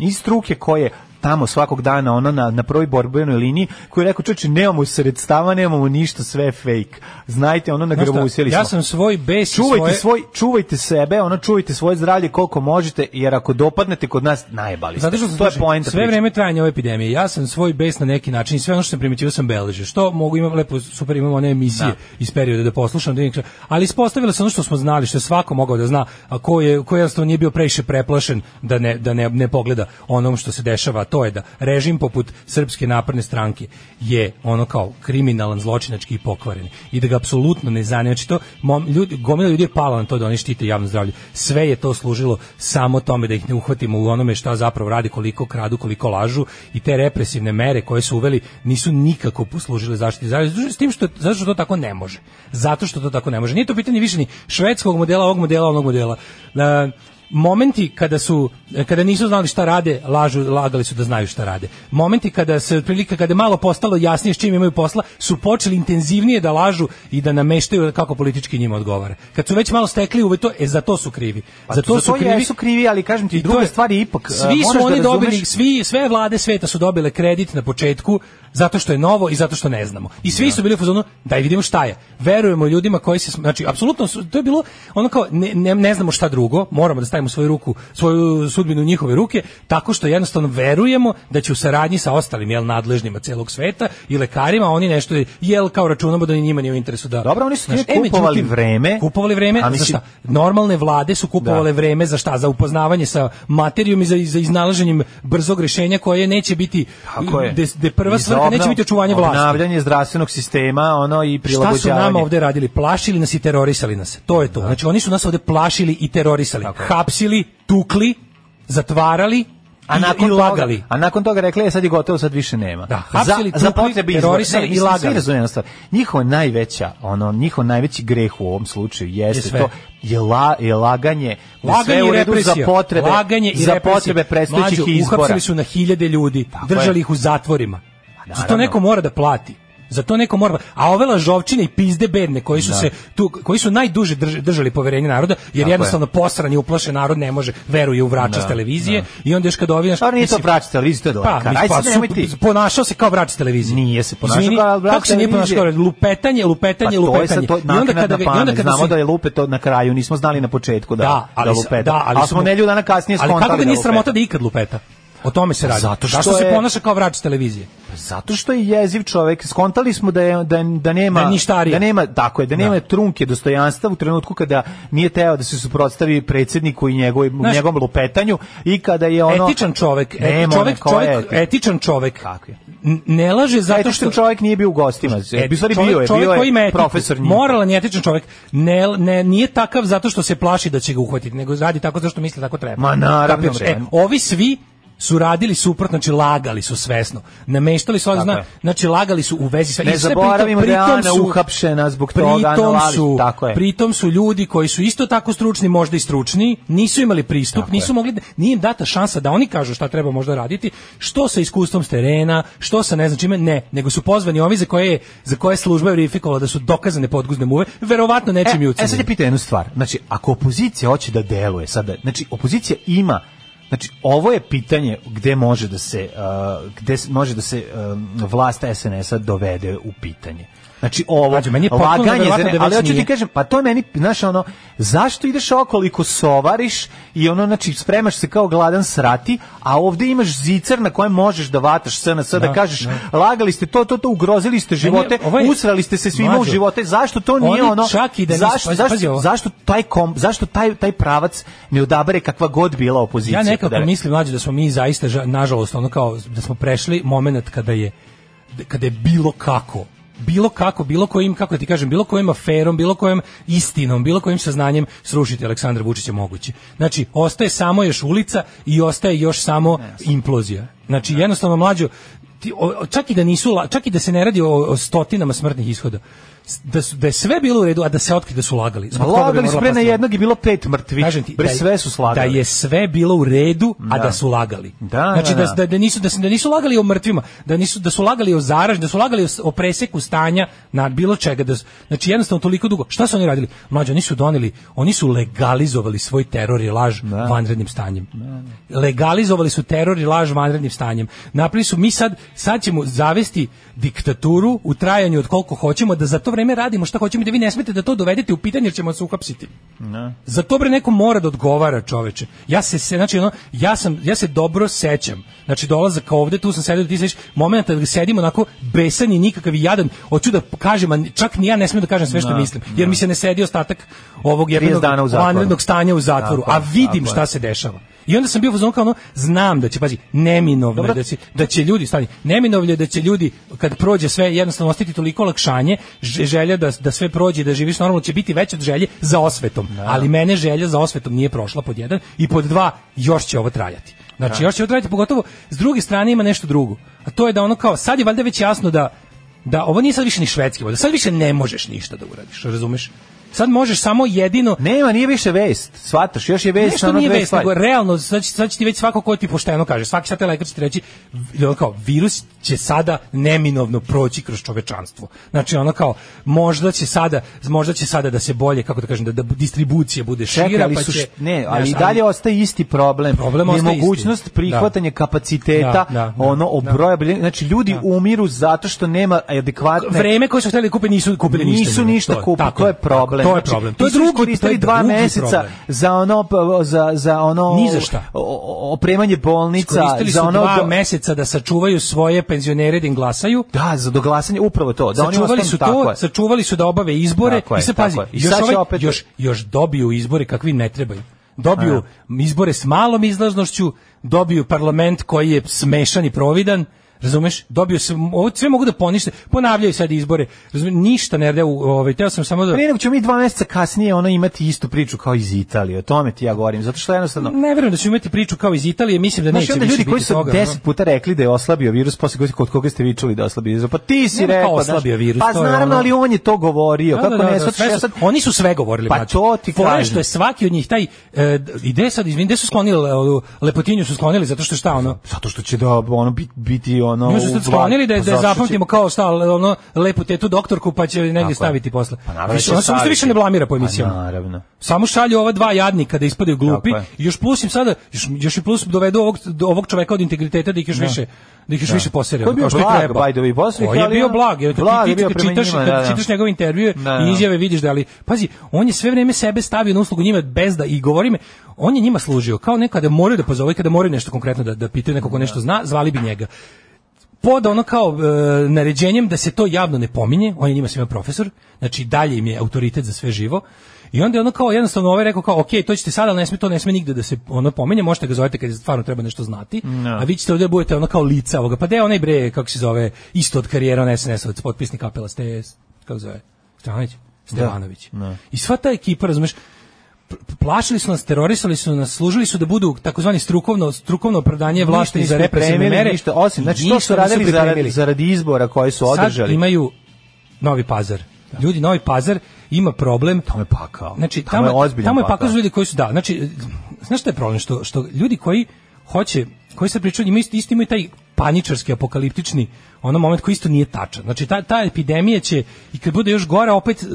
Speaker 3: iz struke koje tamo svakog dana ono na, na prvoj borbenoj liniji koji je rekao čoče nemamo sredstava nemamo ništa sve je fake znajte ono na
Speaker 4: znaš šta,
Speaker 3: grbu
Speaker 4: ja sam svoj bes i
Speaker 3: čuvajte
Speaker 4: svoje...
Speaker 3: svoj čuvajte sebe, ono čuvajte svoje zdravlje koliko možete jer ako dopadnete kod nas najbali ste.
Speaker 4: Zato što
Speaker 3: to je
Speaker 4: slušaj,
Speaker 3: poenta.
Speaker 4: sve
Speaker 3: priče.
Speaker 4: vreme trajanja ove epidemije, ja sam svoj bes na neki način i sve ono što sam primetio sam beležio. Što mogu imam lepo super imam one emisije iz perioda da poslušam da vidim šta- ali ispostavilo se ono što smo znali, što je svako mogao da zna, a ko je ko jednostavno nije bio previše preplašen da ne da ne, ne pogleda onom što se dešava, a to je da režim poput srpske napredne stranke je ono kao kriminalan, zločinački i pokvaren i da ga apsolutno ne zanima znači to mom, ljudi gomila ljudi je pala na to da oni štite javno zdravlje. Sve je to služilo samo tome da ih ne uhvatimo u onome šta zapravo radi, koliko kradu, koliko lažu i te represivne mere koje su uveli nisu nikako poslužile zaštiti zdravlja. S tim što zato što to tako ne može. Zato što to tako ne može. Nije to pitanje više ni švedskog modela, ovog modela, onog modela. E, momenti kada su kada nisu znali šta rade, lažu, lagali su da znaju šta rade. Momenti kada se otprilike kada je malo postalo jasnije s čim imaju posla, su počeli intenzivnije da lažu i da nameštaju kako politički njima odgovara. Kad su već malo stekli uve to, e za to su krivi. Pa za to su krivi.
Speaker 3: Pa jesu krivi, ali kažem ti,
Speaker 4: I to
Speaker 3: druge
Speaker 4: je-
Speaker 3: stvari ipak. e,
Speaker 4: Svi
Speaker 3: moraš
Speaker 4: su
Speaker 3: da
Speaker 4: oni
Speaker 3: razumeš-
Speaker 4: dobili, svi, sve vlade sveta su dobile kredit na početku zato što je novo i zato što ne znamo. I
Speaker 3: Da.
Speaker 4: svi su bili u fazonu, daj vidimo šta je. Verujemo ljudima koji se, sm- znači, apsolutno, su- to je bilo ono kao, ne, ne, ne znamo šta drugo, moramo da stavimo svoju ruku, svoju sudbinu u njihove ruke, tako što jednostavno verujemo da će u saradnji sa ostalim, jel, nadležnima celog sveta i lekarima, oni nešto, jel, kao računamo da ni njima nije u interesu da...
Speaker 3: Dobro, oni su
Speaker 4: Znaš,
Speaker 3: time
Speaker 4: e, međutim,
Speaker 3: kupovali vreme.
Speaker 4: Kupovali vreme,
Speaker 3: A
Speaker 4: za
Speaker 3: mislim-
Speaker 4: šta? normalne vlade su kupovale
Speaker 3: Da.
Speaker 4: vreme za šta? Za upoznavanje sa materijom i za, i za iznalaženjem brzog rješenja koje neće biti
Speaker 3: Tako je.
Speaker 4: de, de prva
Speaker 3: I za
Speaker 4: svrha neće
Speaker 3: obnov-
Speaker 4: biti očuvanje vlasti.
Speaker 3: Obnavljanje zdravstvenog sistema, ono i
Speaker 4: Šta
Speaker 3: prilagođavanje. Da.
Speaker 4: su nama ovde radili? Plašili nas i terorisali nas. To je to. Znači oni su nas ovde plašili i terorisali. Hapsili, tukli, zatvarali i, i
Speaker 3: toga-
Speaker 4: lagali.
Speaker 3: a nakon toga rekli, e, sad je gotovo, sad više nema.
Speaker 4: Da, hapsili,
Speaker 3: za, za
Speaker 4: tukli,
Speaker 3: potrebe izbora.
Speaker 4: terorisali
Speaker 3: Ne,
Speaker 4: i
Speaker 3: mislim, svi
Speaker 4: lagali.
Speaker 3: razumeju jednu stvar. Njihova najveća, ono, njihov najveći greh u ovom slučaju jeste
Speaker 4: Je sve.
Speaker 3: to, je, la, je laganje, da sve
Speaker 4: Laganje
Speaker 3: je u
Speaker 4: i
Speaker 3: redu
Speaker 4: represija.
Speaker 3: za potrebe,
Speaker 4: Laganje i
Speaker 3: za
Speaker 4: represija.
Speaker 3: potrebe predstojećih
Speaker 4: Mlađo,
Speaker 3: izbora.
Speaker 4: Uhapsili su na hiljade ljudi, držali
Speaker 3: je. Pa
Speaker 4: ih u zatvorima. Za to
Speaker 3: naravno.
Speaker 4: neko mora da plati. Za to neko mora. A ove lažovčine i pizde bedne koji su se tu koji su najduže drž- držali poverenje naroda jer
Speaker 3: Da. Tako je. Da,
Speaker 4: jednostavno posran i uplašen narod ne može veruje u vrača s televizije i onda još kad ovi naš-
Speaker 3: Stvarno Pa nije to
Speaker 4: mislim,
Speaker 3: vrač televizije, to je
Speaker 4: pa,
Speaker 3: lakar.
Speaker 4: mislim,
Speaker 3: Ajde
Speaker 4: pa,
Speaker 3: sad
Speaker 4: su-
Speaker 3: nemoj ti.
Speaker 4: ponašao se kao vrač s televizije.
Speaker 3: Nije se ponašao
Speaker 4: Izvini,
Speaker 3: kao vrač
Speaker 4: kako se nije ponašao kao
Speaker 3: televizije?
Speaker 4: lupetanje, lupetanje,
Speaker 3: Pa to je sad
Speaker 4: lupetanje.
Speaker 3: to
Speaker 4: I onda kada
Speaker 3: naknadna
Speaker 4: ga- i onda
Speaker 3: pamet.
Speaker 4: kada
Speaker 3: Znamo
Speaker 4: su-
Speaker 3: da je lupe to na kraju, nismo znali na početku da,
Speaker 4: da, ali,
Speaker 3: da
Speaker 4: s-
Speaker 3: lupeta.
Speaker 4: da, ali,
Speaker 3: ali smo nedelju dana kasnije
Speaker 4: Ali
Speaker 3: skontali
Speaker 4: kako ga
Speaker 3: da
Speaker 4: nije
Speaker 3: lupeta.
Speaker 4: sramota da ikad lupeta? O tome se radi.
Speaker 3: zato što
Speaker 4: Zašto se
Speaker 3: je-
Speaker 4: ponaša kao vrač s televizije?
Speaker 3: Zato što je jeziv čovek, skontali smo da je, da, da nema
Speaker 4: Da je
Speaker 3: da
Speaker 4: ništarija.
Speaker 3: nema tako je, da nema trunke dostojanstva u trenutku kada nije teo da se suprotstavi predsedniku i njegovoj
Speaker 4: Znaš-
Speaker 3: njegovom lupetanju i kada je ono
Speaker 4: etičan čovek, eti-
Speaker 3: Nema
Speaker 4: čovek,
Speaker 3: neko
Speaker 4: čovek,
Speaker 3: eti-
Speaker 4: etičan čovek.
Speaker 3: Kako je?
Speaker 4: n- Ne laže zato što
Speaker 3: etičan čovek nije bio u gostima. E,
Speaker 4: E,
Speaker 3: bi stvari bio je,
Speaker 4: čovjek
Speaker 3: bio
Speaker 4: koji ima
Speaker 3: je
Speaker 4: etiku,
Speaker 3: profesor njih.
Speaker 4: Moralan i etičan čovjek. Ne, ne, nije takav zato što se plaši da će ga uhvatiti, nego radi tako zato što misli tako treba.
Speaker 3: Ma, naravno,
Speaker 4: Kapiraš? E,
Speaker 3: bre.
Speaker 4: ovi svi su radili suprotno, znači lagali su svesno. Nameštali su, ali
Speaker 3: Tako
Speaker 4: zna,
Speaker 3: je.
Speaker 4: znači lagali su u vezi sa...
Speaker 3: Ne
Speaker 4: i sve
Speaker 3: zaboravimo da je
Speaker 4: pritom
Speaker 3: Ana
Speaker 4: su-
Speaker 3: uhapšena zbog toga, Ana
Speaker 4: pritom
Speaker 3: Lalić,
Speaker 4: su-
Speaker 3: tako je.
Speaker 4: Pritom su ljudi koji su isto tako stručni, možda i stručni, nisu imali pristup, nisu mogli, da- nije im data šansa da oni kažu šta treba možda raditi, što sa iskustvom s terena, što sa ne znam čime, ne, nego su pozvani ovi za koje, je- za koje je služba verifikovala da su dokazane podguzne muve, verovatno nečim i
Speaker 3: E, e sad je
Speaker 4: ucenjeni.
Speaker 3: pita jednu stvar. Znači, ako opozicija hoće da deluje sada, znači opozicija ima Znači, ovo je pitanje gde može da se uh, gde s- može da se um, vlast SNS-a dovede u pitanje. Znači, ovo
Speaker 4: Mlađe, meni je potpuno
Speaker 3: za
Speaker 4: neverovatno
Speaker 3: ne-
Speaker 4: da već
Speaker 3: ali hoću ti
Speaker 4: nije.
Speaker 3: kažem, pa to je meni, znaš, ono, zašto ideš okoliko sovariš i ono, znači, spremaš se kao gladan srati, a ovde imaš zicer na kojem možeš da vataš SNS, da,
Speaker 4: Da,
Speaker 3: kažeš, lagali ste to, to, to, ugrozili ste živote,
Speaker 4: ovo je- ovaj
Speaker 3: usrali ste se svima u
Speaker 4: Mlađo,
Speaker 3: živote, zašto to nije
Speaker 4: oni
Speaker 3: ono
Speaker 4: čak i da nisu-
Speaker 3: zašto
Speaker 4: pazi,
Speaker 3: zašto,
Speaker 4: pazi ovo.
Speaker 3: zašto taj kom zašto taj taj pravac ne odabere kakva god bila opozicija
Speaker 4: Ja nekako
Speaker 3: da re-
Speaker 4: mislim mlađe da smo mi zaista ža- nažalost ono kao da smo prešli momenat kada je kada je bilo kako bilo kako, bilo kojim, kako da ti kažem, bilo kojim aferom, bilo kojim istinom, bilo kojim saznanjem srušiti Aleksandra Vučića moguće. Znači, ostaje samo još ulica i ostaje još samo implozija. Znači,
Speaker 3: Da.
Speaker 4: jednostavno mlađo, ti, o- o- čak i da nisu, la- čak i da se ne radi o, o stotinama smrtnih ishoda, s- da, su, da je sve bilo u redu, a da se otkrije da su lagali. Zbog toga bi
Speaker 3: Lagali su
Speaker 4: morala
Speaker 3: pre na
Speaker 4: pasti-
Speaker 3: jednog i bilo pet mrtvih.
Speaker 4: Kažem ti,
Speaker 3: Bre,
Speaker 4: je-
Speaker 3: sve su slagali.
Speaker 4: Da je sve bilo u redu, a
Speaker 3: Da.
Speaker 4: da, su lagali.
Speaker 3: Da,
Speaker 4: znači
Speaker 3: da,
Speaker 4: da,
Speaker 3: da.
Speaker 4: da, nisu da, se- da nisu lagali o mrtvima, da nisu da su lagali o zaraž, da su lagali o, s- o preseku stanja na bilo čega da su- znači jednostavno toliko dugo. Šta su oni radili? Mlađi oni su doneli, oni su legalizovali svoj teror i laž
Speaker 3: Da.
Speaker 4: vanrednim stanjem. Legalizovali su teror i laž vanrednim stanjem. Napravili su mi sad sad ćemo zavesti diktaturu u trajanju od koliko hoćemo da za to vreme radimo šta hoćemo i da vi ne smete da to dovedete u pitanje jer ćemo vas uhapsiti. Za to bre neko mora da odgovara, čoveče. Ja se, se znači ono, ja sam ja se dobro sećam. Znači dolazak ovde, tu sam sedeo, ti sediš, momenata da sedim onako besan i nikakav i jadan, hoću da kažem, a ni- čak ni ja ne smem da kažem sve što mislim, jer mi se ne sedi ostatak ovog
Speaker 3: 30 dana u
Speaker 4: jednog
Speaker 3: zatvoru.
Speaker 4: vanrednog stanja u zatvoru,
Speaker 3: Tako je,
Speaker 4: a vidim
Speaker 3: tako je.
Speaker 4: šta se dešava. I onda sam bio u fazonu kao ono, znam da će, pazi, neminovno je da će, da će ljudi, stani, neminovno je da će ljudi, kad prođe sve, jednostavno ostiti toliko olakšanje, ž- želja da, da sve prođe, i da živiš normalno, će biti veća od želje za osvetom. Ali mene želja za osvetom nije prošla pod jedan i pod dva, još će ovo trajati. Znači, još će ovo trajati, pogotovo, s druge strane ima nešto drugo. A to je da ono kao, sad je valjda već jasno da da ovo nije sad više ni švedski, valjda sad više ne možeš ništa da uradiš, razumeš? Sad možeš samo jedino
Speaker 3: Nema, nije više vest. Svataš, još je vest
Speaker 4: Nešto
Speaker 3: na ono
Speaker 4: nije
Speaker 3: dve
Speaker 4: vest,
Speaker 3: stvari.
Speaker 4: nego realno, sad će, sad će ti već svako ko ti pošteno kaže, svaki sad te lekar će ti reći, vi- ono kao, virus će sada neminovno proći kroz čovečanstvo. Znači, ono kao, možda će sada, možda će sada da se bolje, kako da kažem, da, da distribucija bude šira,
Speaker 3: Čekaj, ali
Speaker 4: pa
Speaker 3: su,
Speaker 4: će...
Speaker 3: š- ne,
Speaker 4: znaš,
Speaker 3: ali i dalje ostaje isti problem.
Speaker 4: Problem ostaje
Speaker 3: Nemogućnost
Speaker 4: isti.
Speaker 3: prihvatanja kapaciteta,
Speaker 4: Da, da, da,
Speaker 3: ono,
Speaker 4: da.
Speaker 3: obroja, bilje- znači ljudi umiru zato što nema adekvatne...
Speaker 4: vreme koje su hteli kupe nisu kupili ništa.
Speaker 3: nisu ništa
Speaker 4: To-
Speaker 3: kupili,
Speaker 4: tako
Speaker 3: to je problem.
Speaker 4: To je
Speaker 3: Znači,
Speaker 4: problem.
Speaker 3: ti
Speaker 4: To je
Speaker 3: su
Speaker 4: drugi, to
Speaker 3: iskoristili
Speaker 4: je
Speaker 3: dva
Speaker 4: drugi
Speaker 3: meseca
Speaker 4: problem.
Speaker 3: za ono pa, za za ono
Speaker 4: Ni za šta.
Speaker 3: o- o- opremanje bolnica,
Speaker 4: Koristili su
Speaker 3: za ono
Speaker 4: dva
Speaker 3: do-
Speaker 4: meseca da sačuvaju svoje penzionere da im glasaju,
Speaker 3: da, za doglasanje upravo to, da oni
Speaker 4: sačuvali
Speaker 3: ostanu-
Speaker 4: su
Speaker 3: tako
Speaker 4: to,
Speaker 3: je.
Speaker 4: sačuvali su da obave izbore
Speaker 3: Tako je,
Speaker 4: i se
Speaker 3: tako
Speaker 4: pazi,
Speaker 3: je. I
Speaker 4: još,
Speaker 3: sad će
Speaker 4: ovaj,
Speaker 3: opet-
Speaker 4: još, još dobiju izbore kakvi ne trebaju. Dobiju izbore s malom izlaznošću, dobiju parlament koji je smešan i providan, razumeš? Dobiju se, ovo sve mogu da ponište, ponavljaju sad izbore, razumeš? Ništa ne rade, u- ovaj, teo sam samo da...
Speaker 3: Prije Pa nego ćemo mi dva meseca kasnije ono imati istu priču kao iz Italije, o tome ti ja govorim, zato što jednostavno
Speaker 4: Ne verujem da ćemo imati priču kao iz Italije, mislim da
Speaker 3: Znaš,
Speaker 4: neće
Speaker 3: onda
Speaker 4: više
Speaker 3: ljudi
Speaker 4: biti
Speaker 3: koji su
Speaker 4: toga, ono.
Speaker 3: deset puta rekli da je oslabio virus, posle koji kod koga ste vi čuli da je oslabio virus, pa ti si
Speaker 4: Nema kao
Speaker 3: rekao, znaš,
Speaker 4: oslabio virus,
Speaker 3: pa
Speaker 4: to je
Speaker 3: naravno,
Speaker 4: ono-
Speaker 3: ali on je to govorio,
Speaker 4: Da,
Speaker 3: kako
Speaker 4: da, da,
Speaker 3: ne,
Speaker 4: da,
Speaker 3: sad,
Speaker 4: sve
Speaker 3: ja
Speaker 4: su-
Speaker 3: sad,
Speaker 4: oni su sve govorili.
Speaker 3: Pa
Speaker 4: brate.
Speaker 3: to ti
Speaker 4: Fora je
Speaker 3: kažem.
Speaker 4: što je svaki od njih taj e, ide sad izvin, gde su sklonili le- ovu lepotinju su sklonili zato što šta ono.
Speaker 3: zato što će da ono bit- biti ono
Speaker 4: Nju su sad
Speaker 3: u
Speaker 4: sklonili
Speaker 3: vladi,
Speaker 4: da, da je
Speaker 3: pa zato što će-
Speaker 4: zapamtimo kao šta, le- ono, lepu tetu doktorku pa će
Speaker 3: Tako
Speaker 4: negdje
Speaker 3: je.
Speaker 4: staviti posle.
Speaker 3: Pa naravno
Speaker 4: više,
Speaker 3: da će
Speaker 4: ono se uopšte
Speaker 3: staviti.
Speaker 4: više ne blamira po
Speaker 3: Pa
Speaker 4: emisijama.
Speaker 3: naravno.
Speaker 4: Samo šalju ova dva jadnika da ispadaju glupi,
Speaker 3: Tako je.
Speaker 4: i još plus im sada, još, još i plus dovedu ovog, do ovog čoveka od integriteta da ih još više da ih još više posere.
Speaker 3: Koji je bio
Speaker 4: kao što i
Speaker 3: blag,
Speaker 4: treba.
Speaker 3: by the way, poslik,
Speaker 4: Koji je
Speaker 3: ali
Speaker 4: bio
Speaker 3: on-
Speaker 4: blag, jer kad
Speaker 3: blag
Speaker 4: ti,
Speaker 3: je
Speaker 4: ti
Speaker 3: bio
Speaker 4: kad
Speaker 3: prema
Speaker 4: čitaš,
Speaker 3: njima,
Speaker 4: kad
Speaker 3: da, da.
Speaker 4: čitaš njegove intervjue
Speaker 3: Da, da.
Speaker 4: i izjave vidiš da ali pazi, on je sve vreme sebe stavio na uslugu njima bez da i govori me on je njima služio kao nekada moraju da pozove kada moraju nešto konkretno da da pitaju nekog ko nešto zna, zvali bi njega pod ono kao e, naređenjem da se to javno ne pominje, on je njima svima profesor, znači dalje im je autoritet za sve živo. I onda je ono kao jednostavno ovaj rekao kao ok, to ćete sada, ali ne sme to ne sme nigde da se ono pominje, možete ga zovete kad stvarno treba nešto znati. A vi ćete ovdje da budete ono kao lica ovoga. Pa da je onaj bre kako se zove isto od karijera on SNS-ovac, potpisnik apela ste kako se zove? Stevanović,
Speaker 3: Da,
Speaker 4: Stevanović. I sva ta ekipa, razumeš, plašili su nas, terorisali su nas, služili su da budu takozvani strukovno strukovno opravdanje vlasti
Speaker 3: ništa
Speaker 4: za
Speaker 3: nisu
Speaker 4: represivne
Speaker 3: pripremili,
Speaker 4: mere.
Speaker 3: ništa, osim, znači to
Speaker 4: Ništa
Speaker 3: su
Speaker 4: nisu
Speaker 3: radili
Speaker 4: pripremili.
Speaker 3: zaradi, zaradi izbora koji su
Speaker 4: Sad
Speaker 3: održali. Da.
Speaker 4: imaju Novi Pazar. Ljudi, Novi Pazar ima problem.
Speaker 3: Tamo je pakao.
Speaker 4: Znači,
Speaker 3: Tamo
Speaker 4: tamo,
Speaker 3: je ozbiljan
Speaker 4: tamo je
Speaker 3: pakao.
Speaker 4: pakao su ljudi koji su, da, znači, znaš šta je problem? Što, što ljudi koji hoće, koji se pričaju, njima isto, isto imaju taj paničarski, apokaliptični, ono moment koji isto nije tačan. Znači, ta, ta epidemija će, i kad bude još gora, opet... e,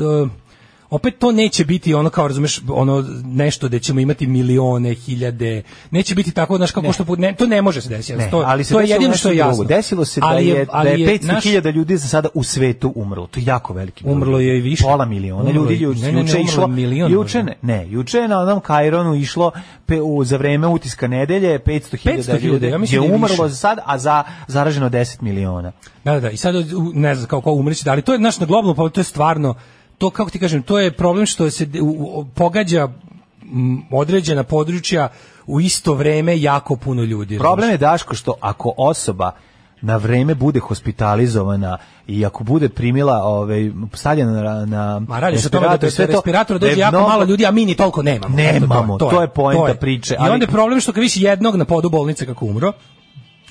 Speaker 4: opet to neće biti ono kao razumeš ono nešto da ćemo imati milione, hiljade. Neće biti tako znaš kako što ne, to ne može se desiti.
Speaker 3: Ne,
Speaker 4: to,
Speaker 3: ali se
Speaker 4: to je
Speaker 3: desilo
Speaker 4: jedino
Speaker 3: nešto
Speaker 4: što je jasno.
Speaker 3: drugo. Desilo se da
Speaker 4: Ali
Speaker 3: je, da
Speaker 4: ali
Speaker 3: je
Speaker 4: naš-
Speaker 3: 500.000 ljudi za sada u svetu umrlo. To je jako veliki broj.
Speaker 4: Umrlo je i više.
Speaker 3: Pola miliona
Speaker 4: Umrlo
Speaker 3: ljudi
Speaker 4: je-
Speaker 3: juče
Speaker 4: ne, ne, ne,
Speaker 3: juče je
Speaker 4: umrlo je
Speaker 3: išlo.
Speaker 4: milion
Speaker 3: Juče ne,
Speaker 4: možda.
Speaker 3: ne, juče je na onom Kaironu išlo pe, u, za vreme utiska nedelje 500.000
Speaker 4: 500.000,
Speaker 3: ljudi
Speaker 4: ja
Speaker 3: je
Speaker 4: mislim da je
Speaker 3: umrlo
Speaker 4: više.
Speaker 3: za sad, a za zaraženo 10 miliona.
Speaker 4: Da, da, da, i sad u- ne znam kako umreći, da, ali to je naš na globalnom pa to je stvarno to kako ti kažem, to je problem što se de- u- u- pogađa m, određena područja u isto vreme jako puno ljudi.
Speaker 3: Problem je Daško što ako osoba na vreme bude hospitalizovana i ako bude primila ove stavljena na na
Speaker 4: Ma radi se o tome da
Speaker 3: respirator i
Speaker 4: bez
Speaker 3: sve to,
Speaker 4: respiratora
Speaker 3: da je
Speaker 4: dođe jako
Speaker 3: mnogo-
Speaker 4: malo ljudi, a mi ni toliko nemamo. Eto,
Speaker 3: Nemamo, to je poenta
Speaker 4: to
Speaker 3: priče,
Speaker 4: I
Speaker 3: ali-
Speaker 4: onda je problem što kad više jednog na podu bolnice kako umro,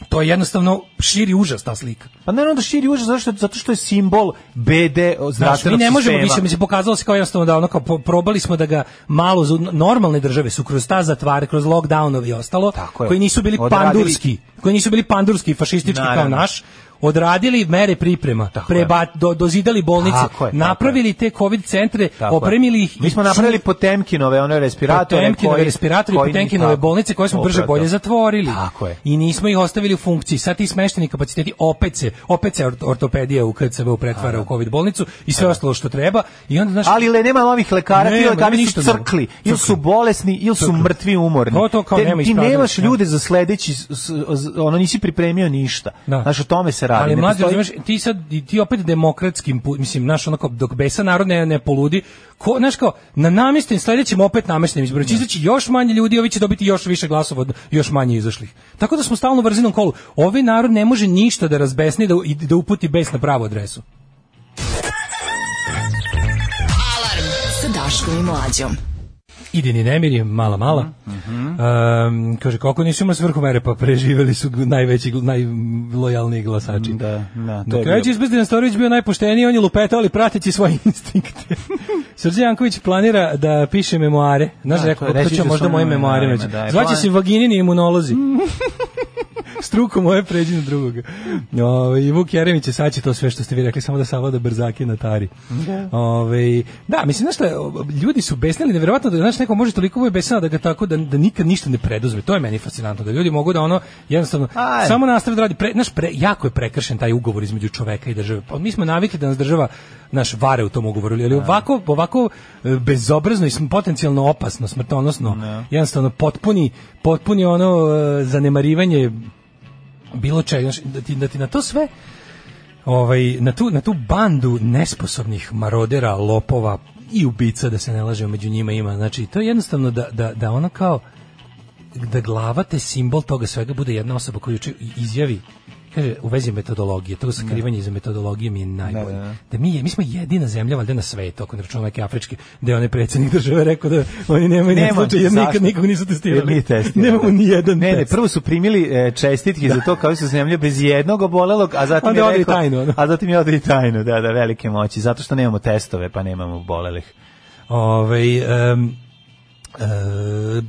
Speaker 4: to je jednostavno širi užas ta slika.
Speaker 3: Pa naravno da širi užas zato što, zato što je simbol BD zdravstvenog
Speaker 4: Znaš, Znači, mi
Speaker 3: sistema.
Speaker 4: ne možemo više, mislim, pokazalo se kao jednostavno da ono kao po- probali smo da ga malo, za- normalne države su kroz ta zatvare, kroz lockdownove i ostalo,
Speaker 3: Tako je.
Speaker 4: koji nisu bili
Speaker 3: Odradili-
Speaker 4: pandurski, koji nisu bili pandurski i fašistički kao
Speaker 3: Naravno.
Speaker 4: naš, odradili mere priprema,
Speaker 3: Tako je.
Speaker 4: preba, do, dozidali bolnice,
Speaker 3: Tako je, tako
Speaker 4: napravili te covid centre,
Speaker 3: Tako je.
Speaker 4: opremili ih.
Speaker 3: Mi smo
Speaker 4: i
Speaker 3: napravili
Speaker 4: ču-
Speaker 3: Potemkinove, one respiratore.
Speaker 4: Potemkinove
Speaker 3: koji-
Speaker 4: respiratori,
Speaker 3: koji-
Speaker 4: Potemkinove
Speaker 3: tako,
Speaker 4: bolnice koje smo brže
Speaker 3: upravo
Speaker 4: bolje
Speaker 3: to.
Speaker 4: zatvorili.
Speaker 3: Tako je.
Speaker 4: I nismo ih ostavili u funkciji. Sad ti smešteni kapaciteti opet se, opet se ort- ortopedija u KCV pretvara u covid bolnicu i sve ostalo što treba. I onda, znaš,
Speaker 3: Ali le, nema novih lekara, ti
Speaker 4: Nema,
Speaker 3: lekari
Speaker 4: nema
Speaker 3: su
Speaker 4: ništa novo.
Speaker 3: crkli, ili su
Speaker 4: Crkli.
Speaker 3: bolesni, ili su
Speaker 4: Crkli.
Speaker 3: mrtvi umorni.
Speaker 4: To- to kao
Speaker 3: Te-
Speaker 4: nema
Speaker 3: ti
Speaker 4: ispravljanja,
Speaker 3: nemaš
Speaker 4: da.
Speaker 3: ljude za sledeći, s- s- s- ono nisi pripremio ništa.
Speaker 4: Da.
Speaker 3: Znaš, o tome se radi.
Speaker 4: Ali
Speaker 3: ne
Speaker 4: mlađe,
Speaker 3: postoji-
Speaker 4: razumeš, ti sad i ti opet demokratskim put, mislim, naš onako dok besa narod ne, ne poludi, ko, znaš kao, na namještenim sledećem opet namještenim izborima
Speaker 3: Da.
Speaker 4: će izaći još manje ljudi, ovi će dobiti još više glasova, od još manje izašlih. Tako da smo stalno u vrzinom kolu. Ovi narod ne može ništa da razbesni da, i da uputi bes na pravu adresu.
Speaker 2: Alarm sa Daškom i Mlađom.
Speaker 4: Idini nemiri, mala mala.
Speaker 3: Mhm.
Speaker 4: Um, kaže, koliko nisu ima svrhu mere, pa preživeli su najveći, gl- najlojalniji glasači.
Speaker 3: Da, da, to je
Speaker 4: Dok
Speaker 3: bio-
Speaker 4: je Bezdan Storović bio najpošteniji, on je lupetao, ali prateći svoje instinkte. Srđan Janković planira da piše memoare. Znaš,
Speaker 3: Da,
Speaker 4: rekao,
Speaker 3: to-
Speaker 4: kako
Speaker 3: reći
Speaker 4: će
Speaker 3: ću
Speaker 4: možda
Speaker 3: svojim
Speaker 4: moje memoare
Speaker 3: memoarima,
Speaker 4: naći.
Speaker 3: da, je
Speaker 4: Zvaće
Speaker 3: plan-
Speaker 4: se vaginini imunolozi. Struko moje pređi na drugog. Ove, I Vuk Jeremić je sad će to sve što ste vi rekli, samo da savlada brzaki na tari. Ove, da, mislim, znaš šta, ljudi su besnili, nevjerovatno da, znaš, neko može toliko bude besnila da ga tako, da, da nikad ništa ne preduzme. To je meni fascinantno, da ljudi mogu da ono, jednostavno,
Speaker 3: Aj.
Speaker 4: samo nastavi da radi. Pre, znaš, pre, jako je prekršen taj ugovor između čoveka i države. Pa mi smo navikli da nas država naš vare u tom ugovoru, ali ovako, ovako e, bezobrazno i sm- potencijalno opasno, smrtonosno, jednostavno potpuni, potpuni ono e, zanemarivanje bilo čega, znaš, da ti, da ti na to sve ovaj, na, tu, na tu bandu nesposobnih marodera, lopova i ubica, da se ne lažemo, među njima ima. Znači, to je jednostavno da, da, da ono kao, da glava te simbol toga svega bude jedna osoba koju juče izjavi kaže u vezi metodologije to sakrivanje iza metodologije mi je najbolje da,
Speaker 3: Da, da, da.
Speaker 4: mi je mi smo jedina zemlja valjda na svetu ako ne računamo neke afričke da je onaj predsjednik države rekao da oni nemaju ni
Speaker 3: Nema,
Speaker 4: slučaj jer nikad
Speaker 3: zašto?
Speaker 4: nikog nisu testirali
Speaker 3: Jer nije testirano.
Speaker 4: nemamo ni jedan
Speaker 3: Ne, ne,
Speaker 4: test.
Speaker 3: prvo su primili e, čestitke za to kao su zemlje bez jednog obolelog, a zatim
Speaker 4: Da. Onda
Speaker 3: je
Speaker 4: ode i da.
Speaker 3: rekao,
Speaker 4: tajnu, ono.
Speaker 3: a zatim je ode i tajnu, da, da, velike moći, zato što nemamo testove, pa nemamo obolelih.
Speaker 4: Ovaj em, e,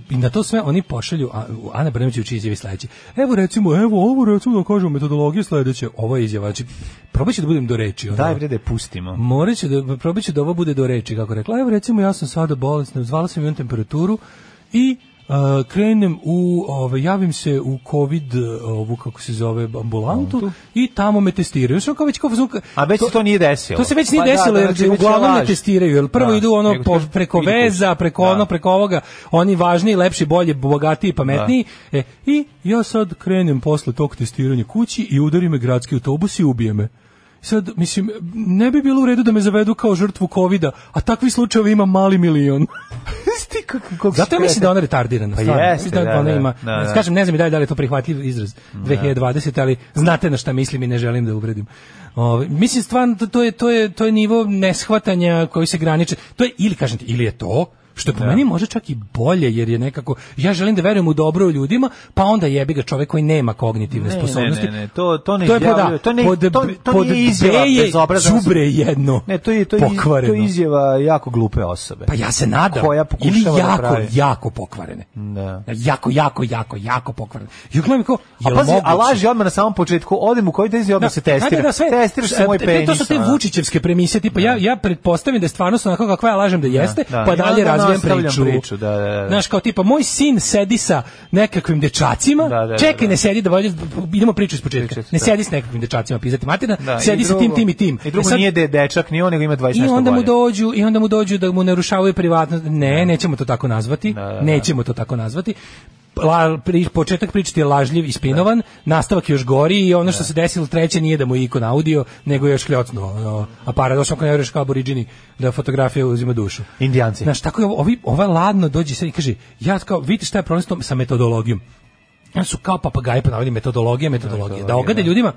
Speaker 4: i na to sve oni pošalju a, u Ana Brnabić uči izjavi sledeće. Evo recimo, evo ovo recimo da kažemo metodologija sledeće. Ovo je izjava. Znači, probat ću da budem do reči. ono.
Speaker 3: Daj bre da je pustimo.
Speaker 4: Morat ću da, probat ću da ovo bude do reči, kako je rekla. Evo recimo, ja sam sada bolesna, zvala sam imam temperaturu i e, krenem u, ove, javim se u COVID, e, ovu kako se zove, ambulantu i tamo me testiraju. Što kao već kao fazon,
Speaker 3: A već se to nije desilo.
Speaker 4: to se već nije
Speaker 3: Pa da,
Speaker 4: desilo
Speaker 3: da,
Speaker 4: jer
Speaker 3: znači, već je
Speaker 4: uglavnom ne
Speaker 3: laž.
Speaker 4: testiraju, jer prvo
Speaker 3: Da,
Speaker 4: idu ono
Speaker 3: nego
Speaker 4: po-
Speaker 3: kažu,
Speaker 4: preko
Speaker 3: vidi
Speaker 4: veza,
Speaker 3: kući.
Speaker 4: preko
Speaker 3: Da.
Speaker 4: ono, preko ovoga, oni važniji, lepši, bolji, bogatiji, pametniji.
Speaker 3: Da.
Speaker 4: E, I ja sad krenem posle tog testiranja kući i udari me gradski autobus i ubije me. Sad, mislim, ne bi bilo u redu da me zavedu kao žrtvu covida, a takvi slučajevi ima mali milion.
Speaker 3: Sti, kako- kako si
Speaker 4: Zato ja mislim
Speaker 3: kreten.
Speaker 4: da je ona retardirana.
Speaker 3: Pa
Speaker 4: stvarno.
Speaker 3: jeste,
Speaker 4: Mislim da,
Speaker 3: da,
Speaker 4: ona
Speaker 3: da,
Speaker 4: ima,
Speaker 3: da, da.
Speaker 4: Kažem, ne znam i dalje da li je to prihvatljiv izraz 2020, ali znate na šta mislim i ne želim da uvredim. Ove, mislim, stvarno, to, to je, to, je, to je nivo neshvatanja koji se graniče. To je, ili, kažem ti, ili je to, što
Speaker 3: Da.
Speaker 4: je po meni može čak i bolje, jer je nekako, ja želim da verujem u dobro u ljudima, pa onda jebi ga čovek koji nema kognitivne
Speaker 3: Ne, ne,
Speaker 4: sposobnosti.
Speaker 3: ne, ne, to- to ne
Speaker 4: je pod A,
Speaker 3: izjavljuje, to ne-
Speaker 4: pod,
Speaker 3: to- to
Speaker 4: B-
Speaker 3: nije
Speaker 4: pod B
Speaker 3: izjava
Speaker 4: je
Speaker 3: bezobrazan.
Speaker 4: đubre jedno,
Speaker 3: Ne, to je to je, iz- to
Speaker 4: pokvareno.
Speaker 3: je izjava jako glupe osobe.
Speaker 4: Pa ja se nadam.
Speaker 3: Koja
Speaker 4: Ili
Speaker 3: pokušava da
Speaker 4: jako,
Speaker 3: pravi.
Speaker 4: jako pokvarene.
Speaker 3: Da.
Speaker 4: Jako, jako, jako, jako pokvarene. I uglavnom je kao,
Speaker 3: A
Speaker 4: jel
Speaker 3: pazi,
Speaker 4: moguće?
Speaker 3: a laži odmah na samom početku, odem u koji tezi, odmah se testira.
Speaker 4: da, sve-
Speaker 3: Testiraš se
Speaker 4: e,
Speaker 3: moj
Speaker 4: to-
Speaker 3: penis.
Speaker 4: To su te
Speaker 3: ono.
Speaker 4: Vučićevske premise, tipa ja, ja pretpostavim da je stvarno onako kakva ja lažem da jeste,
Speaker 3: da.
Speaker 4: pa
Speaker 3: I
Speaker 4: dalje
Speaker 3: onda
Speaker 4: razvijem
Speaker 3: nastavljam
Speaker 4: priču.
Speaker 3: priču, da, da, da.
Speaker 4: Znaš, kao tipa, moj sin sedi sa nekakvim dečacima,
Speaker 3: Da, da, da,
Speaker 4: čekaj,
Speaker 3: da.
Speaker 4: ne sedi da volje, idemo priču iz početka,
Speaker 3: Priču,
Speaker 4: ne
Speaker 3: da.
Speaker 4: sedi s nekakvim dečacima, pizati matina,
Speaker 3: Da,
Speaker 4: sedi
Speaker 3: i
Speaker 4: sa tim,
Speaker 3: drugo-
Speaker 4: tim i tim.
Speaker 3: I
Speaker 4: E
Speaker 3: drugo
Speaker 4: sad-
Speaker 3: nije de, dečak, ni on, nego ima 20
Speaker 4: i onda mu
Speaker 3: godina.
Speaker 4: dođu i onda mu dođu da mu narušavaju privatnost. Ne, nećemo to tako nazvati. Nećemo to tako nazvati. La, pri, početak priče ti je lažljiv i spinovan, nastavak je još gori i ono što se desilo treće nije da mu je ikon audio, nego je još kljocno. Ono, a paradoksno ako ne veruješ kao aboriđini da fotografija uzima dušu.
Speaker 3: Indijanci.
Speaker 4: Znaš, tako je ovo, ovi, ova ladno dođe sad i kaže, ja kao, vidite šta je problem s tom- sa metodologijom. Oni su kao papagaji ponavljali metodologije, metodologije. Da ogade ljudima.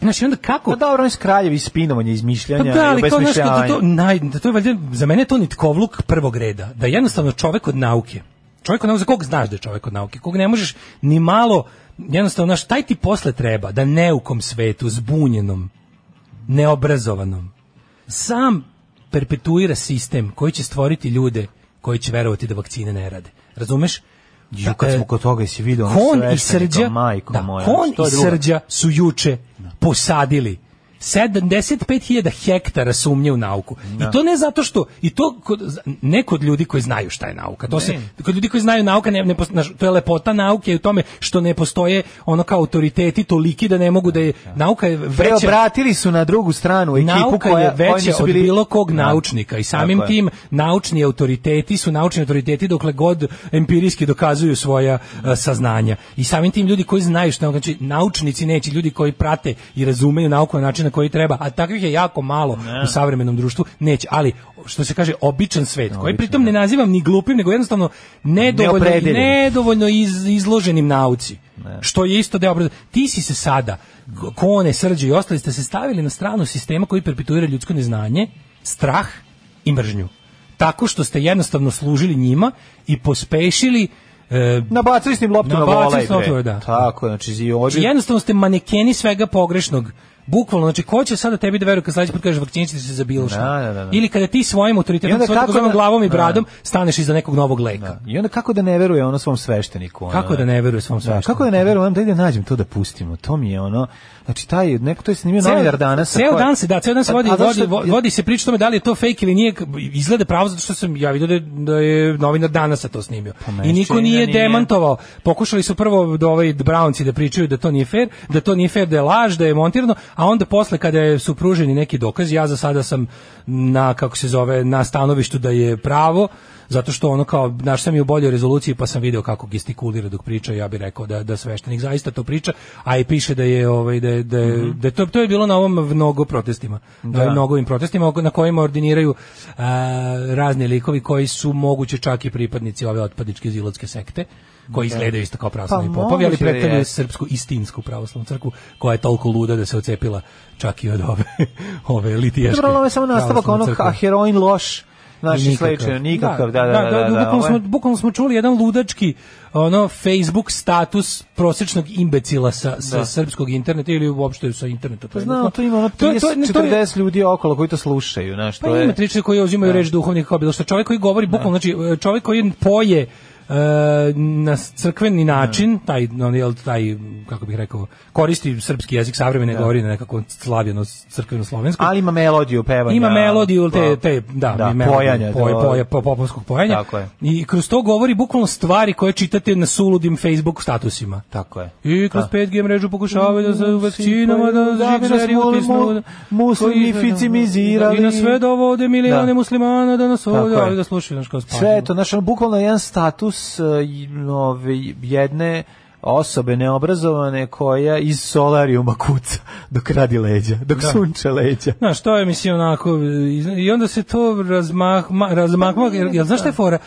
Speaker 4: Znaš, i onda kako?
Speaker 3: Pa dobro, oni su kraljevi spinovanja,
Speaker 4: Pa
Speaker 3: izmišljanja
Speaker 4: da,
Speaker 3: i
Speaker 4: ali kao znaš,
Speaker 3: obesmišljavanja.
Speaker 4: da to, naj, da to je valjda, za mene je to nitkovluk prvog reda, da jednostavno čovek od nauke, čovek od nauke, za kog znaš da je čovek od nauke, kog ne možeš ni malo, jednostavno, znaš, taj ti posle treba, da neukom svetu, zbunjenom, neobrazovanom, sam perpetuira sistem koji će stvoriti ljude koji će verovati da vakcine ne rade. Razumeš?
Speaker 3: Ju, kad
Speaker 4: Da,
Speaker 3: smo
Speaker 4: e,
Speaker 3: kod toga, jesi vidio ono
Speaker 4: Kon i
Speaker 3: sveštenika,
Speaker 4: Srđa,
Speaker 3: majko
Speaker 4: da,
Speaker 3: moja, što
Speaker 4: Kon i
Speaker 3: je Da. drugo?
Speaker 4: Srđa su juče posadili 75.000 hektara sumnje u nauku.
Speaker 3: Da.
Speaker 4: I to ne zato što i to kod ne kod ljudi koji znaju šta je nauka. To se kod ljudi koji znaju nauka ne, ne pos- znaš, to je lepota nauke i u tome što ne postoje ono kao autoriteti toliki da ne mogu da je nauka je veća
Speaker 3: Preobratili su na drugu stranu ekipu
Speaker 4: nauka
Speaker 3: koja
Speaker 4: je
Speaker 3: koja
Speaker 4: veća
Speaker 3: nisu
Speaker 4: od
Speaker 3: bili-
Speaker 4: bilo kog
Speaker 3: Da.
Speaker 4: naučnika i samim
Speaker 3: Tako je.
Speaker 4: tim naučni autoriteti su naučni autoriteti dokle god empirijski dokazuju svoja e, saznanja i samim tim ljudi koji znaju što znači naučnici neće ljudi koji prate i razumeju nauku na način na koji treba a takvih je jako malo u savremenom društvu neće ali što se kaže običan svet koji pritom ne nazivam ni glupim nego jednostavno nedovoljno
Speaker 3: Neopredeljenim.
Speaker 4: ne nedovoljno iz, izloženim nauci. Što je isto deo obrazovanja. Ti si se sada, k- kone, srđe i ostali ste se stavili na stranu sistema koji perpetuira ljudsko neznanje, strah i mržnju. tako što ste jednostavno služili njima i pospešili e,
Speaker 3: Nabacili ste im loptu na
Speaker 4: Nabacili
Speaker 3: volej.
Speaker 4: ste loptu,
Speaker 3: bre.
Speaker 4: da.
Speaker 3: Tako, je, znači i ovdje-
Speaker 4: Znači, jednostavno ste manekeni svega pogrešnog. Bukvalno, znači, ko će sada tebi da veruje kad sledeći put kažeš vakcinisti se za bilo šta?
Speaker 3: Da, da, da, da.
Speaker 4: Ili kada ti svojim
Speaker 3: I
Speaker 4: autoritetom,
Speaker 3: onda
Speaker 4: svojom
Speaker 3: kako
Speaker 4: takozvanom
Speaker 3: da-
Speaker 4: glavom i
Speaker 3: da.
Speaker 4: bradom staneš iza nekog novog leka.
Speaker 3: I onda kako da ne veruje ono svom svešteniku? Ono,
Speaker 4: Kako da ne veruje svom
Speaker 3: Da,
Speaker 4: svešteniku?
Speaker 3: kako da ne veruje, ono, daj da nađem to da pustimo. To mi je ono, znači taj, neko to je snimio
Speaker 4: Ceo-
Speaker 3: novinar danas. a
Speaker 4: Ceo
Speaker 3: ko je-
Speaker 4: dan se, da, ceo dan se
Speaker 3: A-
Speaker 4: vodi,
Speaker 3: a zašto-
Speaker 4: vodi, vo- vodi se priča o tome da li je to fake ili nije, izgleda pravo zato što sam ja vidio da je, da je novinar danas to snimio. I niko
Speaker 3: meni
Speaker 4: nije,
Speaker 3: nije.
Speaker 4: demantovao. Pokušali su prvo do ovaj Brownci da pričaju da to nije fair, da to nije fair, da je laž, da je montirano, a onda posle kada je- su pruženi neki dokazi, ja za sada sam na, kako se zove, na stanovištu da je pravo, zato što ono kao naš sam je u boljoj rezoluciji pa sam video kako gestikulira dok priča ja bih rekao da da sveštenik zaista to priča a i piše da je ovaj da je, da, je, da je to to je bilo na ovom mnogo protestima na ovim mnogovim protestima oko- na kojima ordiniraju a, razni likovi koji su moguće čak i pripadnici ove otpadničke zilotske sekte koji izgledaju isto kao pravoslavni
Speaker 3: Da. Pa
Speaker 4: popovi, ali
Speaker 3: moguće da
Speaker 4: predstavljaju
Speaker 3: jeste.
Speaker 4: srpsku istinsku pravoslavnu crkvu koja je toliko luda da se ocepila čak i od ove ove litijaške.
Speaker 3: Dobro, ali ovo je samo nastavak
Speaker 4: pravoslavne
Speaker 3: onog,
Speaker 4: crkve.
Speaker 3: a heroin loš. Naši
Speaker 4: Nikakav.
Speaker 3: sledeće, nikakav, da, da, da. da, da,
Speaker 4: bukvalno,
Speaker 3: ovo
Speaker 4: smo,
Speaker 3: je-
Speaker 4: bukvalno smo čuli jedan ludački ono Facebook status prosečnog imbecila sa, sa srpskog interneta ili uopšte sa interneta.
Speaker 3: Da. Pa znam, tu ima ono
Speaker 4: To je- to je- ne,
Speaker 3: 30,
Speaker 4: to je-
Speaker 3: 40 ljudi okolo koji to slušaju, znaš, to
Speaker 4: Pa ima
Speaker 3: je... Da.
Speaker 4: triče koji uzimaju reč duhovnika kao bilo što čovjek koji govori bukvalno znači čovjek koji poje e, na crkveni
Speaker 3: Da.
Speaker 4: način taj no, jel, taj kako bih rekao koristi srpski jezik savremene govori na nekako slavljeno crkveno slovensko
Speaker 3: Da. Ali ima melodiju pevanja.
Speaker 4: ima melodiju te te da,
Speaker 3: da
Speaker 4: melodiju,
Speaker 3: pojanja,
Speaker 4: poj,
Speaker 3: da,
Speaker 4: poje- po- popovskog pojanja.
Speaker 3: Tako je.
Speaker 4: I kroz to govori bukvalno stvari koje čitate na suludim Facebook statusima.
Speaker 3: Tako je.
Speaker 4: I kroz 5G mrežu pokušavaju da
Speaker 3: Mm,
Speaker 4: se vakcinama da
Speaker 3: Da bi nas
Speaker 4: živeri
Speaker 3: mul-
Speaker 4: utisnu.
Speaker 3: mul- muslimficimizirali.
Speaker 4: Da, I na sve dovode milione
Speaker 3: Da.
Speaker 4: muslimana da nas ovdje
Speaker 3: Tako je.
Speaker 4: ali da slušaju naš kao spavljamo.
Speaker 3: Sve je to, znaš, ono, bukvalno jedan status eh, i, ove, jedne osobe neobrazovane koja iz solarijuma kuca dok radi leđa, dok
Speaker 4: Da.
Speaker 3: sunče leđa.
Speaker 4: Znaš, to je mislim onako, iz- i onda se to razmah, ma- razmakma,
Speaker 3: Pa
Speaker 4: jer, jer znaš šta je fora?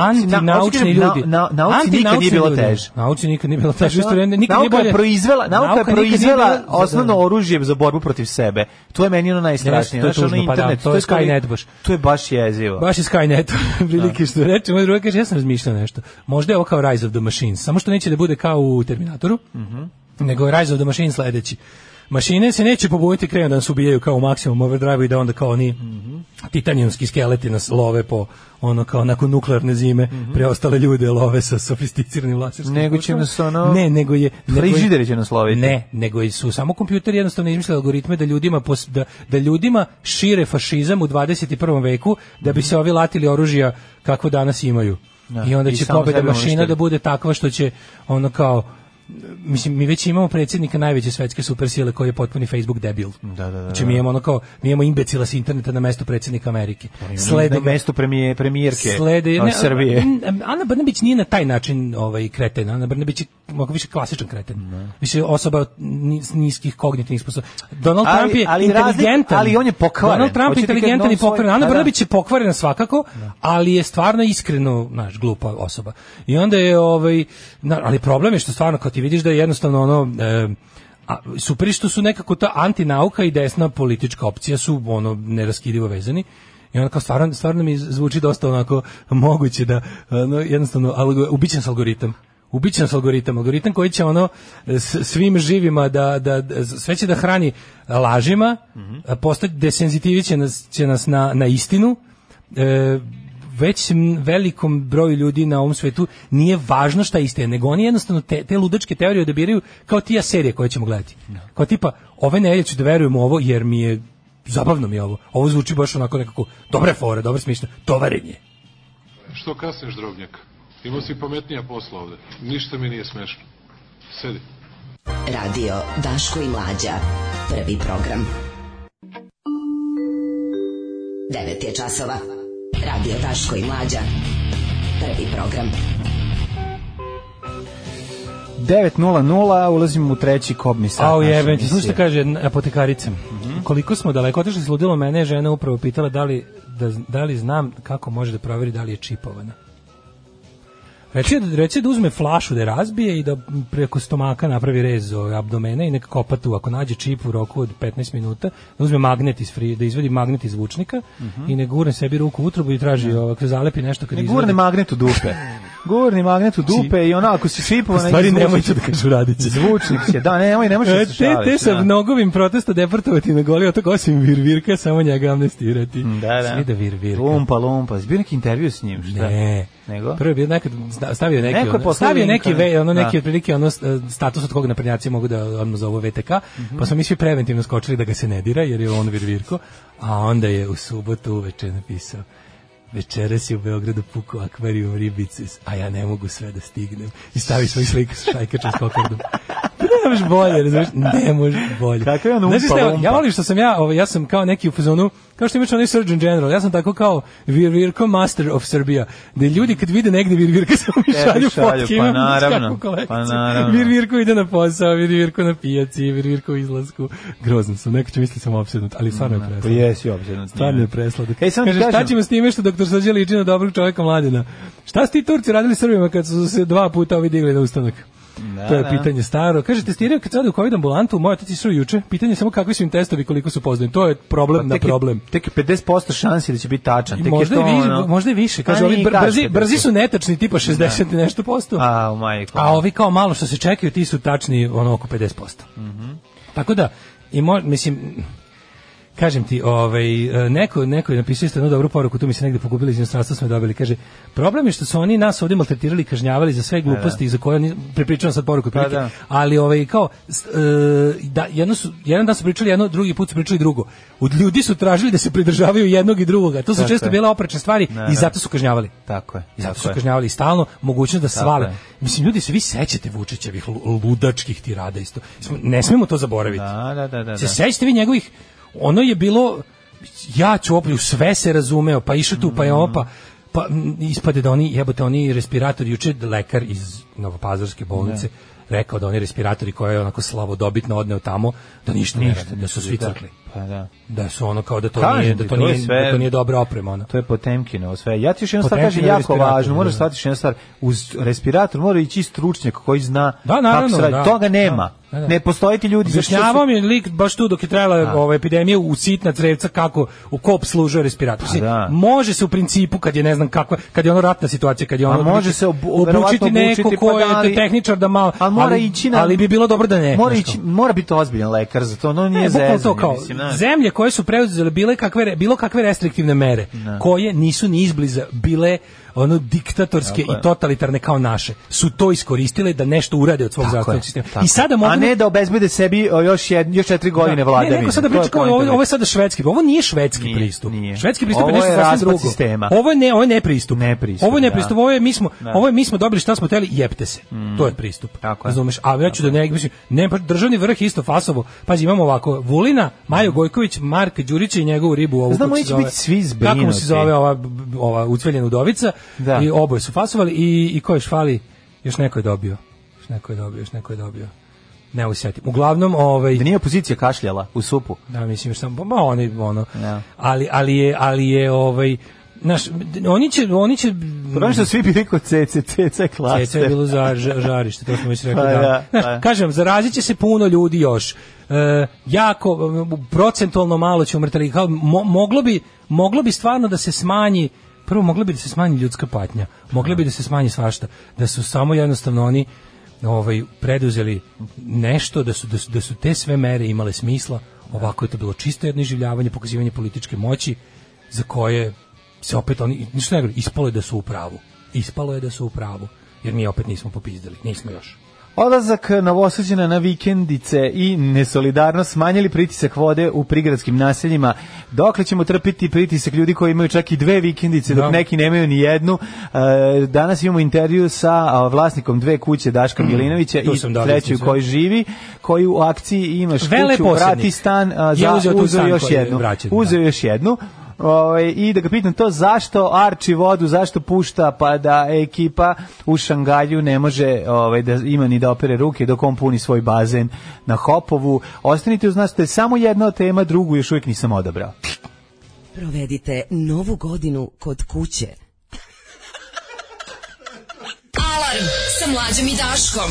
Speaker 4: Antinaučni
Speaker 3: Na-
Speaker 4: ljudi.
Speaker 3: na- nauci nikad
Speaker 4: Antinaučni
Speaker 3: nije bilo
Speaker 4: ljudi.
Speaker 3: teže.
Speaker 4: Nauci nikad nije bilo teže.
Speaker 3: Znaš,
Speaker 4: isto vrijeme, nikad nije
Speaker 3: nauka je
Speaker 4: bolje.
Speaker 3: proizvela, nauka, je
Speaker 4: nikad nije
Speaker 3: proizvela
Speaker 4: bila- Da,
Speaker 3: osnovno oružje za borbu protiv sebe. To je meni ono najstrašnije.
Speaker 4: Jeste, to je
Speaker 3: Znaš, ono
Speaker 4: tužno, pa da,
Speaker 3: internet,
Speaker 4: to je
Speaker 3: skoro-
Speaker 4: Skynet baš.
Speaker 3: To je baš jezivo.
Speaker 4: Baš je Skynet, prilike što reče. Moj druga kaže, ja sam razmišljao nešto. Možda je ovo kao Rise of the Machines, samo što neće da bude kao u Terminatoru,
Speaker 3: Mhm.
Speaker 4: nego je Rise of the Machines sledeći. Mašine se neće pobojiti krenu da nas ubijaju kao u maksimum overdrive i da onda kao oni
Speaker 3: Mhm.
Speaker 4: titanijumski skeleti nas love po ono kao nakon nuklearne zime preostale ljude love sa sofisticiranim laserskim
Speaker 3: Mhm. Nego će
Speaker 4: kućama.
Speaker 3: nas ono-
Speaker 4: ne nego je nego je-
Speaker 3: Frižideri će nas loviti.
Speaker 4: ne, nego su samo kompjuteri jednostavno izmislili algoritme da ljudima pos- da, da ljudima šire fašizam u 21. veku da bi se ovi latili oružja kako danas imaju. I onda
Speaker 3: Da, i
Speaker 4: će
Speaker 3: samo
Speaker 4: pobeda
Speaker 3: sebe
Speaker 4: mašina
Speaker 3: uništili.
Speaker 4: da bude takva što će ono kao mislim mi već imamo predsjednika najveće svetske supersile koji je potpuni Facebook debil.
Speaker 3: da, da,
Speaker 4: Znači mi imamo ono kao mi imamo imbecila s interneta na mesto predsjednika Amerike. Slede
Speaker 3: na
Speaker 4: ga-
Speaker 3: mesto premije, premijerke
Speaker 4: Slede,
Speaker 3: a, Srbije.
Speaker 4: N- Ana Brnabić nije na taj način ovaj kreten. Ana Brnabić je mnogo više klasičan kreten. Više osoba ni- s niskih kognitivnih sposobnosti. Donald
Speaker 3: Ali-
Speaker 4: Trump je
Speaker 3: ali
Speaker 4: inteligentan.
Speaker 3: razlik- ali on je pokvaren.
Speaker 4: Donald Trump je
Speaker 3: Hoću ti kažem,
Speaker 4: inteligentan
Speaker 3: on
Speaker 4: i pokvaren.
Speaker 3: svoj-
Speaker 4: Ana
Speaker 3: da, da.
Speaker 4: Brnabić je pokvarena svakako, ali je stvarno iskreno, znaš, glupa osoba. I onda je ovaj na- ali problem je što stvarno kad ti vidiš da je jednostavno ono e, a, super je što su nekako ta antinauka i desna politička opcija su ono neraskidivo vezani. I onda kao stvarno, stvarno mi zvuči dosta onako moguće da ono, jednostavno algo, ubićen s algoritam. Ubićen s algoritam, algoritam koji će ono s- svim živima da, da, da- sve će da hrani lažima, postati desenzitivi će nas, će nas na, na istinu, e, već m- velikom broju ljudi na ovom svetu nije važno šta je istina, nego oni jednostavno te, te ludačke teorije odabiraju kao tija serije koje ćemo gledati. Kao tipa, ove nedelje ću da verujem u ovo jer mi je zabavno mi je ovo. Ovo zvuči baš onako nekako dobre fore, dobro smišno, tovarenje.
Speaker 9: Što kasniš, drobnjak? Imao si pametnija posla ovde. Ništa mi nije smešno. Sedi.
Speaker 7: Radio Daško i Mlađa. Prvi program. 9 je časova. Radio Daško i Mlađa. Prvi program.
Speaker 3: 9.00, ulazimo u treći kobni sat.
Speaker 4: A u
Speaker 3: naše
Speaker 4: jebem ti,
Speaker 3: emisije.
Speaker 4: slušajte kaže jedna apotekarica.
Speaker 3: Mhm.
Speaker 4: Koliko smo daleko otišli, sludilo mene je žena upravo pitala da li, da, da li znam kako može da proveri da li je čipovana. Reći je da, reći je da uzme flašu da je razbije i da preko stomaka napravi rez ove abdomena i neka kopa tu. Ako nađe čip u roku od 15 minuta, da uzme magnet iz fri, da izvedi magnet iz zvučnika i ne gurne sebi ruku u utrubu i traži ovako, zalepi nešto
Speaker 3: Mhm.
Speaker 4: kad
Speaker 3: Da. Ne
Speaker 4: izvadi.
Speaker 3: gurne magnet u dupe. Gurni magnet u dupe i ono, ako si šipovan...
Speaker 4: U stvari
Speaker 3: neki
Speaker 4: nemojte da
Speaker 3: zvučnik-
Speaker 4: kažu radit će.
Speaker 3: Zvučnik će, da, nemoj, ne možeš da
Speaker 4: E,
Speaker 3: se
Speaker 4: te,
Speaker 3: šališ.
Speaker 4: te sa
Speaker 3: da.
Speaker 4: mnogovim protesta deportovati na goli otok osim Virvirka, samo njega amnestirati.
Speaker 3: Da, da.
Speaker 4: Svi da Virvirka.
Speaker 3: Lumpa, lumpa. Jesi bio neki intervju s njim? Šta?
Speaker 4: Ne.
Speaker 3: Nego?
Speaker 4: Prvo je bio nekad zna- stavio neki
Speaker 3: Neko je
Speaker 4: ono,
Speaker 3: poslao
Speaker 4: stavio
Speaker 3: link,
Speaker 4: neki
Speaker 3: ono.
Speaker 4: ve, ono neki
Speaker 3: Da.
Speaker 4: otprilike ono s- status od koga naprednjaci mogu da odmah zovu VTK,
Speaker 3: Mhm.
Speaker 4: pa smo mi svi preventivno skočili da ga se ne dira jer je on virvirko, a onda je u subotu uveče napisao večeras je u Beogradu pukao akvarijum ribice, a ja ne mogu sve da stignem. I stavi svoju sliku sa šajkačom s kokardom. Ne možeš bolje, razumeš? Ne možeš bolje.
Speaker 3: Kakav je on
Speaker 4: Znaš
Speaker 3: umpa
Speaker 4: šta, ja
Speaker 3: lumpa.
Speaker 4: volim što sam ja, ovaj, ja sam kao neki u fazonu, kao što imaš onaj Surgeon General, ja sam tako kao Vir Virko Master of Serbia, da ljudi kad vide negde Vir Virka samo mi
Speaker 3: Tebi
Speaker 4: šalju
Speaker 3: šalju,
Speaker 4: fotke,
Speaker 3: pa
Speaker 4: imam
Speaker 3: naravno,
Speaker 4: kakvu kolekciju.
Speaker 3: pa naravno.
Speaker 4: Vir Virko ide na posao, Vir Virko na pijaci, Vir Virko u izlasku. Grozan sam, neko će misliti da sam opsednut, ali stvarno je
Speaker 3: Pa
Speaker 4: presla.
Speaker 3: jesi obzirno.
Speaker 4: Stvarno je presladak.
Speaker 3: Ej, samo ti
Speaker 4: Kaže, šta
Speaker 3: kažem-
Speaker 4: ćemo s time što doktor Srđe liči na dobrog čovjeka mladina? Šta su ti Turci radili Srbima kad su se dva puta ovi digli na ustanak? to je
Speaker 3: da.
Speaker 4: pitanje staro. Kaže, testiraju kad se ode u COVID ambulantu, moj otac je išao juče. Pitanje je samo kakvi su im testovi, koliko su poznani. To je problem na problem.
Speaker 3: Pa Tek je 50% šansi da će biti tačan.
Speaker 4: I
Speaker 3: Tek je
Speaker 4: možda,
Speaker 3: to
Speaker 4: je više,
Speaker 3: ono-
Speaker 4: možda je više. Kaže,
Speaker 3: Pa
Speaker 4: ovi
Speaker 3: nije
Speaker 4: br-
Speaker 3: tačno
Speaker 4: brzi,
Speaker 3: to.
Speaker 4: brzi su netačni, tipa 60 i nešto posto.
Speaker 3: A, majko.
Speaker 4: A ovi kao malo što se čekaju, ti su tačni ono oko 50%.
Speaker 3: Mhm.
Speaker 4: Tako da, i mo, mislim, kažem ti, ovaj, e, neko, neko je napisao isto jednu dobru poruku, tu mi se negdje pogubili iz inostranstva, smo je dobili, kaže, problem je što su oni nas ovdje maltretirali, i kažnjavali za sve gluposti i za koje, oni- prepričavam sad poruku, otprilike,
Speaker 3: da.
Speaker 4: ali ovaj, kao, s- e, da, jedno su, jedan dan su pričali jedno, drugi put su pričali drugo. Od ljudi su tražili da se pridržavaju jednog i drugoga, to su
Speaker 3: Tako
Speaker 4: često
Speaker 3: je. Da,
Speaker 4: bile oprečne stvari i zato su kažnjavali.
Speaker 3: Tako je.
Speaker 4: I zato su
Speaker 3: tako je.
Speaker 4: kažnjavali i stalno mogućnost da svale.
Speaker 3: je.
Speaker 4: Mislim, ljudi se vi sećate Vučićevih lu- ludačkih tirada isto. Mislim, Ne smemo to zaboraviti.
Speaker 3: Da, da, da, da.
Speaker 4: Se
Speaker 3: da.
Speaker 4: sećate vi njegovih, ono je bilo, ja ću opet, sve se razumeo, pa išao tu, pa
Speaker 3: Mhm.
Speaker 4: je opa, pa m, ispade da oni, jebote, oni respiratori, juče je lekar iz Novopazarske bolnice, rekao da oni respiratori koje je onako slavodobitno odneo tamo, da ništa, ne rade, da su svi crkli.
Speaker 3: Pa da.
Speaker 4: Da su ono kao da to
Speaker 3: Kažem
Speaker 4: nije,
Speaker 3: ti,
Speaker 4: da to
Speaker 3: to je
Speaker 4: nije,
Speaker 3: sve-
Speaker 4: da to nije dobra oprema. Ono.
Speaker 3: To je Potemkinovo sve. Ja ti još jednu stvar kažem
Speaker 4: Potemkinov
Speaker 3: jako
Speaker 4: respirator,
Speaker 3: važno, moraš
Speaker 4: da.
Speaker 3: shvatiti jednu stvar. Uz respirator mora ići stručnjak koji zna
Speaker 4: Da,
Speaker 3: kako
Speaker 4: naravno,
Speaker 3: se radi.
Speaker 4: da.
Speaker 3: Toga nema.
Speaker 4: Da, da, da.
Speaker 3: Ne postoje ti ljudi. zato što su-
Speaker 4: Objašnjavao mi je lik baš tu dok je
Speaker 3: Da.
Speaker 4: trajala ova epidemija u sitna crevca kako u kop služio respirator. Mislim,
Speaker 3: da.
Speaker 4: Može se u principu kad je ne znam kakva, kad je ono ratna situacija, kad je ono znači,
Speaker 3: A Pa može se obu- verovatno
Speaker 4: obučiti neko
Speaker 3: obučiti,
Speaker 4: ko
Speaker 3: pa
Speaker 4: je
Speaker 3: da, ali-
Speaker 4: tehničar da malo
Speaker 3: Ali mora ići na
Speaker 4: ali bi bilo dobro da ne.
Speaker 3: Mora
Speaker 4: znaš kao.
Speaker 3: ići, mora biti ozbiljan lekar za to, no nije
Speaker 4: Ne, bukvalno
Speaker 3: zezanje,
Speaker 4: to kao,
Speaker 3: mislim, znaš.
Speaker 4: zemlje koje su preuzele bile kakve, re- bilo kakve restriktivne mere,
Speaker 3: Da.
Speaker 4: koje nisu ni izbliza bile ono diktatorske i totalitarne kao naše, su to iskoristile da nešto urade od svog
Speaker 3: Tako je,
Speaker 4: zdravstvenog sistema.
Speaker 3: tako
Speaker 4: I sada
Speaker 3: je.
Speaker 4: mogu Da.
Speaker 3: A ne da obezbede sebi o, još, jed, još četiri godine vladavine.
Speaker 4: Ne, neko sada
Speaker 3: To je
Speaker 4: priča kao
Speaker 3: poenta
Speaker 4: ovo, ovo je
Speaker 3: priče.
Speaker 4: sada švedski, ovo nije švedski
Speaker 3: Nije,
Speaker 4: pristup.
Speaker 3: nije.
Speaker 4: Švedski pristup
Speaker 3: Ovo
Speaker 4: je nešto
Speaker 3: je
Speaker 4: sasvim
Speaker 3: razvrat
Speaker 4: drugo.
Speaker 3: sistema.
Speaker 4: Ovo je ne, ovo je ne pristup.
Speaker 3: Ne pristup,
Speaker 4: Ovo je ne
Speaker 3: da.
Speaker 4: pristup, ovo je mi smo,
Speaker 3: Da. Mm.
Speaker 4: ovo je mi smo dobili šta smo hteli, jepte se. To je pristup.
Speaker 3: Tako je.
Speaker 4: Razumeš? A ja ću da ne, mislim, ne pa državni vrh isto fasovo. Pazi, imamo ovako Vulina, Majo Gojković, Mark Đurić i njegovu ribu ovu.
Speaker 3: Znamo,
Speaker 4: kako se
Speaker 3: ići
Speaker 4: zove-
Speaker 3: biti svi
Speaker 4: Kako mu se
Speaker 3: zbrinuti.
Speaker 4: zove ova ova ucveljena udovica?
Speaker 3: Da.
Speaker 4: I oboje su fasovali i i ko još fali? Još neko je dobio. Još neko je dobio, još neko je dobio. Ne usetim. Uglavnom, ovaj
Speaker 3: Da nije opozicija kašljala u supu.
Speaker 4: da, mislim još samo, ma oni, ono,
Speaker 3: Ja.
Speaker 4: ali, ali je, ali je, ovaj, znaš, d- oni će, oni će,
Speaker 3: Prvo što svi bili kod CCC klase.
Speaker 4: Ceca je bilo za ža- žarište, to smo već rekli.
Speaker 3: Pa
Speaker 4: da.
Speaker 3: da,
Speaker 4: Znaš,
Speaker 3: pa.
Speaker 4: kažem, zarazit će se puno ljudi još. E, jako, m, procentualno malo će umrtali. Kao, mo- moglo, bi, moglo bi stvarno da se smanji Prvo, moglo bi da se smanji ljudska patnja. Moglo bi da se smanji svašta. Da su samo jednostavno oni ovaj, preduzeli nešto, da su, da, su, da su te sve mere imale smisla. Ovako je to bilo čisto jedno iživljavanje, pokazivanje političke moći za koje se opet oni ništa ne govori, ispalo je da su u pravu. Ispalo je da su u pravu, jer mi opet nismo popizdali, nismo još.
Speaker 3: Odlazak novosuđena na vikendice i nesolidarnost smanjili pritisak vode u prigradskim naseljima. Dokle ćemo trpiti pritisak ljudi koji imaju čak i dve vikendice, dok
Speaker 4: Da.
Speaker 3: neki nemaju ni jednu. E, danas imamo intervju sa a, vlasnikom dve kuće Daška Milinovića
Speaker 4: tu sam
Speaker 3: i
Speaker 4: dobio
Speaker 3: treću
Speaker 4: sam sve.
Speaker 3: koji živi, koji u akciji imaš
Speaker 4: Vele
Speaker 3: kuću, vrati
Speaker 4: posjednik.
Speaker 3: stan, a,
Speaker 4: Je
Speaker 3: za,
Speaker 4: uzeo tu
Speaker 3: uzeo
Speaker 4: stan
Speaker 3: još
Speaker 4: koji je
Speaker 3: jednu.
Speaker 4: vraćen, da.
Speaker 3: Uzeo još jednu. Ovaj, I da ga pitam to zašto arči vodu, zašto pušta pa da ekipa u Šangalju ne može ovaj, da ima ni da opere ruke dok on puni svoj bazen na Hopovu. Ostanite uz nas, to je samo jedna tema, drugu još uvijek nisam odabrao.
Speaker 7: Provedite novu godinu kod kuće.
Speaker 2: Alarm sa mlađom i Daškom.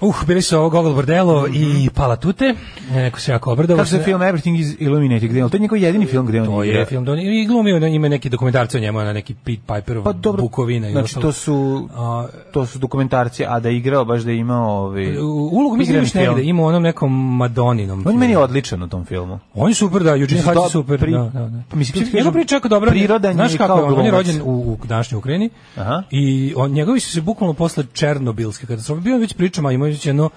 Speaker 4: Uh, bili su ovo Gogol Bordelo i Palatute. E, Neko se jako obradao.
Speaker 3: Mhm. Kako se film Everything is Illuminated gde je on? To je njegov jedini film gde on
Speaker 4: To
Speaker 3: igra.
Speaker 4: je film Don i glumio na ima neki dokumentarci o njemu na neki Pete Piper
Speaker 3: Pa dobro,
Speaker 4: Bukovina i
Speaker 3: znači
Speaker 4: ostalo.
Speaker 3: to su,
Speaker 4: A,
Speaker 3: to su dokumentarci, a da je igrao baš da je imao ovi...
Speaker 4: u- ulogu mislim da
Speaker 3: igrani
Speaker 4: imaš negde,
Speaker 3: film.
Speaker 4: ima u onom nekom Madoninom.
Speaker 3: On je meni
Speaker 4: filmu.
Speaker 3: odličan u tom filmu.
Speaker 4: On je super, da, Eugene
Speaker 3: Mislim,
Speaker 4: Hatch je
Speaker 3: dob-
Speaker 4: super.
Speaker 3: pri- pa
Speaker 4: da, da, da.
Speaker 3: mislim, ti
Speaker 4: Mislim, njegov
Speaker 3: kažem,
Speaker 4: priča jako dobra.
Speaker 3: prirodan je
Speaker 4: Znaš
Speaker 3: i
Speaker 4: kako
Speaker 3: kao
Speaker 4: je on? On je
Speaker 3: glumac.
Speaker 4: rođen u, u današnjoj Ukrajini
Speaker 3: Aha.
Speaker 4: i on, njegovi su se bukvalno posle Černobilske katastrofe, bio je već pričama, imao je već jedno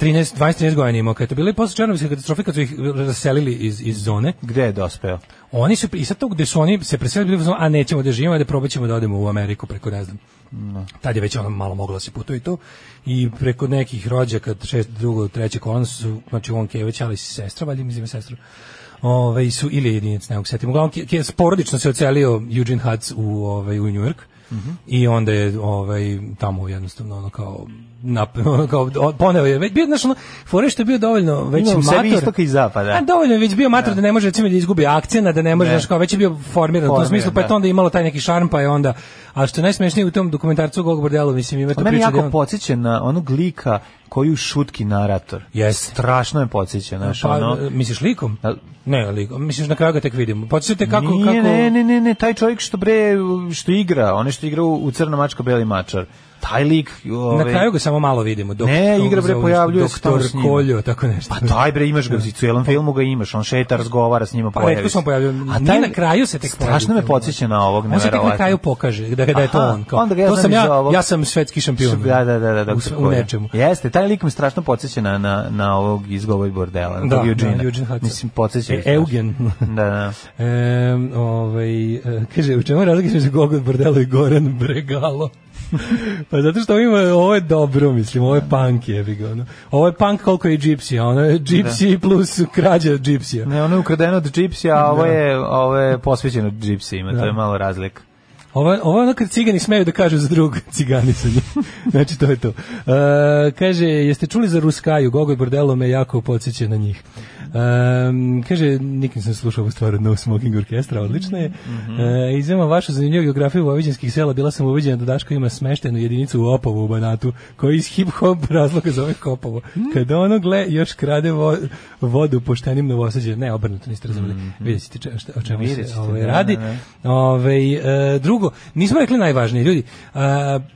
Speaker 4: 13, 20-13 godina imao, kada je to bila i posle Černobilske katastrofe, kad su ih raselili iz, iz zone,
Speaker 3: Gde je dospeo?
Speaker 4: Oni su i sad to gde su oni se preselili bili u fazonu, a nećemo da živimo, da probaćemo da odemo u Ameriku preko ne znam. Tad je već ono malo moglo da se putuje i to. I preko nekih rođaka, šest, drugo, treće kolon su, znači on Kević, ali sestra, valjda mislim sestra. Ove, su ili jedinic, ne mogu se setim. Uglavnom, Ke- Ke- sporodično se ocelio Eugene Hutz u, ovaj, u New York.
Speaker 3: Mhm.
Speaker 4: I onda je ovaj tamo jednostavno ono kao nap, ono kao o- poneo je već bio znaš ono fore što je bio dovoljno već
Speaker 3: Ima u sebi
Speaker 4: mator.
Speaker 3: istoka i zapada.
Speaker 4: A dovoljno je već bio mator da ne može recimo da izgubi akcena, da ne može,
Speaker 3: Da, Ne.
Speaker 4: znaš, kao već je bio formiran u tom
Speaker 3: Formiran,
Speaker 4: smislu, pa je to
Speaker 3: da.
Speaker 4: onda imalo taj neki šarm, pa je onda, ali što je najsmešnije u tom dokumentarcu Gog Bordelu, mislim, ima tu
Speaker 3: On Pa meni
Speaker 4: priču da je
Speaker 3: jako
Speaker 4: on-
Speaker 3: podsjeća na onog lika koji u šutki narator.
Speaker 4: Jeste.
Speaker 3: Strašno je podsjeća, znaš,
Speaker 4: Pa,
Speaker 3: ono...
Speaker 4: misliš likom?
Speaker 3: Al-
Speaker 4: Ne, likom. Misliš na kraju ga tek vidimo. Podsjetite kako...
Speaker 3: Nije,
Speaker 4: kako...
Speaker 3: ne, ne, ne, ne, taj čovjek što bre, što igra, on je što igra u, u Crna mačka, beli mačar. Taj lik, ovaj, ove,
Speaker 4: Na kraju ga samo malo vidimo. Dok,
Speaker 3: Ne, igra, bre, pojavljuje se tamo
Speaker 4: Doktor
Speaker 3: s njim.
Speaker 4: Koljo, tako nešto.
Speaker 3: Pa taj bre imaš ga u cijelom filmu ga imaš, on šeta, razgovara s njima,
Speaker 4: Pa,
Speaker 3: pojavi
Speaker 4: retko se on
Speaker 3: se.
Speaker 4: pojavljuje. Nije na kraju se tek
Speaker 3: Strašno
Speaker 4: pojavljuje.
Speaker 3: me podsjeća na ovog,
Speaker 4: On se tek na
Speaker 3: neverovatno.
Speaker 4: kraju pokaže, da, da je to
Speaker 3: Aha,
Speaker 4: on. Kao,
Speaker 3: onda ga ja
Speaker 4: to
Speaker 3: znam
Speaker 4: sam
Speaker 3: iz
Speaker 4: ja,
Speaker 3: ovog-
Speaker 4: ja sam svetski šampion.
Speaker 3: Da, da, da, da, dok
Speaker 4: u,
Speaker 3: se
Speaker 4: sve- u
Speaker 3: kolje.
Speaker 4: nečemu.
Speaker 3: Jeste, taj lik me strašno podsjeća na, na, na ovog izgovor bordela, na
Speaker 4: Da,
Speaker 3: tog Eugene.
Speaker 4: da, Eugene Hudson.
Speaker 3: Mislim, podsjeća. me
Speaker 4: E,
Speaker 3: strašno.
Speaker 4: Eugen.
Speaker 3: Da, da.
Speaker 4: E, ovaj, e, kaže, u čemu je razlika između Gogol Bordelo i Goran Bregalo? pa zato što ovo ima, ovo je dobro, mislim, ovo je punk je, ga, ono. Ovo je punk koliko je i Gypsy, a ono je Gypsy plus krađa Gypsy.
Speaker 3: Ne, ono je ukradeno od Gypsy,
Speaker 4: Da.
Speaker 3: a ovo je, ovo je posvećeno Gypsyima, to je malo razlika.
Speaker 4: Ovo, je- ovo je ono kad cigani smeju da kažu za drugog ciganisanje. znači, to je to. E, kaže, jeste čuli za Ruskaju? Gogol Bordelo me jako podsjeća na njih. Em, kaže, nikim sam slušao ovu stvar od No Smoking Orkestra, odlična je.
Speaker 3: Mhm.
Speaker 4: E, izvema vašu zanimljivu geografiju vojvođanskih sela, bila sam uviđena da Daško ima smeštenu jedinicu u Opovu u Banatu, koji iz hip-hop razloga zove Kopovo.
Speaker 3: Mhm.
Speaker 4: Kada ono gle, još krade vo- vodu poštenim novosađe. Ne, obrnuto niste razumeli. Vidjet ćete če- šta- o čemu
Speaker 3: Mhm. Vidjet
Speaker 4: se
Speaker 3: ćete,
Speaker 4: ovaj,
Speaker 3: da,
Speaker 4: radi.
Speaker 3: da, da.
Speaker 4: Ovaj e, drugo, nismo rekli najvažnije, ljudi. E,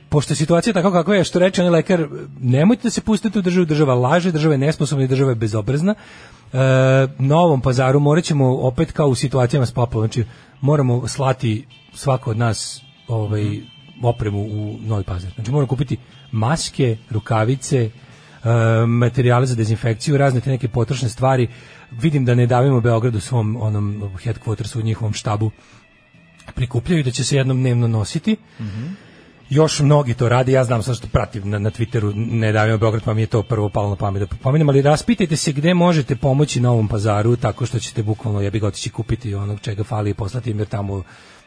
Speaker 4: pošto je situacija takva kakva je, što reče onaj lekar, nemojte da se pustite u državu, država laže, država je nesposobna i država je bezobrazna. E, novom pazaru morat ćemo opet kao u situacijama s poplavom, znači moramo slati svako od nas ovaj, opremu u novi pazar. Znači moramo kupiti maske, rukavice, e, materijale za dezinfekciju, razne te neke potrošne stvari. Vidim da ne davimo Beograd u svom onom headquartersu, u njihovom štabu prikupljaju i da će se jednom dnevno nositi. Još mnogi to rade, ja znam sad što pratim na, na Twitteru, ne davimo Beograd, pa mi je to prvo palo na pamet da pomenem, ali raspitajte se gde možete pomoći Novom pazaru tako što ćete bukvalno jebi ga otići kupiti onog čega fali i poslati im jer tamo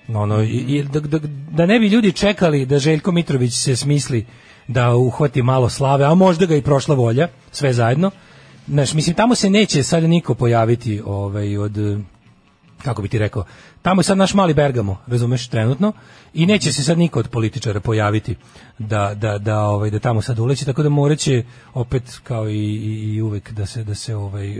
Speaker 4: ono, i, i da, da, da ne bi ljudi čekali da Željko Mitrović se smisli da uhvati malo slave, a možda ga i prošla volja, sve zajedno. Znaš, mislim, tamo se neće sad niko pojaviti ovaj, od eh, kako bi ti rekao, tamo je sad naš mali Bergamo, razumeš, trenutno, i neće se sad niko od političara pojaviti da, da, da, ovaj, da tamo sad uleće, tako da moraće opet, kao i, i, i uvek, da se, da se, ovaj,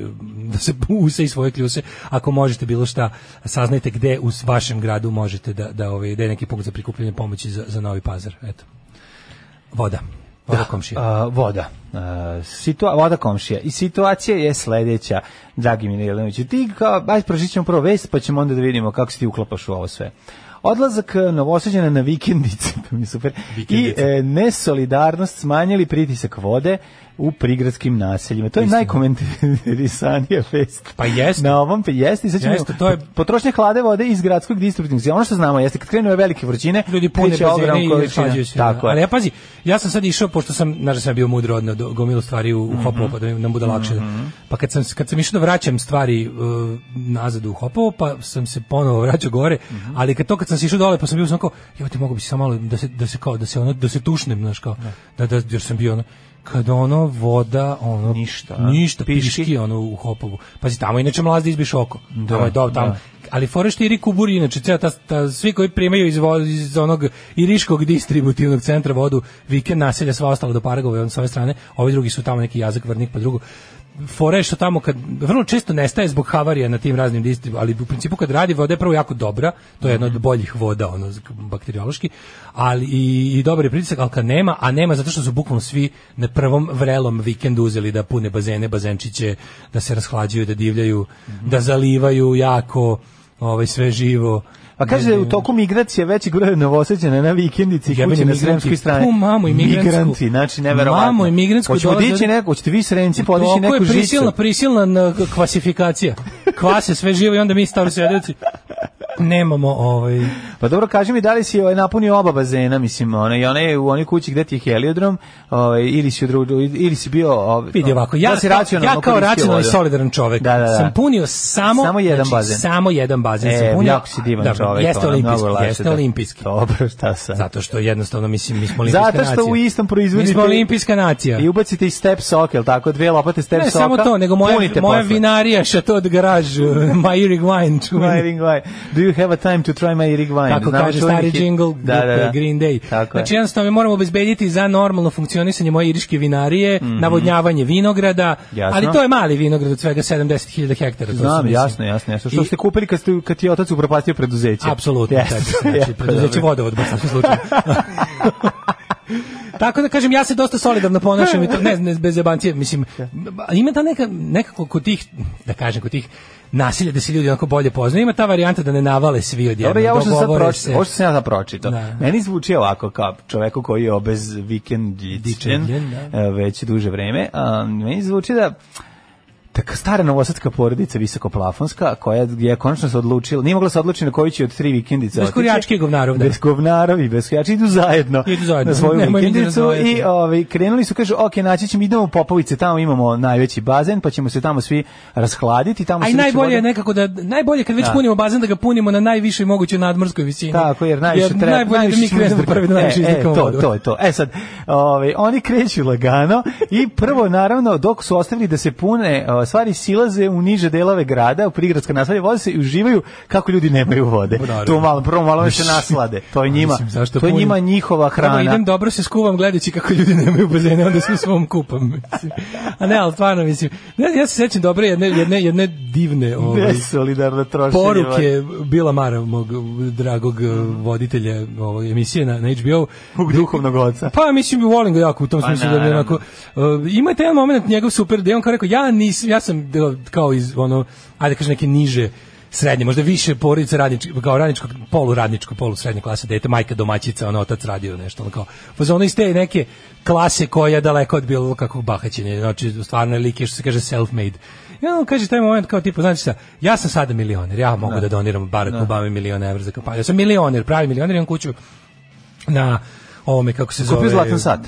Speaker 4: da se buse i svoje kljuse, ako možete bilo šta, saznajte gde u vašem gradu možete da, da, ovaj, da je neki punkt za prikupljanje pomoći za, za novi pazar, eto. Voda. Voda komšija.
Speaker 3: A, voda. A, situa voda komšija. I situacija je sledeća, dragi Mine Jelenoviću. Ti kao, ajde prošit ćemo prvo vest, pa ćemo onda da vidimo kako se ti uklapaš u ovo sve. Odlazak e, Novosađana na vikendice, to mi je super, i
Speaker 4: Vikendice.
Speaker 3: e, nesolidarnost smanjili pritisak vode u prigradskim naseljima. To je najkomentarisanija vest.
Speaker 4: Pa jeste.
Speaker 3: Na ovom, pa jeste. I sad ćemo,
Speaker 4: Jeste, to je-
Speaker 3: Potrošnja hlade vode iz gradskog distributivnog sistema. Ono što znamo jeste, kad krenu ove velike vrućine,
Speaker 4: ljudi pune
Speaker 3: kreće ogromna
Speaker 4: bazene i
Speaker 3: količina.
Speaker 4: sađaju se.
Speaker 3: Tako
Speaker 4: Tako
Speaker 3: je.
Speaker 4: Ali ja pazi, ja sam sad išao, pošto sam, znaš da sam ja bio mudro odneo do- gomilu stvari u, u hopovo, pa da mi- nam bude lakše.
Speaker 3: Mhm.
Speaker 4: Pa kad sam, kad sam išao da vraćam stvari uh, nazad u hopovo, pa sam se ponovo vraćao gore,
Speaker 3: Mhm.
Speaker 4: ali kad to kad sam se išao dole, pa sam bio sam kao, evo ti mogu bi se samo malo da se, da se kao, da se ono, da se tušnem, znaš kao, da, da, jer sam bio ono, kad ono voda, ono,
Speaker 3: Ništa, a?
Speaker 4: ništa,
Speaker 3: Piški?
Speaker 4: piški, ono u hopovu. Pazi, tamo je inače mlazda izbiš oko. Da, tamo je dobro, tamo, ali fore što Iri Kubur, inače, ceo ta, ta, svi koji primaju iz, vo- iz onog Iriškog distributivnog centra vodu, vikend naselja, sva ostala do Paragova i on s ove strane, ovi drugi su tamo neki jazak, vrnik, pa drugo fore je što tamo kad vrlo često nestaje zbog havarija na tim raznim distribu, ali u principu kad radi voda je prvo jako dobra, to je jedna
Speaker 3: Mhm.
Speaker 4: od boljih voda ono z- bakteriološki, ali i, i dobar je pritisak, ali kad nema, a nema zato što su bukvalno svi na prvom vrelom vikendu uzeli da pune bazene, bazenčiće, da se rashlađuju, da divljaju,
Speaker 3: Mhm.
Speaker 4: da zalivaju jako ovaj sve živo.
Speaker 3: Pa kaže, u toku migracije veći broj novoseđena na vikendici i
Speaker 4: Jebeni
Speaker 3: kuće na
Speaker 4: migranti.
Speaker 3: sremskoj strani.
Speaker 4: Tu mamu i migrantsku.
Speaker 3: Migranti, znači, neverovatno.
Speaker 4: Mamu i migrantsku
Speaker 3: Hoćemo
Speaker 4: dolaze-
Speaker 3: dići neko, hoćete vi srenci podići
Speaker 4: Toliko
Speaker 3: neku
Speaker 4: je
Speaker 3: žicu.
Speaker 4: prisilna, prisilna na- klasifikacija. Kvase sve živo i onda mi stavimo sedeći. Nemamo ovaj
Speaker 3: Pa dobro, kaži mi da li si ovaj, napunio oba bazena, mislim, ona, i one u onoj kući gde ti je heliodrom, ovaj, ili, si u drugu, ili si bio... Ovaj,
Speaker 4: Vidi ovako, ja,
Speaker 3: da si
Speaker 4: kao-
Speaker 3: racionalno
Speaker 4: ja kao
Speaker 3: koristio
Speaker 4: racionalni i
Speaker 3: vodu.
Speaker 4: solidaran čovek
Speaker 3: Da, da, da.
Speaker 4: sam punio samo,
Speaker 3: Samo jedan
Speaker 4: znači,
Speaker 3: bazen.
Speaker 4: Samo jedan bazen
Speaker 3: E,
Speaker 4: sam punio.
Speaker 3: jako si divan
Speaker 4: Da,
Speaker 3: čovek.
Speaker 4: Jeste
Speaker 3: ono,
Speaker 4: olimpijski,
Speaker 3: mnogo lakše
Speaker 4: jeste
Speaker 3: da-
Speaker 4: olimpijski.
Speaker 3: Dobro, šta sam.
Speaker 4: Zato što jednostavno mislim mi smo olimpijska
Speaker 3: Zato
Speaker 4: nacija.
Speaker 3: što u istom proizvodite...
Speaker 4: Mi smo olimpijska nacija.
Speaker 3: I ubacite i step sok, jel tako? Dve lopate step
Speaker 4: Ne
Speaker 3: soka.
Speaker 4: samo to, nego moja,
Speaker 3: punite
Speaker 4: moja
Speaker 3: posle.
Speaker 4: vinarija Chateau de Garage, my Rig Wine. čuveni.
Speaker 3: My ring wine. Do you have a time to try my rig wine?
Speaker 4: Tako
Speaker 3: Znamo
Speaker 4: kaže
Speaker 3: čuveni
Speaker 4: stari
Speaker 3: hit.
Speaker 4: džingl
Speaker 3: da, da, da.
Speaker 4: Green Day.
Speaker 3: Tako
Speaker 4: znači
Speaker 3: je.
Speaker 4: jednostavno mi moramo obezbediti za normalno funkcionisanje moje iriške vinarije, navodnjavanje vinograda,
Speaker 3: Mhm. Jasno.
Speaker 4: ali to je mali vinograd od svega 70.000 hektara. to sam
Speaker 3: Znam,
Speaker 4: mislio.
Speaker 3: jasno, jasno, jasno. Što
Speaker 4: I-
Speaker 3: ste kupili kad, ste, kad ti je otac upropastio preduzeće?
Speaker 4: Apsolutno,
Speaker 3: Jeste.
Speaker 4: tako se, znači,
Speaker 3: Jako
Speaker 4: preduzeće
Speaker 3: dobro.
Speaker 4: vodovod, baš u svakom slučaju. Tako da kažem, ja se dosta solidarno ponašam i to, ne, ne bez jebancije, mislim, ima ta neka, nekako kod tih, da kažem, kod tih nasilja da se ljudi onako bolje poznaju, ima ta varijanta da ne navale svi odjedno,
Speaker 3: Dobro, ja ovo što sam sad
Speaker 4: dogovore
Speaker 3: pročitao,
Speaker 4: se.
Speaker 3: ovo što sam ja sad pročitao,
Speaker 4: Da.
Speaker 3: meni zvuči ovako kao čoveku koji je obez vikendičen
Speaker 4: Dičeljen,
Speaker 3: e, već duže vreme, a meni zvuči da Taka stara novosadska porodica visokoplafonska koja je konačno se odlučila, nije mogla se odlučiti na koju će od tri vikendice
Speaker 4: Bez kurjačke i govnarov, da.
Speaker 3: Pa Bez govnarovi, bez kurjača, idu zajedno,
Speaker 4: Idu zajedno.
Speaker 3: na svoju
Speaker 4: Nemoj mi da
Speaker 3: vikendicu
Speaker 4: razdvajate.
Speaker 3: i ovaj, krenuli su, kažu, ok, naći ćemo, idemo u Popovice, tamo imamo najveći bazen, pa ćemo se tamo svi rashladiti. Tamo
Speaker 4: A i
Speaker 3: se više
Speaker 4: najbolje je
Speaker 3: voda-
Speaker 4: nekako da najbolje kad već
Speaker 3: Da.
Speaker 4: punimo bazen da ga punimo na najvišoj mogućoj nadmorskoj visini.
Speaker 3: Tako, jer najviše treba.
Speaker 4: Najbolje je da
Speaker 3: najviše
Speaker 4: mi
Speaker 3: ćemo
Speaker 4: krenemo
Speaker 3: izdrkati.
Speaker 4: prvi da najviše
Speaker 3: E, e,
Speaker 4: izdrkamo
Speaker 3: to,
Speaker 4: vodu.
Speaker 3: to je to. E sad, ovaj, oni kreću lagano i prvo, naravno, dok su ostavili da se pune o, stvari, silaze u niže delove grada, u prigradska naselja, voze se i uživaju kako ljudi nemaju vode.
Speaker 4: Pa Naravno.
Speaker 3: To malo, prvo malo da se naslade. To je njima,
Speaker 4: Mislim, zašto
Speaker 3: to je
Speaker 4: punim?
Speaker 3: njima njihova
Speaker 4: Prvo
Speaker 3: hrana.
Speaker 4: idem dobro se skuvam gledajući kako ljudi nemaju bazene, onda se u svom kupam. mislim. A ne, ali stvarno mislim, ne, ja se sećam dobre jedne, jedne, jedne divne ovaj,
Speaker 3: Nesolidarno trošenje. vode.
Speaker 4: poruke Bila Mara, mog dragog eh, voditelja ovog emisije na, na HBO.
Speaker 3: Mog duhovnog oca.
Speaker 4: Pa mislim volim ga jako u tom
Speaker 3: Pa,
Speaker 4: smislu da mi je onako
Speaker 3: naravno.
Speaker 4: uh, ima taj jedan moment njegov super da je on kao rekao ja nisam ja sam eh, kao iz ono ajde kaže neke niže srednje, možda više porodice radnički, kao radničkog, poluradničko, polusrednje klase dete, majka domaćica, ono, otac radio nešto, ono kao, pa za ono iz te neke klase koja je daleko od bilo kakvog bahaćenja, znači, stvarno je lik je, što se kaže, self-made. I on kaže taj moment kao tipa, znači šta, ja sam sada milioner, ja mogu da doniram Barack Obama milion evra za kampanju, ja sam milioner, pravi milioner, imam kuću na ovome kako se zove.
Speaker 3: Kupi zlatan sat.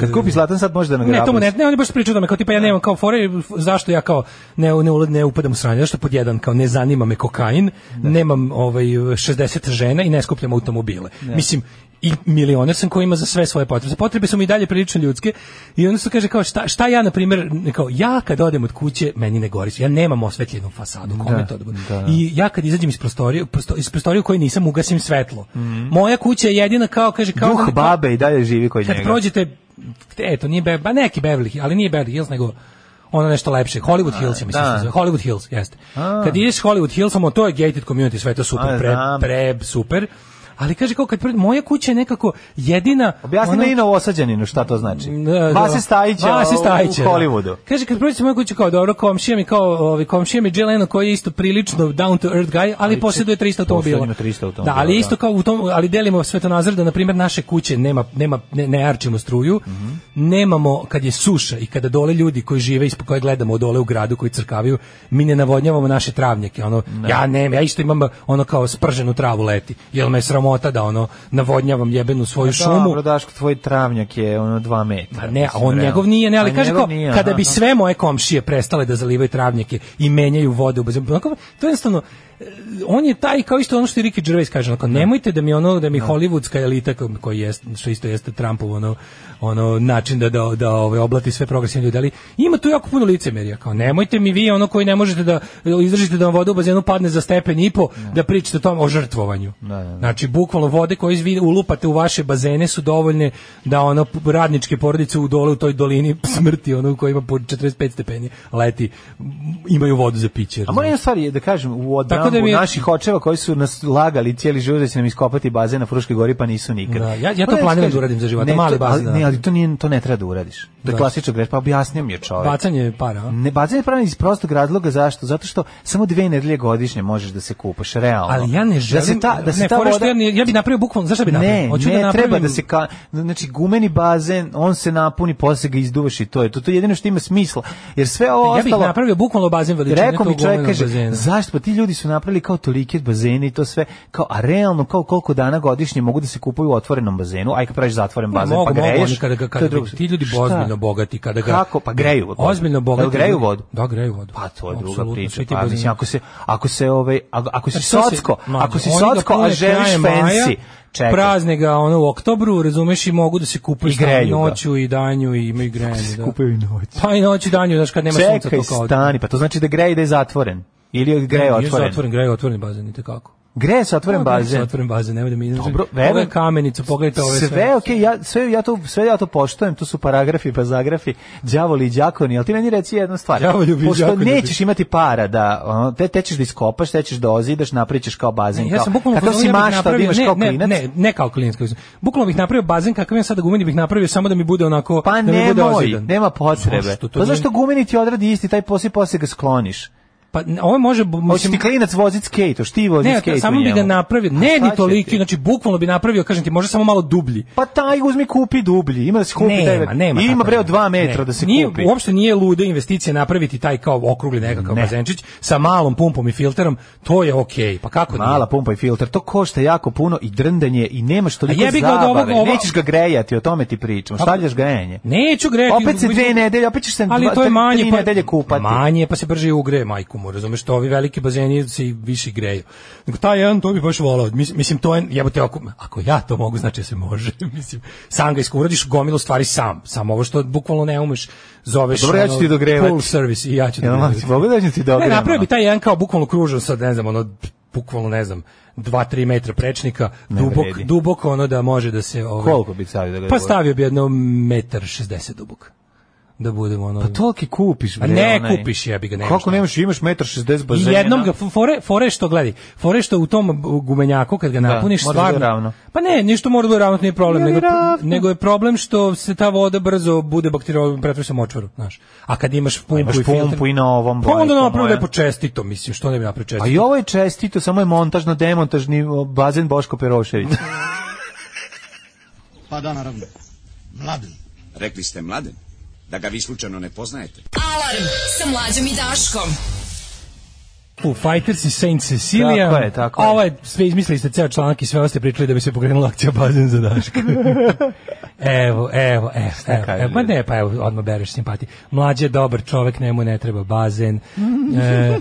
Speaker 3: Kad kupi zlatan sat, može da nagrabi.
Speaker 4: Ne, to mu ne, ne, on je baš pričao da me kao tipa ja nemam kao fore, zašto ja kao ne ne ulad ne upadam u sranje, zašto pod jedan kao ne zanima me kokain, nemam ovaj 60 žena i ne skupljam automobile. Mislim i milioner sam koji ima za sve svoje potrebe. Potrebe su mi i dalje prilično ljudske i onda se kaže kao šta, šta ja na primjer kao ja kad odem od kuće meni ne gori, ja nemam osvetljenu fasadu, kome to da bude? I ja kad izađem iz prostorije, prosto- iz prostorije u kojoj nisam ugasim svetlo. Moja kuća je jedina kao kaže kao da
Speaker 3: Duh
Speaker 4: kao-
Speaker 3: babe i dalje živi kod
Speaker 4: kad
Speaker 3: njega.
Speaker 4: prođete eto nije Be- ba neki Beverly Hills, ali nije Beverly Hills nego ono nešto lepše Hollywood Hills ja mislim
Speaker 3: da.
Speaker 10: da.
Speaker 4: se zove. Hollywood Hills jeste kad ideš Hollywood Hillsom ono, to je gated community sve je to super
Speaker 3: A,
Speaker 4: pre,
Speaker 3: znam.
Speaker 4: pre super ali kaže kao kad pred moja kuća je nekako jedina
Speaker 3: Objasni
Speaker 4: ono-
Speaker 3: meni novosađaninu šta to znači.
Speaker 4: da, da.
Speaker 3: Vase Stajića
Speaker 4: Vase Stajića,
Speaker 3: u
Speaker 4: da.
Speaker 3: Hollywoodu.
Speaker 4: Kaže, kad prođete moju kuću kao dobro, komšija mi kao, ovi, komšija mi Jill Leno koji je isto prilično down to earth guy, ali posjeduje 300 automobila.
Speaker 3: posjeduje 300 automobila,
Speaker 4: Da, ali je
Speaker 3: da.
Speaker 4: isto kao u tom, ali delimo svetonazor da, na primjer, naše kuće nema, nema, ne, ne arčimo struju,
Speaker 3: Mhm.
Speaker 4: nemamo, kad je suša i kada dole ljudi koji žive, ispod koje gledamo dole u gradu koji crkavaju, mi ne navodnjavamo naše travnjake, ono, ja nema, ja isto imam ono kao sprženu travu leti, jel me je sramota sramota da ono navodnjavam jebenu svoju šumu.
Speaker 3: Dobro, Daško, tvoj travnjak je ono dva metra.
Speaker 4: Pa ne, a
Speaker 3: Da, mislim,
Speaker 4: on
Speaker 3: realno.
Speaker 4: njegov nije, ne, ali
Speaker 3: A
Speaker 4: kaže
Speaker 3: njegov
Speaker 4: kao,
Speaker 3: nije,
Speaker 4: kada
Speaker 3: aha.
Speaker 4: bi sve moje komšije prestale da zalivaju travnjake i menjaju vode u bazenu, onako, to je jednostavno, eh, on je taj, kao isto ono što i Ricky Gervais kaže, onako, nemojte da mi ono, da mi hollywoodska elita, ko- koji jest, što isto jeste Trumpov, ono, ono način da, da, da ovaj, oblati sve progresivne ljude, ali ima tu jako puno licemerja, kao, nemojte mi vi ono koji ne možete da izdržite da vam voda u bazenu padne za stepen i po, da pričate o tom o žrtvovanju.
Speaker 3: Da,
Speaker 4: Znači, bukvalno vode koje vi ulupate u vaše bazene su dovoljne da ono p- radničke porodice u dole u toj dolini smrti, ono u kojima po 45 stepeni leti, m, imaju vodu za piće.
Speaker 3: A moram jedna stvar je da kažem, u odbrambu
Speaker 4: Tako da mi je-
Speaker 3: naših očeva koji su nas lagali cijeli život da će nam iskopati bazen na Fruškoj gori, pa nisu nikad.
Speaker 4: Da, ja- ja to
Speaker 3: Moram ti
Speaker 4: planiram
Speaker 3: kažem,
Speaker 4: da uradim za život,
Speaker 3: ne, to-
Speaker 4: mali bazen,
Speaker 3: ali- Ne,
Speaker 4: da.
Speaker 3: ali to, nije, to ne treba da uradiš. To je
Speaker 4: Da.
Speaker 3: klasična greš, pa objasnio mi je čovjek.
Speaker 4: Bacanje para, a?
Speaker 3: Ne, bacanje je pravno iz prostog razloga zašto? Zato što samo dve nedelje godišnje možeš da se kupaš, realno.
Speaker 4: Ali ja ne želim,
Speaker 3: da se ta, da se
Speaker 4: ne,
Speaker 3: ta
Speaker 4: fora što
Speaker 3: voda...
Speaker 4: ja, ne- ja bi napravio bukvalno, zašto bi napravio?
Speaker 3: Ne,
Speaker 4: Hoću
Speaker 3: ne,
Speaker 4: da
Speaker 3: treba
Speaker 4: napravim-
Speaker 3: da se ka, znači gumeni bazen, on se napuni, posle ga izduvaš i to je to. To je jedino što ima smisla. Jer sve ovo
Speaker 4: Ja bih
Speaker 3: ostalo
Speaker 4: napravio bukvalno bazen veličine
Speaker 3: Rekao
Speaker 4: tog
Speaker 3: mi čovjek,
Speaker 4: golenog
Speaker 3: kaže,
Speaker 4: bazena.
Speaker 3: zašto? Pa ti ljudi su napravili kao tolike bazene i to sve, kao, a realno, kao koliko dana godišnje mogu da se kupuju u otvorenom bazenu, aj kad praviš zatvoren bazen,
Speaker 4: mogu,
Speaker 3: pa
Speaker 4: mogu,
Speaker 3: greješ.
Speaker 4: oni kada ga,
Speaker 3: to
Speaker 4: kada
Speaker 3: je drugo.
Speaker 4: ga- ti ljudi
Speaker 3: Šta?
Speaker 4: ozbiljno bogati kada ga
Speaker 3: Kako? Pa greju vodu.
Speaker 4: Ozbiljno
Speaker 3: Jel
Speaker 4: bogati.
Speaker 3: greju
Speaker 4: ljudi-
Speaker 3: vodu?
Speaker 4: Da, greju vodu.
Speaker 3: Pa to je druga
Speaker 4: Apsolutno,
Speaker 3: priča.
Speaker 4: svi ti
Speaker 3: Pa,
Speaker 4: bazeni.
Speaker 3: mislim, ako se, ako se, ovaj, ako, ako si
Speaker 4: Znači, to se-
Speaker 3: socko,
Speaker 4: mlađe,
Speaker 3: ako si
Speaker 4: oni ga
Speaker 3: socko, a
Speaker 4: pune
Speaker 3: želiš
Speaker 4: krajem maja,
Speaker 3: fancy, čekaj.
Speaker 4: Prazne ga ono u oktobru, razumeš, i mogu da se kupuju
Speaker 3: I greju ga.
Speaker 4: noću i danju i imaju grejanje. Da.
Speaker 3: Kupaju i noć.
Speaker 4: Pa i noću i danju, znaš, kad nema sunca
Speaker 3: Čekaj,
Speaker 4: to kao...
Speaker 3: stani, pa to znači da greje i da je zatvoren. Ili je greje
Speaker 4: Nije
Speaker 3: otvoren.
Speaker 4: Zatvoren, greje otvoren bazen, i tekako.
Speaker 3: Greje sa otvoren bazen.
Speaker 4: Otvoren bazen, nemoj da mi izražem.
Speaker 3: Dobro,
Speaker 4: Ovo
Speaker 3: verujem.
Speaker 4: je kamenica, pogledajte ove sve.
Speaker 3: sve okej, ja sve ja to sve ja to poštujem, to su paragrafi, bazagrafi, đavoli i đakoni, al ti meni reci jednu stvar.
Speaker 4: Đavoljubi i
Speaker 3: Pošto
Speaker 4: đakoljubi.
Speaker 3: nećeš imati para da ono, te te ćeš da iskopaš, te ćeš da ozidaš, naprićeš kao bazen.
Speaker 4: Ne, ja
Speaker 3: kao-
Speaker 4: sam bukvalno
Speaker 3: kakav
Speaker 4: fazonu,
Speaker 3: si
Speaker 4: ja bih
Speaker 3: mašta, da
Speaker 4: napravio-
Speaker 3: imaš
Speaker 4: ne,
Speaker 3: kao
Speaker 4: ne,
Speaker 3: klinac.
Speaker 4: Ne, ne kao klinac. kao klinac. Bukvalno bih napravio bazen kakav ja sada gumeni bih napravio samo da mi bude onako
Speaker 3: Pa
Speaker 4: da mi bude
Speaker 3: nemoj,
Speaker 4: ozidan.
Speaker 3: nema potrebe.
Speaker 4: Zašto to
Speaker 3: pa
Speaker 4: nije-
Speaker 3: zašto gumeni ti odradi isti taj posao i posle ga skloniš?
Speaker 4: Pa n- ovo može bu-
Speaker 3: Hoće ti klinac vozit skate, hoće ti vozit
Speaker 4: Ne,
Speaker 3: skate. u
Speaker 4: samo bi ga
Speaker 3: njemu.
Speaker 4: napravio,
Speaker 3: A
Speaker 4: ne
Speaker 3: šta
Speaker 4: ni
Speaker 3: će
Speaker 4: toliki,
Speaker 3: ti?
Speaker 4: znači bukvalno bi napravio, kažem ti, možda samo malo dublji.
Speaker 3: Pa taj uzmi kupi dublji, ima da se kupi taj.
Speaker 4: Nema, nema.
Speaker 3: Ima
Speaker 4: tako
Speaker 3: bre od
Speaker 4: nešto.
Speaker 3: 2 metra
Speaker 4: Ne.
Speaker 3: da se
Speaker 4: nije,
Speaker 3: kupi.
Speaker 4: Uopšte nije luda investicija napraviti taj kao okrugli nekakav
Speaker 3: Ne.
Speaker 4: bazenčić sa malom pumpom i filterom, to je okej. Pa kako nije?
Speaker 3: Mala pumpa i filter, to košta jako puno i drndanje i nemaš toliko
Speaker 4: A jebi ga od
Speaker 3: zabave.
Speaker 4: ovog- ovo-
Speaker 3: Nećeš ga grejati, o tome ti pričam. Stavljaš grejanje.
Speaker 4: Neću grejati.
Speaker 3: Opet se dve nedelje, opet ćeš se
Speaker 4: ali
Speaker 3: dva-
Speaker 4: to je
Speaker 3: tri-
Speaker 4: manje pa-
Speaker 3: tri nedelje kupati.
Speaker 4: Manje, pa se brže ugre, majku mu, razumeš, to ovi veliki bazeni se i više greju. Nego taj jedan to bi baš volao. Mis- Mislim to je jebote ako, ako ja to mogu, znači da se može. Mislim sam ga iskuradiš gomilu stvari sam. Samo ovo što bukvalno ne umeš, zoveš.
Speaker 3: Pa Dobro, ja ću
Speaker 4: ono,
Speaker 3: ti dogrevati.
Speaker 4: Full service i ja ću.
Speaker 3: Jel,
Speaker 4: dogrevati.
Speaker 3: Max, pogledaj da ti dobro.
Speaker 4: Ne, napravio bi taj jedan kao bukvalno kružan sad, ne znam, ono, bukvalno, ne znam, 2-3 metra prečnika, dubok,
Speaker 3: vredi.
Speaker 4: duboko ono da može da se... Ovaj,
Speaker 3: Koliko bi stavio da ga
Speaker 4: Pa
Speaker 3: duboko?
Speaker 4: stavio bi jedno metar 60 dubok. Da budemo ono...
Speaker 3: Pa toliki kupiš,
Speaker 4: A
Speaker 3: bre.
Speaker 4: ne
Speaker 3: onaj.
Speaker 4: kupiš, jebi ga, nemaš
Speaker 3: Kako
Speaker 4: šta.
Speaker 3: nemaš, imaš 1,60
Speaker 4: I
Speaker 3: bazenja.
Speaker 4: jednom ga fore fore što gledi. Fore što u tom gumenjaku kad ga napuniš
Speaker 3: mora da bude
Speaker 4: stvarno.
Speaker 3: ravno.
Speaker 4: Pa ne, ništa mora da bude ravno, to nije problem,
Speaker 3: Nije
Speaker 4: nego,
Speaker 3: ni ravno.
Speaker 4: nego je problem što se ta voda brzo bude bakterijalno pretvori u močvaru, znaš. A kad imaš pumpu
Speaker 3: imaš
Speaker 4: i filter,
Speaker 3: pumpu i na ovom,
Speaker 4: Pa onda
Speaker 3: bajko
Speaker 4: napravi
Speaker 3: moja.
Speaker 4: lepo čestito, mislim, što ne bi napravio čestito.
Speaker 3: A Pa i ovo je čestito, samo je montažno demontažni o, bazen Boško Perošević.
Speaker 5: Pa da, naravno. Mladen.
Speaker 10: Rekli ste mladen, da ga vi slučajno ne poznajete.
Speaker 2: Alarm sa mlađom i Daškom.
Speaker 4: Foo Fighters i Saint Cecilia.
Speaker 3: Tako je, tako je.
Speaker 4: Ovo je, sve izmislili ste ceo članak i sve ovo ste pričali da bi se pokrenula akcija bazen za Daška. evo, evo, evo, evo,
Speaker 3: kažeš?
Speaker 4: evo, pa ne, pa evo, odmah bereš simpatije. Mlađe je dobar čovek, njemu ne treba bazen. E,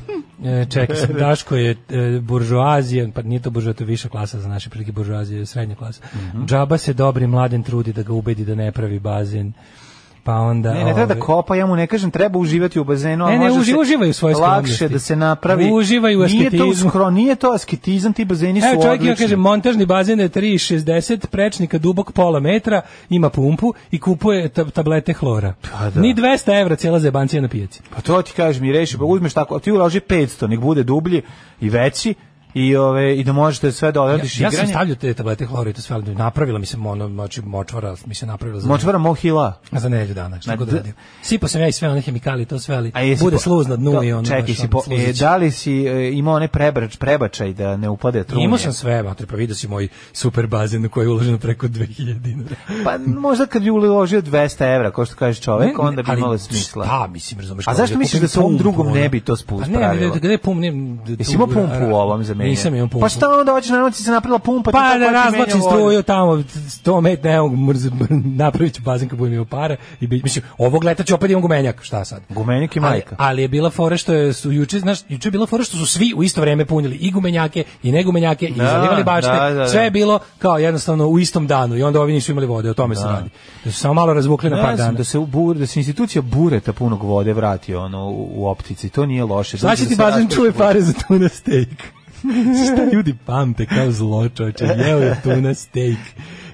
Speaker 4: e, čekaj, sam, Daško je e, buržuazija, pa nije to buržuazija, to je viša klasa za naše prilike, buržuazija je srednja klasa.
Speaker 3: Mhm.
Speaker 4: Džaba se dobri mladen trudi da ga ubedi da ne pravi bazen. Pa onda...
Speaker 3: Ne, ne treba da
Speaker 4: ovaj,
Speaker 3: kopa, ja mu ne kažem, treba uživati u bazenu, a
Speaker 4: Ne, ne,
Speaker 3: može
Speaker 4: uži-
Speaker 3: se
Speaker 4: uživaj u svojoj
Speaker 3: lakše
Speaker 4: skromnosti.
Speaker 3: da se napravi.
Speaker 4: Uživaj u
Speaker 3: Nije to,
Speaker 4: asketizmu.
Speaker 3: skro, nije to asketizam, ti bazeni su
Speaker 4: Evo čovjek
Speaker 3: odlični.
Speaker 4: ima, kaže, montažni bazen je 3,60, prečnika dubok pola metra, ima pumpu i kupuje ta- tablete hlora.
Speaker 3: Pa da.
Speaker 4: Ni 200 evra cijela zebancija na pijaci.
Speaker 3: Pa to ti kažeš mi reši, pa uzmeš tako, a ti uloži 500, nek bude dublji i veći i ove i da možete sve da
Speaker 4: Ja,
Speaker 3: odradiš
Speaker 4: ja sam
Speaker 3: igranje.
Speaker 4: stavljao te tablete hlora i to sve, ali napravila mi se ono, znači, močvara mi se napravila za,
Speaker 3: Močvara Mohila.
Speaker 4: za nedelju dana. Šta
Speaker 3: Ma
Speaker 4: god
Speaker 3: d-
Speaker 4: radim. Sipao sam ja i sve one hemikalije, i to sve, ali
Speaker 3: jesi
Speaker 4: bude
Speaker 3: po-
Speaker 4: sluz na dnu
Speaker 3: to-
Speaker 4: i ono.
Speaker 3: Čekaj,
Speaker 4: znaš,
Speaker 3: si
Speaker 4: ono,
Speaker 3: po, e,
Speaker 4: sluzić.
Speaker 3: da li si e, imao one prebrač, prebačaj da ne upade trunje?
Speaker 4: Imao sam sve, matri, pa vidio si moj super bazen u koji je uloženo preko 2000 dinara.
Speaker 3: Pa možda kad bi uložio 200 evra, kao što kaže čovek,
Speaker 4: Ne, ne,
Speaker 3: Pa onda bi
Speaker 4: ali
Speaker 3: imalo smisla.
Speaker 4: Šta, mislim, razumeš?
Speaker 3: A
Speaker 4: kao
Speaker 3: zašto
Speaker 4: da
Speaker 3: misliš
Speaker 4: kupim
Speaker 3: da se ovom
Speaker 4: pumpu,
Speaker 3: drugom
Speaker 4: ono?
Speaker 3: ne bi to spust
Speaker 4: Pa ne, ne,
Speaker 3: pravilo?
Speaker 4: ne, gde je pum, ne,
Speaker 3: Jesi imao pumpu u ovom za menjao.
Speaker 4: da. Nisam imao pumpu.
Speaker 3: Pa šta onda hoćeš na noći se napravila pumpa? ti
Speaker 4: Pa
Speaker 3: tako
Speaker 4: da
Speaker 3: hoćeš
Speaker 4: razvlačim
Speaker 3: menjao vodu.
Speaker 4: struju tamo, 100 met, ne mogu, mrz, napravit ću bazen kad budem imao para. I bi, mislim, ovog leta ću opet imam gumenjak, šta sad?
Speaker 3: Gumenjak i majka.
Speaker 4: Ali, ali je bila fora što je, su juče, znaš, juče je bila fora što su svi u isto vreme punili i gumenjake i ne gumenjake i
Speaker 3: Da,
Speaker 4: zalivali bašte.
Speaker 3: da, da, da.
Speaker 4: Sve je bilo kao jednostavno u istom danu i onda ovi nisu imali vode, o tome se radi. Da su samo malo razvukli na
Speaker 3: Ne
Speaker 4: par
Speaker 3: znam,
Speaker 4: dana.
Speaker 3: da se u bur, da se institucija bureta punog vode vrati ono u, u optici. To nije loše.
Speaker 4: Šta će
Speaker 3: Dođe
Speaker 4: ti
Speaker 3: da se
Speaker 4: bazen
Speaker 3: raspravi-
Speaker 4: čuje pare za tuna steak? Šta ljudi pamte kao zlo čoče, jeo je tuna steak.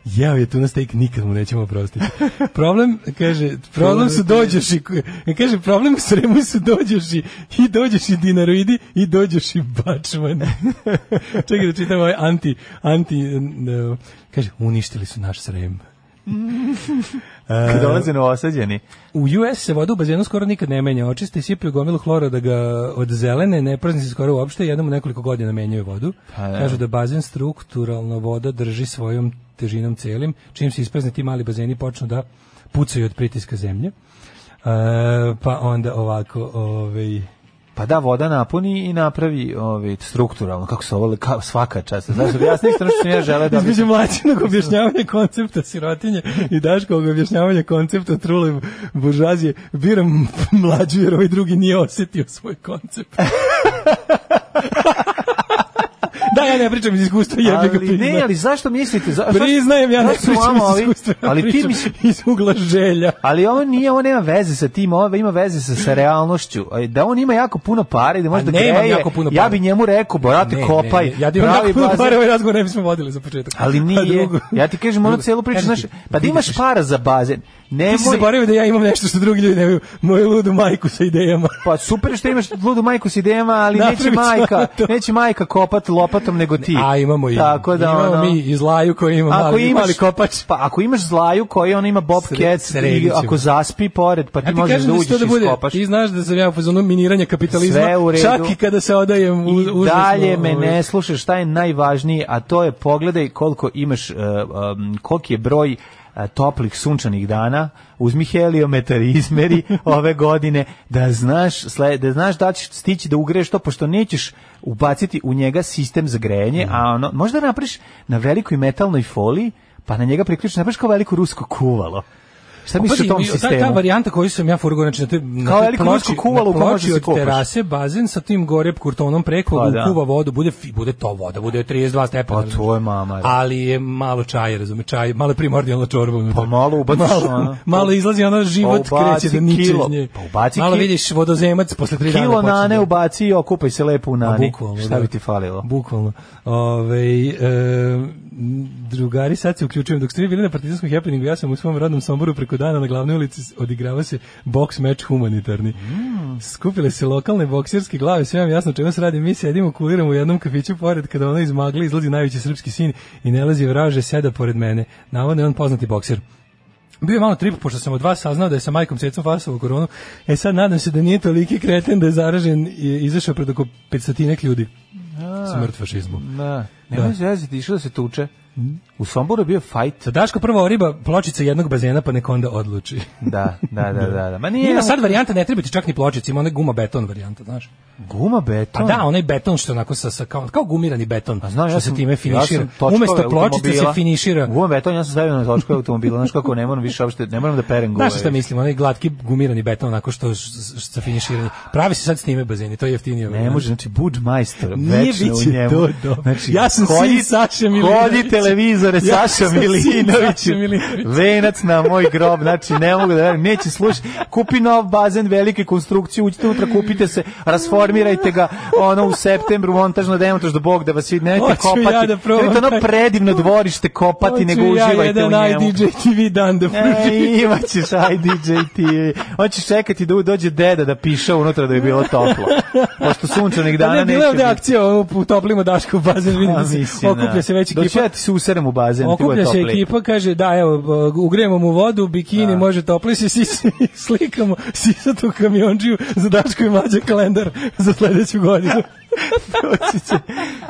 Speaker 4: Jeo je tuna steak, nikad mu nećemo oprostiti. Problem, kaže, problem su dođoši, kaže, problem u sremu su dođoši, i dođoši dinaroidi, i dođoši bačman. Čekaj da čitam ovaj anti, anti, n- kaže, uništili su naš srem.
Speaker 3: Kad Da, dolaze novosađeni.
Speaker 4: U US se voda u bazenu skoro nikad ne menja. Očiste i sipaju gomilu hlora da ga od zelene ne prazni se skoro uopšte, jednom u nekoliko godina menjaju vodu.
Speaker 3: Pa da.
Speaker 4: Kažu da bazen strukturalno voda drži svojom težinom celim, čim se isprazne ti mali bazeni počnu da pucaju od pritiska zemlje. E, pa onda ovako, ovaj,
Speaker 3: Pa da, voda napuni i napravi ovaj, strukturalno, kako se ovo, le- kao svaka čast. Znaš, objasni strano što sam ja žele da...
Speaker 4: Između mlađenog objašnjavanja koncepta sirotinje i Daškovog objašnjavanja koncepta trule buržuazije, biram mlađu jer ovaj drugi nije osetio svoj koncept. da, ja ne pričam iz iskustva, jebe ga
Speaker 3: ali
Speaker 4: priznajem.
Speaker 3: ne, ali zašto mislite? Za, zašto-
Speaker 4: Priznajem, ja ne
Speaker 3: zašto su
Speaker 4: pričam
Speaker 3: vama
Speaker 4: iz
Speaker 3: ovi-
Speaker 4: iskustva, ja
Speaker 3: ali ti
Speaker 4: pričam
Speaker 3: misli,
Speaker 4: iz ugla želja.
Speaker 3: Ali ovo nije, ovo nema veze sa tim, ovo ima veze sa, sa realnošću. E, Da on ima jako puno pare, da može
Speaker 4: A
Speaker 3: da
Speaker 4: nemam
Speaker 3: greje,
Speaker 4: jako puno
Speaker 3: ja
Speaker 4: pare.
Speaker 3: bi njemu rekao,
Speaker 4: Ne,
Speaker 3: brate,
Speaker 4: ne,
Speaker 3: kopaj,
Speaker 4: ne, Ja da imam
Speaker 3: pravi
Speaker 4: tako puno
Speaker 3: bazen.
Speaker 4: para, ovaj razgovor ne bismo vodili za početak.
Speaker 3: Ali
Speaker 4: Pa
Speaker 3: nije,
Speaker 4: drugo-
Speaker 3: ja ti kažem, ono
Speaker 4: drugo,
Speaker 3: cijelu priču,
Speaker 4: kažem
Speaker 3: znaš,
Speaker 4: ti,
Speaker 3: pa da
Speaker 4: vidiš
Speaker 3: imaš para za bazen, nemoj...
Speaker 4: Ti si zaboravio da ja imam nešto što drugi ljudi nemaju, moju ludu majku sa idejama.
Speaker 3: Pa super je što imaš ludu majku s idejama, ali neće
Speaker 4: Napravit ću
Speaker 3: majka,
Speaker 4: ja to.
Speaker 3: neće majka kopat lopatom nego ti.
Speaker 4: A imamo i
Speaker 3: Tako da
Speaker 4: imamo
Speaker 3: ono,
Speaker 4: mi i zlaju koji ima
Speaker 3: Ako
Speaker 4: mali,
Speaker 3: imaš,
Speaker 4: mali kopač.
Speaker 3: Pa ako imaš zlaju koji on ima
Speaker 4: Sre-
Speaker 3: bobcat i
Speaker 4: sredićemo.
Speaker 3: ako zaspi pored, pa ti,
Speaker 4: Ja ti
Speaker 3: možeš
Speaker 4: kažem
Speaker 3: da
Speaker 4: da, će to
Speaker 3: uđeš
Speaker 4: da
Speaker 3: i
Speaker 4: bude,
Speaker 3: skopaš.
Speaker 4: ti znaš da sam ja u fazonu miniranja kapitalizma,
Speaker 3: Sve u redu.
Speaker 4: čak i kada se odajem u,
Speaker 3: I dalje me
Speaker 4: ovaj-
Speaker 3: ne slušaš šta je najvažnije, a to je pogledaj koliko imaš, uh, um, koliki je broj uh, toplih sunčanih dana, uzmi heliometar i izmeri ove godine, da znaš, sle- da znaš da li ćeš stići da ugreješ to, pošto nećeš ubaciti u njega sistem za
Speaker 4: Da.
Speaker 3: grejanje, a ono, možda napraviš na velikoj metalnoj foliji, pa na njega priključiš, napraviš kao veliko rusko kuvalo. Šta misliš o tom
Speaker 4: Pa Ta, ta
Speaker 3: sistemu?
Speaker 4: varijanta koju sam ja furgo, znači na toj, na
Speaker 3: Kao
Speaker 4: toj
Speaker 3: veliko
Speaker 4: ploči-
Speaker 3: rusko kuvalo
Speaker 4: na
Speaker 3: u kojem
Speaker 4: ploči
Speaker 3: možeš da
Speaker 4: od
Speaker 3: se kopaš.
Speaker 4: terase, bazen sa tim gore kurtonom preko,
Speaker 3: Pa da.
Speaker 4: kuva vodu, bude, fi- bude to voda, bude 32 stepena.
Speaker 3: Pa to je mama, je.
Speaker 4: Ali je malo čaja, razume, čaj, malo je primordijalna čorba. unutra.
Speaker 3: Pa malo ubaciš ono.
Speaker 4: malo, malo izlazi ono život
Speaker 3: Pa ubaci
Speaker 4: kreće da niče
Speaker 3: kilo.
Speaker 4: iz nje.
Speaker 3: Pa ubaci
Speaker 4: malo
Speaker 3: ki-
Speaker 4: vidiš vodozemac posle 3 dana.
Speaker 3: Kilo
Speaker 4: počinje
Speaker 3: nane
Speaker 4: da-
Speaker 3: ubaci i okupaj se lepo u
Speaker 4: Pa
Speaker 3: nani.
Speaker 4: bukvalno,
Speaker 3: Šta
Speaker 4: da.
Speaker 3: bi ti falilo?
Speaker 4: Bukvalno. Ove, e, drugari, sad se uključujem. Dok ste vi bili na partizanskom happeningu, ja sam u svom rodnom Somboru preko dana na glavnoj ulici s- odigrava se boks meč humanitarni.
Speaker 3: Mm.
Speaker 4: Skupile se lokalne boksirske glave, sve vam jasno čemu se radi. Mi sedimo, kuliramo u jednom kafiću pored kada ona iz magle izlazi najveći srpski sin i ne lazi vraže, seda pored mene. Navodno je on poznati boksir. Bio je malo trip, pošto sam od vas saznao da je sa majkom Cecom Fasovo koronu. E sad nadam se da nije toliki kreten da je zaražen i izašao pred oko 500 ljudi. Smrt fašizmu.
Speaker 3: Da. Nemoj zezati, išlo da se tuče. U Somboru je bio fajt.
Speaker 4: Sa Daško prvo oriba pločica jednog bazena, pa nek onda odluči.
Speaker 3: Da, da, da, da. da. Ma nije...
Speaker 4: Ima sad varijanta, ne treba ti čak ni pločica, ima onaj guma beton varijanta, znaš.
Speaker 3: Guma beton.
Speaker 4: Pa da, onaj beton što onako sa, sa kao, kao gumirani beton,
Speaker 3: A znam,
Speaker 4: što
Speaker 3: ja
Speaker 4: se
Speaker 3: sam-
Speaker 4: time finišira.
Speaker 3: Ja sam točkove
Speaker 4: Umesto pločice se
Speaker 3: automobila-
Speaker 4: finišira.
Speaker 3: Guma beton, ja sam stavio na točkove automobila. Znaš kako, ne moram više uopšte, ne moram da perem guve.
Speaker 4: Znaš šta mislim, onaj glatki gumirani beton, onako što sa finiširanje. Pravi se sad s time bazeni, to je jeftinije.
Speaker 3: Ne može, znači Budmeister,
Speaker 4: Nije
Speaker 3: večno u
Speaker 4: biće
Speaker 3: njemu.
Speaker 4: to dobro. Ja sam sin
Speaker 3: kolji-
Speaker 4: Saše Milinovića.
Speaker 3: kolji televizore Saša
Speaker 4: Ja sam sin
Speaker 3: Milinović.
Speaker 4: Saše Milinovića.
Speaker 3: Venac na moj grob, znači ne mogu da verujem, neće slušati. Kupi nov bazen velike konstrukcije, uđite utra, kupite se, rasformirajte ga ono u septembru, montažno demontaž do Bog da vas vidi, nemojte
Speaker 4: Hoću
Speaker 3: kopati.
Speaker 4: ja da probam
Speaker 3: Nemojte ono
Speaker 4: taj-
Speaker 3: predivno dvorište kopati, nego uživajte u
Speaker 4: Ja jedan
Speaker 3: njemu.
Speaker 4: IDJ TV dan da
Speaker 3: E,
Speaker 4: pruži.
Speaker 3: imaćeš IDJ TV. On će čekati da dođe deda da piše unutra da je bilo toplo. Pošto sunčanih
Speaker 4: Da
Speaker 3: dana
Speaker 4: ne,
Speaker 3: neće
Speaker 4: bila je ovde
Speaker 3: biti.
Speaker 4: akcija, ovo, utoplimo Daško u bazen, vidim
Speaker 3: A,
Speaker 4: da se
Speaker 3: mislim, da.
Speaker 4: okuplja se već
Speaker 3: Doći
Speaker 4: ekipa.
Speaker 3: ja ti se userem u bazen, ti bude
Speaker 4: Okuplja se
Speaker 3: toplije. Da.
Speaker 4: ekipa, kaže, da, evo, ugrejemo mu vodu, bikini, može topli se, sisi, slikamo sisatu kamionđiju za Daško i mlađe kalendar za sledeću godinu.
Speaker 3: doći, će,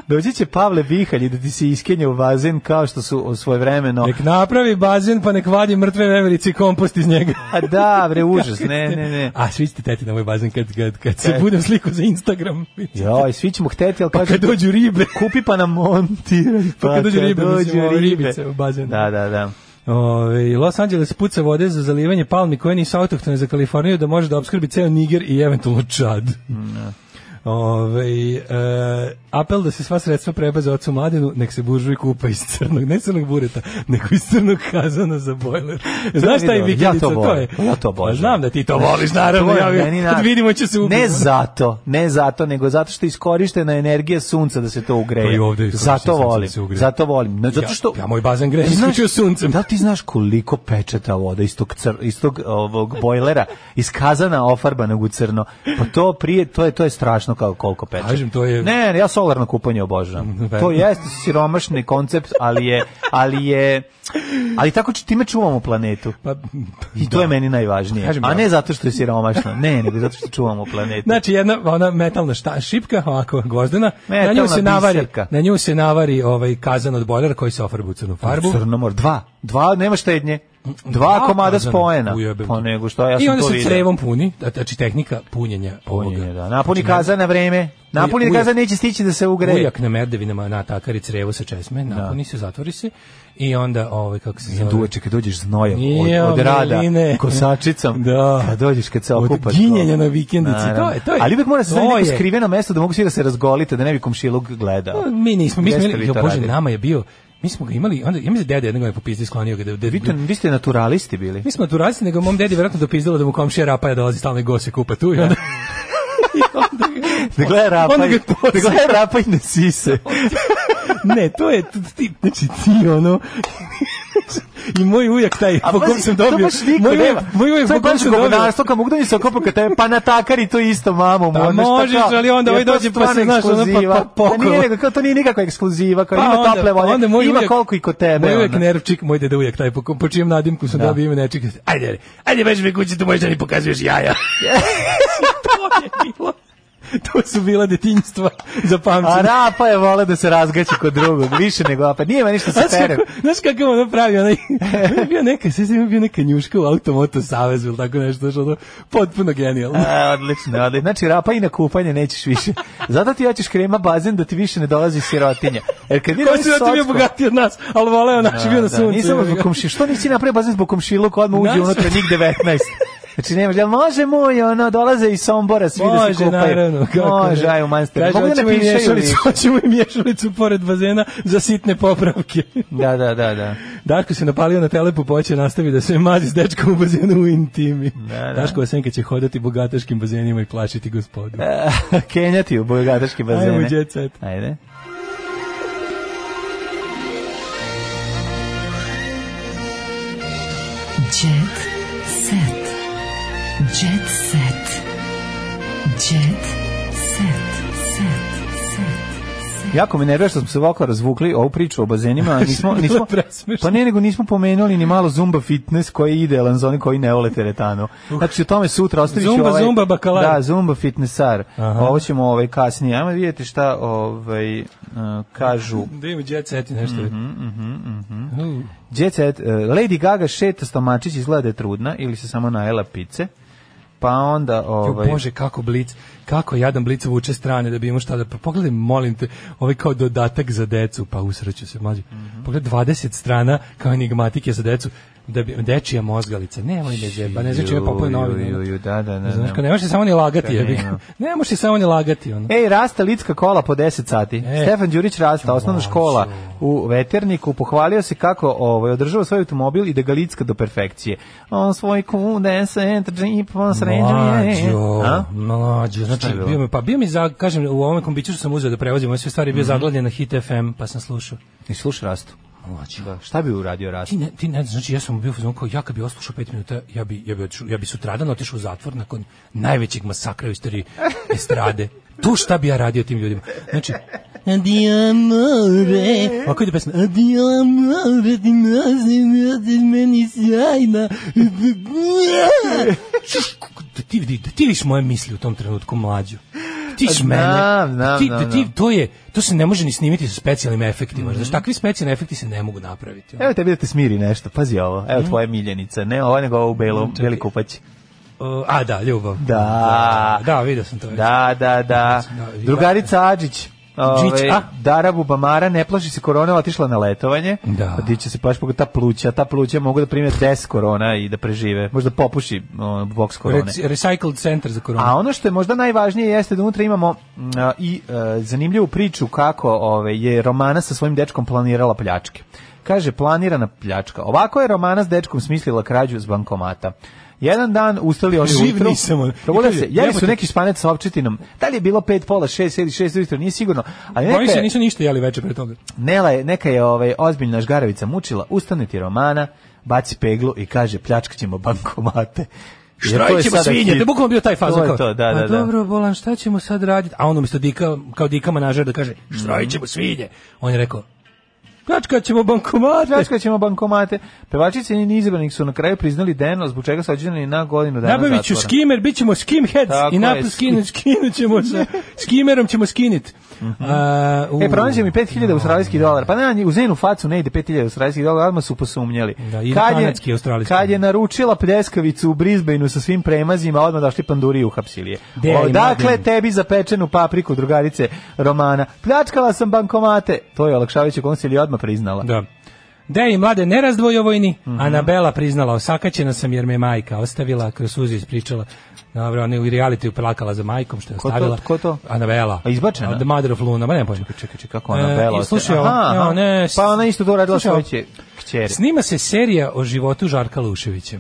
Speaker 3: doći će Pavle Bihalj i da ti se iskenje u vazen kao što su u svoje vremeno.
Speaker 4: Nek napravi bazen pa nek vadi mrtve veverice i kompost iz njega.
Speaker 3: A da, bre, užas, ne, ne, ne.
Speaker 4: A svi ćete teti na moj bazen kad, kad, kad se
Speaker 3: Kad?
Speaker 4: budem sliku za Instagram.
Speaker 3: Joj, svi ćemo hteti, ali
Speaker 4: Pa
Speaker 3: kažem,
Speaker 4: kad dođu ribe.
Speaker 3: kupi pa nam montiraj.
Speaker 4: Pa kad dođu ribe,
Speaker 3: dođu
Speaker 4: mislim, ove
Speaker 3: ribe.
Speaker 4: ribice u bazenu.
Speaker 3: Da, da, da.
Speaker 4: Ove, Los Angeles puca vode za zalivanje palmi koje nisu autohtone za Kaliforniju da može da obskrbi ceo Niger i eventualno Čad. Ove, e, apel da se sva sredstva prebaze ocu mladinu, nek se buržuj kupa iz crnog, ne crnog bureta, nego iz crnog kazana za bojler. Znaš taj
Speaker 3: Ja to
Speaker 4: vikendica, to
Speaker 3: volim,
Speaker 4: je.
Speaker 3: ja to obožavam.
Speaker 4: Pa Znam da ti to voliš, naravno.
Speaker 3: To je
Speaker 4: Ja,
Speaker 3: meni
Speaker 4: bi-
Speaker 3: na-
Speaker 4: kad vidimo će se ubiti.
Speaker 3: Ne zato, ne zato, nego zato što je iskorištena energija sunca da se to ugreje.
Speaker 4: To i ovde je iskorištena
Speaker 3: zato
Speaker 4: sunca da
Speaker 3: volim,
Speaker 4: se ugreje.
Speaker 3: zato volim. Ne, zato
Speaker 4: Ja-
Speaker 3: što,
Speaker 4: ja moj bazen grejem
Speaker 3: Ti znaš-
Speaker 4: isključivo suncem.
Speaker 3: Da li ti znaš koliko peče ta voda iz tog, cr, iz tog ovog bojlera, iz kazana ofarbanog u crno? Pa to prije, to je, to je strašno kao koliko peče.
Speaker 4: Kažem, to je- Mm,
Speaker 3: Ne, ne, ja solarno kupanje obožavam. to jeste siromašni koncept, ali je, ali je, ali tako či- time čuvamo planetu.
Speaker 4: Pa,
Speaker 3: I to je meni najvažnije.
Speaker 4: Kažem,
Speaker 3: A
Speaker 4: ja-
Speaker 3: ne zato što je siromašno, ne, nego zato što čuvamo planetu.
Speaker 4: Znači jedna ona metalna šta šipka ovako gvozdena, na nju
Speaker 3: Metalna
Speaker 4: se navari,
Speaker 3: biserka.
Speaker 4: na nju se navari ovaj kazan od bojlera koji se ofarba u crnu farbu.
Speaker 3: Crnomor, dva. Dva, nema štednje. Dva
Speaker 4: Dva
Speaker 3: komada
Speaker 4: kazana,
Speaker 3: spojena.
Speaker 4: ujebem
Speaker 3: Pa
Speaker 4: ti.
Speaker 3: nego što, ja
Speaker 4: I
Speaker 3: sam
Speaker 4: onda
Speaker 3: to
Speaker 4: se
Speaker 3: vidio.
Speaker 4: crevom puni, da- znači tehnika punjenja
Speaker 3: Punjenje,
Speaker 4: ovoga. Znači,
Speaker 3: da. Napuni kazan na vreme. Napuni
Speaker 4: Ujak.
Speaker 3: kazan, neće stići da se ugreje.
Speaker 4: Ujak na merdevinama natakari crevo sa česme,
Speaker 3: Da.
Speaker 4: napuni se, zatvori se i onda ovaj kako se zove.
Speaker 3: Duvače, kad E, dođeš znojem
Speaker 4: Nije,
Speaker 3: od, od rada,
Speaker 4: omeline.
Speaker 3: kosačicom,
Speaker 4: Da.
Speaker 3: kad dođeš, kad se
Speaker 4: Od
Speaker 3: okupaš.
Speaker 4: ginjenja na vikendici,
Speaker 3: Naravno.
Speaker 4: to je- to je-
Speaker 3: Ali uvijek mora se
Speaker 4: to
Speaker 3: staviti neko
Speaker 4: je.
Speaker 3: skriveno mesto da mogu svi da se razgolite, da ne bi komšiluk gledao.
Speaker 4: Pa, Mi nismo, mi smo
Speaker 3: Gde ste
Speaker 4: imali,
Speaker 3: vi
Speaker 4: jo
Speaker 3: to
Speaker 4: bože,
Speaker 3: radili?
Speaker 4: nama je bio, mi smo ga imali, onda, ja mislim da je deda jednog me popizdi sklonio ga, da, da,
Speaker 3: Vi, to, vi ste naturalisti bili.
Speaker 4: Mi smo naturalci, nego mom dedi vjerojatno dopizdalo da mu komšija rapaja dolazi stalno i gosi kupa tu i onda... I onda ga-
Speaker 3: Da gleda
Speaker 4: Onda
Speaker 3: rapaj,
Speaker 4: ga
Speaker 3: da gleda rapaj na sise.
Speaker 4: ne, to je, to, ti, znači ti ono... I moj ujak taj, po kom sam dobio... moj ujak, moj ujak po kom sam dobio...
Speaker 3: Govedarstvo, kao mogu da mi se okopa kad tebe, pa natakari to isto, mamo.
Speaker 4: Pa
Speaker 3: ono šta
Speaker 4: možeš,
Speaker 3: kao,
Speaker 4: ali onda
Speaker 3: je
Speaker 4: ovaj
Speaker 3: to
Speaker 4: dođe pa
Speaker 3: stvarno
Speaker 4: se, znaš, ono, pa- pa
Speaker 3: ekskluziva. Da
Speaker 4: pokoj.
Speaker 3: nije, nego, kao to nije nikakva ekskluziva, kao
Speaker 4: Pa
Speaker 3: ima
Speaker 4: onda-
Speaker 3: tople volje,
Speaker 4: onda moj
Speaker 3: ima
Speaker 4: ujak-
Speaker 3: koliko i kod tebe.
Speaker 4: Moj uvijek
Speaker 3: ono.
Speaker 4: nervčik, moj deda uvijek taj, po, kom- po čijem nadimku
Speaker 3: Ja.
Speaker 4: sam dobio ime nečeg. Ajde, ajde, ajde, već mi kući, tu možda ni pokazuješ jaja.
Speaker 3: Ja.
Speaker 4: to je bilo. To su bila detinjstva za
Speaker 3: A
Speaker 4: pamćenje.
Speaker 3: Rapa je vole da se razgaći kod drugog, više nego Rapa. Nije me ništa se
Speaker 4: Znaš
Speaker 3: pere.
Speaker 4: kako, znaš kako ono pravi, onaj, on je bio neka, sve sam bio neka njuška u Automoto Savezu ili tako nešto, što ono, potpuno genijalno.
Speaker 3: A, odlično, odlično. Znači, rapa i na kupanje nećeš više. Zato ti hoćeš krema bazen da ti više ne dolazi sirotinja. Jer kad mi
Speaker 4: Ko se da ti bio
Speaker 3: Socko- Da,
Speaker 4: bogatiji od nas, ali voleo naš Znači, bio na suncu.
Speaker 3: Nisam zbog komši, što nisi napravio bazen zbog komšiluka, odmah uđe
Speaker 4: Naš-
Speaker 3: unutra njih 19. Znači nema, jel može moj, ono, dolaze iz Sombora, svi da se
Speaker 4: Može,
Speaker 3: kupaju.
Speaker 4: naravno. kako
Speaker 3: Može,
Speaker 4: ne.
Speaker 3: aj u manster.
Speaker 4: Kaže,
Speaker 3: Mogu da
Speaker 4: hoćemo i
Speaker 3: napišaju li?
Speaker 4: mješalicu, hoćemo i mješalicu pored bazena za sitne popravke.
Speaker 3: Da, da, da, da.
Speaker 4: Daško se napalio na telepu, poće nastavi da se mazi s dečkom u bazenu u intimi.
Speaker 3: da.
Speaker 4: Daškova senka će hodati bogataškim bazenima i plašiti gospodu.
Speaker 3: Kenjati u bojogadaški bazene.
Speaker 4: Ajmo, jet set.
Speaker 3: Ajde.
Speaker 2: Jet set. Jet set. Jet set. Set. Set.
Speaker 3: Jako me nervira što smo se ovako razvukli ovu priču o bazenima, a nismo,
Speaker 4: Bilo je
Speaker 3: nismo,
Speaker 4: presmešno.
Speaker 3: pa ne, nego nismo pomenuli ni malo Zumba Fitness koji je idealan za oni koji ne vole teretanu. Znači, o tome sutra ostavit ću
Speaker 4: Zumba,
Speaker 3: ovaj...
Speaker 4: Zumba, bakalar.
Speaker 3: Da, Zumba Fitnessar. Ovo ćemo ovaj, kasnije. Ajmo vidjeti šta ovaj, eh, kažu.
Speaker 4: Da ima jet set i nešto.
Speaker 3: Mhm,
Speaker 4: U.
Speaker 3: Jet set, eh, Lady Gaga šeta stomačić izgleda da je trudna ili se samo najela pice. Pa onda... Ovaj,
Speaker 4: Jo, Bože, kako blic, kako jadan blic vuče strane da bi imao šta da... Pa pogledaj, molim te, ovaj kao dodatak za decu, pa usreću se mlađi.
Speaker 3: Mhm.
Speaker 4: Pogledaj, 20 strana kao enigmatike za decu, da bi, dečija mozgalica, nemoj ne zjeba, ne znači ove
Speaker 3: Ju,
Speaker 4: popove
Speaker 3: ju,
Speaker 4: novine. ono.
Speaker 3: ju, ju, da, da, da,
Speaker 4: Znaš,
Speaker 3: da.
Speaker 4: kao ne možeš samo ni lagati,
Speaker 3: Kad
Speaker 4: jebi
Speaker 3: nema.
Speaker 4: ga. Ne možeš samo ni lagati, ono.
Speaker 3: Ej, rasta Litska kola po 10 sati.
Speaker 4: E.
Speaker 3: Stefan Đurić rasta, osnovna škola u Veterniku, pohvalio se kako ovaj, održava svoj automobil i da ga Litska do perfekcije. On svoj Q10 džipom sređuje. A?
Speaker 4: Mlađo, mlađo, znači
Speaker 3: je bilo?
Speaker 4: bio mi, pa bio mi, za, kažem, u ovom kombiću što sam uzeo da prevozim ove sve stvari,
Speaker 3: Mhm.
Speaker 4: bio zaglavljen na Hit FM, pa sam slušao.
Speaker 3: I slušaj rastu. Da. Šta bi uradio rast?
Speaker 4: Ti ne, ti ne, znaš, znači ja sam bio u fazonu kao ja kad bi oslušao 5 minuta, ja bi ja bi otišao, ja bi sutradan otišao u zatvor nakon najvećeg masakra u istoriji estrade. Tu šta bi ja radio tim ljudima? Znači, Adio amore. Ovako ide pesma. Adio amore, ti nazim, ti meni sjajna. Znaš, kako- Da ti, vidi- da ti vidiš moje misli u tom trenutku, mlađo. Ti Ptiš
Speaker 3: Znam,
Speaker 4: mene.
Speaker 3: Pa znam,
Speaker 4: ti, da
Speaker 3: znam,
Speaker 4: ti,
Speaker 3: znam. Mhm.
Speaker 4: to je, to se ne može ni snimiti sa specijalnim efektima. Znači, takvi specijalni efekti se ne mogu napraviti.
Speaker 3: Evo tebi da te smiri nešto, pazi ovo. Evo tvoja miljenica, ne ovo nego ovo u belom,
Speaker 4: Mm. Čekaj.
Speaker 3: beli kupać.
Speaker 4: O, a da, ljubav.
Speaker 3: Da.
Speaker 4: Da, vidio sam to. već.
Speaker 3: Da, da, da.
Speaker 4: Da,
Speaker 3: Drugarica Adžić.
Speaker 4: Džić, a?
Speaker 3: Ove, Dara Bubamara ne plaši se korona, otišla na letovanje.
Speaker 4: Da.
Speaker 3: Di će se plaši pogled ta pluća, ta pluća mogu da prime 10 korona i da prežive. Možda popuši o, box korone.
Speaker 4: Rec- Recycled centar za koronu.
Speaker 3: A ono što je možda najvažnije jeste da unutra imamo mm, a, i e, zanimljivu priču kako ove, je Romana sa svojim dečkom planirala pljačke. Kaže, planirana pljačka. Ovako je Romana s dečkom smislila krađu s bankomata. Jedan dan ustali oni
Speaker 4: Živ
Speaker 3: ujutru.
Speaker 4: nisam, ono.
Speaker 3: Probudili
Speaker 4: I
Speaker 3: se,
Speaker 4: kaže,
Speaker 3: jeli
Speaker 4: jebote.
Speaker 3: su neki španac sa opčetinom. Da li je bilo pet, pola, šest ili šest ujutro, nije sigurno. Ali
Speaker 4: Oni
Speaker 3: neka,
Speaker 4: se
Speaker 3: je-
Speaker 4: nisu ništa jeli veče pre toga.
Speaker 3: Nela je, neka je ovaj, ozbiljna žgaravica mučila, ustane ti Romana, baci peglu i kaže, pljačkat ćemo bankomate. Jer to je
Speaker 4: Štrajk ćemo
Speaker 3: sada
Speaker 4: svinje,
Speaker 3: hit.
Speaker 4: te bukvalno bio taj fazon.
Speaker 3: To je
Speaker 4: kao,
Speaker 3: to, da,
Speaker 4: "Pa
Speaker 3: da, da.
Speaker 4: dobro, Bolan, šta ćemo sad raditi? A on umjesto dika, kao dika manažer da kaže,
Speaker 3: Mm.
Speaker 4: štrajk ćemo svinje. On je rekao, pljačkat ćemo bankomate.
Speaker 3: Pljačkat ćemo bankomate. Pevačice i izabranih su na kraju priznali deno zbog čega su ođeni na godinu dana
Speaker 4: e, Nabavit ću
Speaker 3: zatvora.
Speaker 4: skimer, bit ćemo skimheads
Speaker 3: Tako
Speaker 4: i
Speaker 3: je,
Speaker 4: napad skinut, skinut ćemo se. Skimerom ćemo skinit. A, u-
Speaker 3: Mhm. E, pronađe mi 5000 australijskih dolara. Pa ne, u zenu facu ne ide 5000 australijskih dolara, odmah su posumnjali.
Speaker 4: Da, ili kanadski i australijski.
Speaker 3: Kad je naručila pljeskavicu u Brisbaneu sa svim premazima, odmah došli panduri i uhapsili je.
Speaker 4: Gde je,
Speaker 3: Odakle
Speaker 4: mladen?
Speaker 3: tebi zapečenu papriku, drugarice Romana? Pljačkala sam bankomate. To je olakšavajuće konsilij odmah priznala.
Speaker 4: Da. Dej, mlade, ne razdvoj ovojni.
Speaker 3: Mhm.
Speaker 4: Anabela priznala, osakaćena sam jer me je majka ostavila, kroz suze ispričala. Dobro, ona je u realitiju plakala za majkom što je
Speaker 3: Ko to-
Speaker 4: ostavila.
Speaker 3: ko to?
Speaker 4: Anabela.
Speaker 3: A izbačena?
Speaker 4: The Mother of Luna, ma ne pojma.
Speaker 3: Čekaj, čekaj, kako ona bela.
Speaker 4: E, slušaj, ovo,
Speaker 3: Aha, aha.
Speaker 4: evo, ne,
Speaker 3: pa ona isto to radila
Speaker 4: slušaj ovo.
Speaker 3: svoje će- kćeri.
Speaker 4: Snima se serija o životu Žarka Luševića.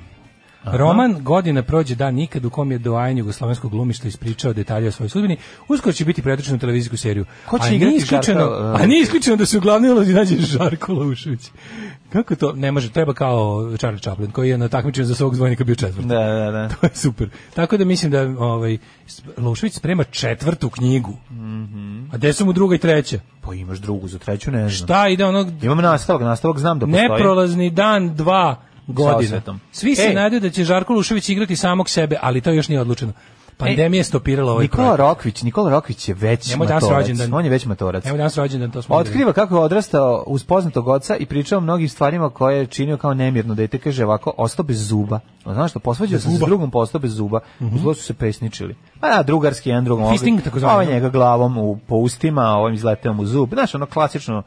Speaker 4: Roman Godina prođe dan nikad u kom je doajan jugoslovenskog glumišta ispričao detalje o svojoj sudbini. Uskoro će biti predočen u televizijsku seriju.
Speaker 3: Ko će
Speaker 4: a nije
Speaker 3: igrati
Speaker 4: isključeno,
Speaker 3: Žarka, uh,
Speaker 4: A nije isključeno da se u glavnoj ulozi nađe Žarko Lušević. Kako to? Ne može, treba kao Charlie Chaplin koji je na takmičenju za svog zvojnika bio četvrti.
Speaker 3: Da, da, da.
Speaker 4: To je super. Tako da mislim da ovaj Lušević sprema četvrtu knjigu.
Speaker 3: Mhm.
Speaker 4: A gde su mu druga i treća?
Speaker 3: Pa imaš drugu za treću, ne znam.
Speaker 4: Šta ide onog
Speaker 3: Imam nastavak, nastavak znam da postoji.
Speaker 4: Neprolazni dan dva godina.
Speaker 3: osvetom.
Speaker 4: Svi se
Speaker 3: Ej.
Speaker 4: nadaju da će Žarko Lušević igrati samog sebe, ali to još nije odlučeno. Pandemija je stopirala ovaj
Speaker 3: Nikola
Speaker 4: projekt.
Speaker 3: Rokvić, Nikola Rokvić je već
Speaker 4: Nemoj danas
Speaker 3: matorac.
Speaker 4: rođendan.
Speaker 3: On je već matorac.
Speaker 4: Evo danas rođendan, to smo videli.
Speaker 3: Otkriva kako je odrastao uz poznatog oca i pričao o mnogim stvarima koje je činio kao nemirno dete. Kaže ovako, ostao bez zuba. A Znaš što, posvađao se s drugom, pa ostao bez zuba. Zlo su se pesničili. Pa da, drugarski, jedan drugom.
Speaker 4: Mhm. Fisting,
Speaker 3: ovaj-
Speaker 4: takozvani,
Speaker 3: Ovaj
Speaker 4: no?
Speaker 3: njega glavom u, po ustima, a ovim izleteom u zub. Znaš, ono klasično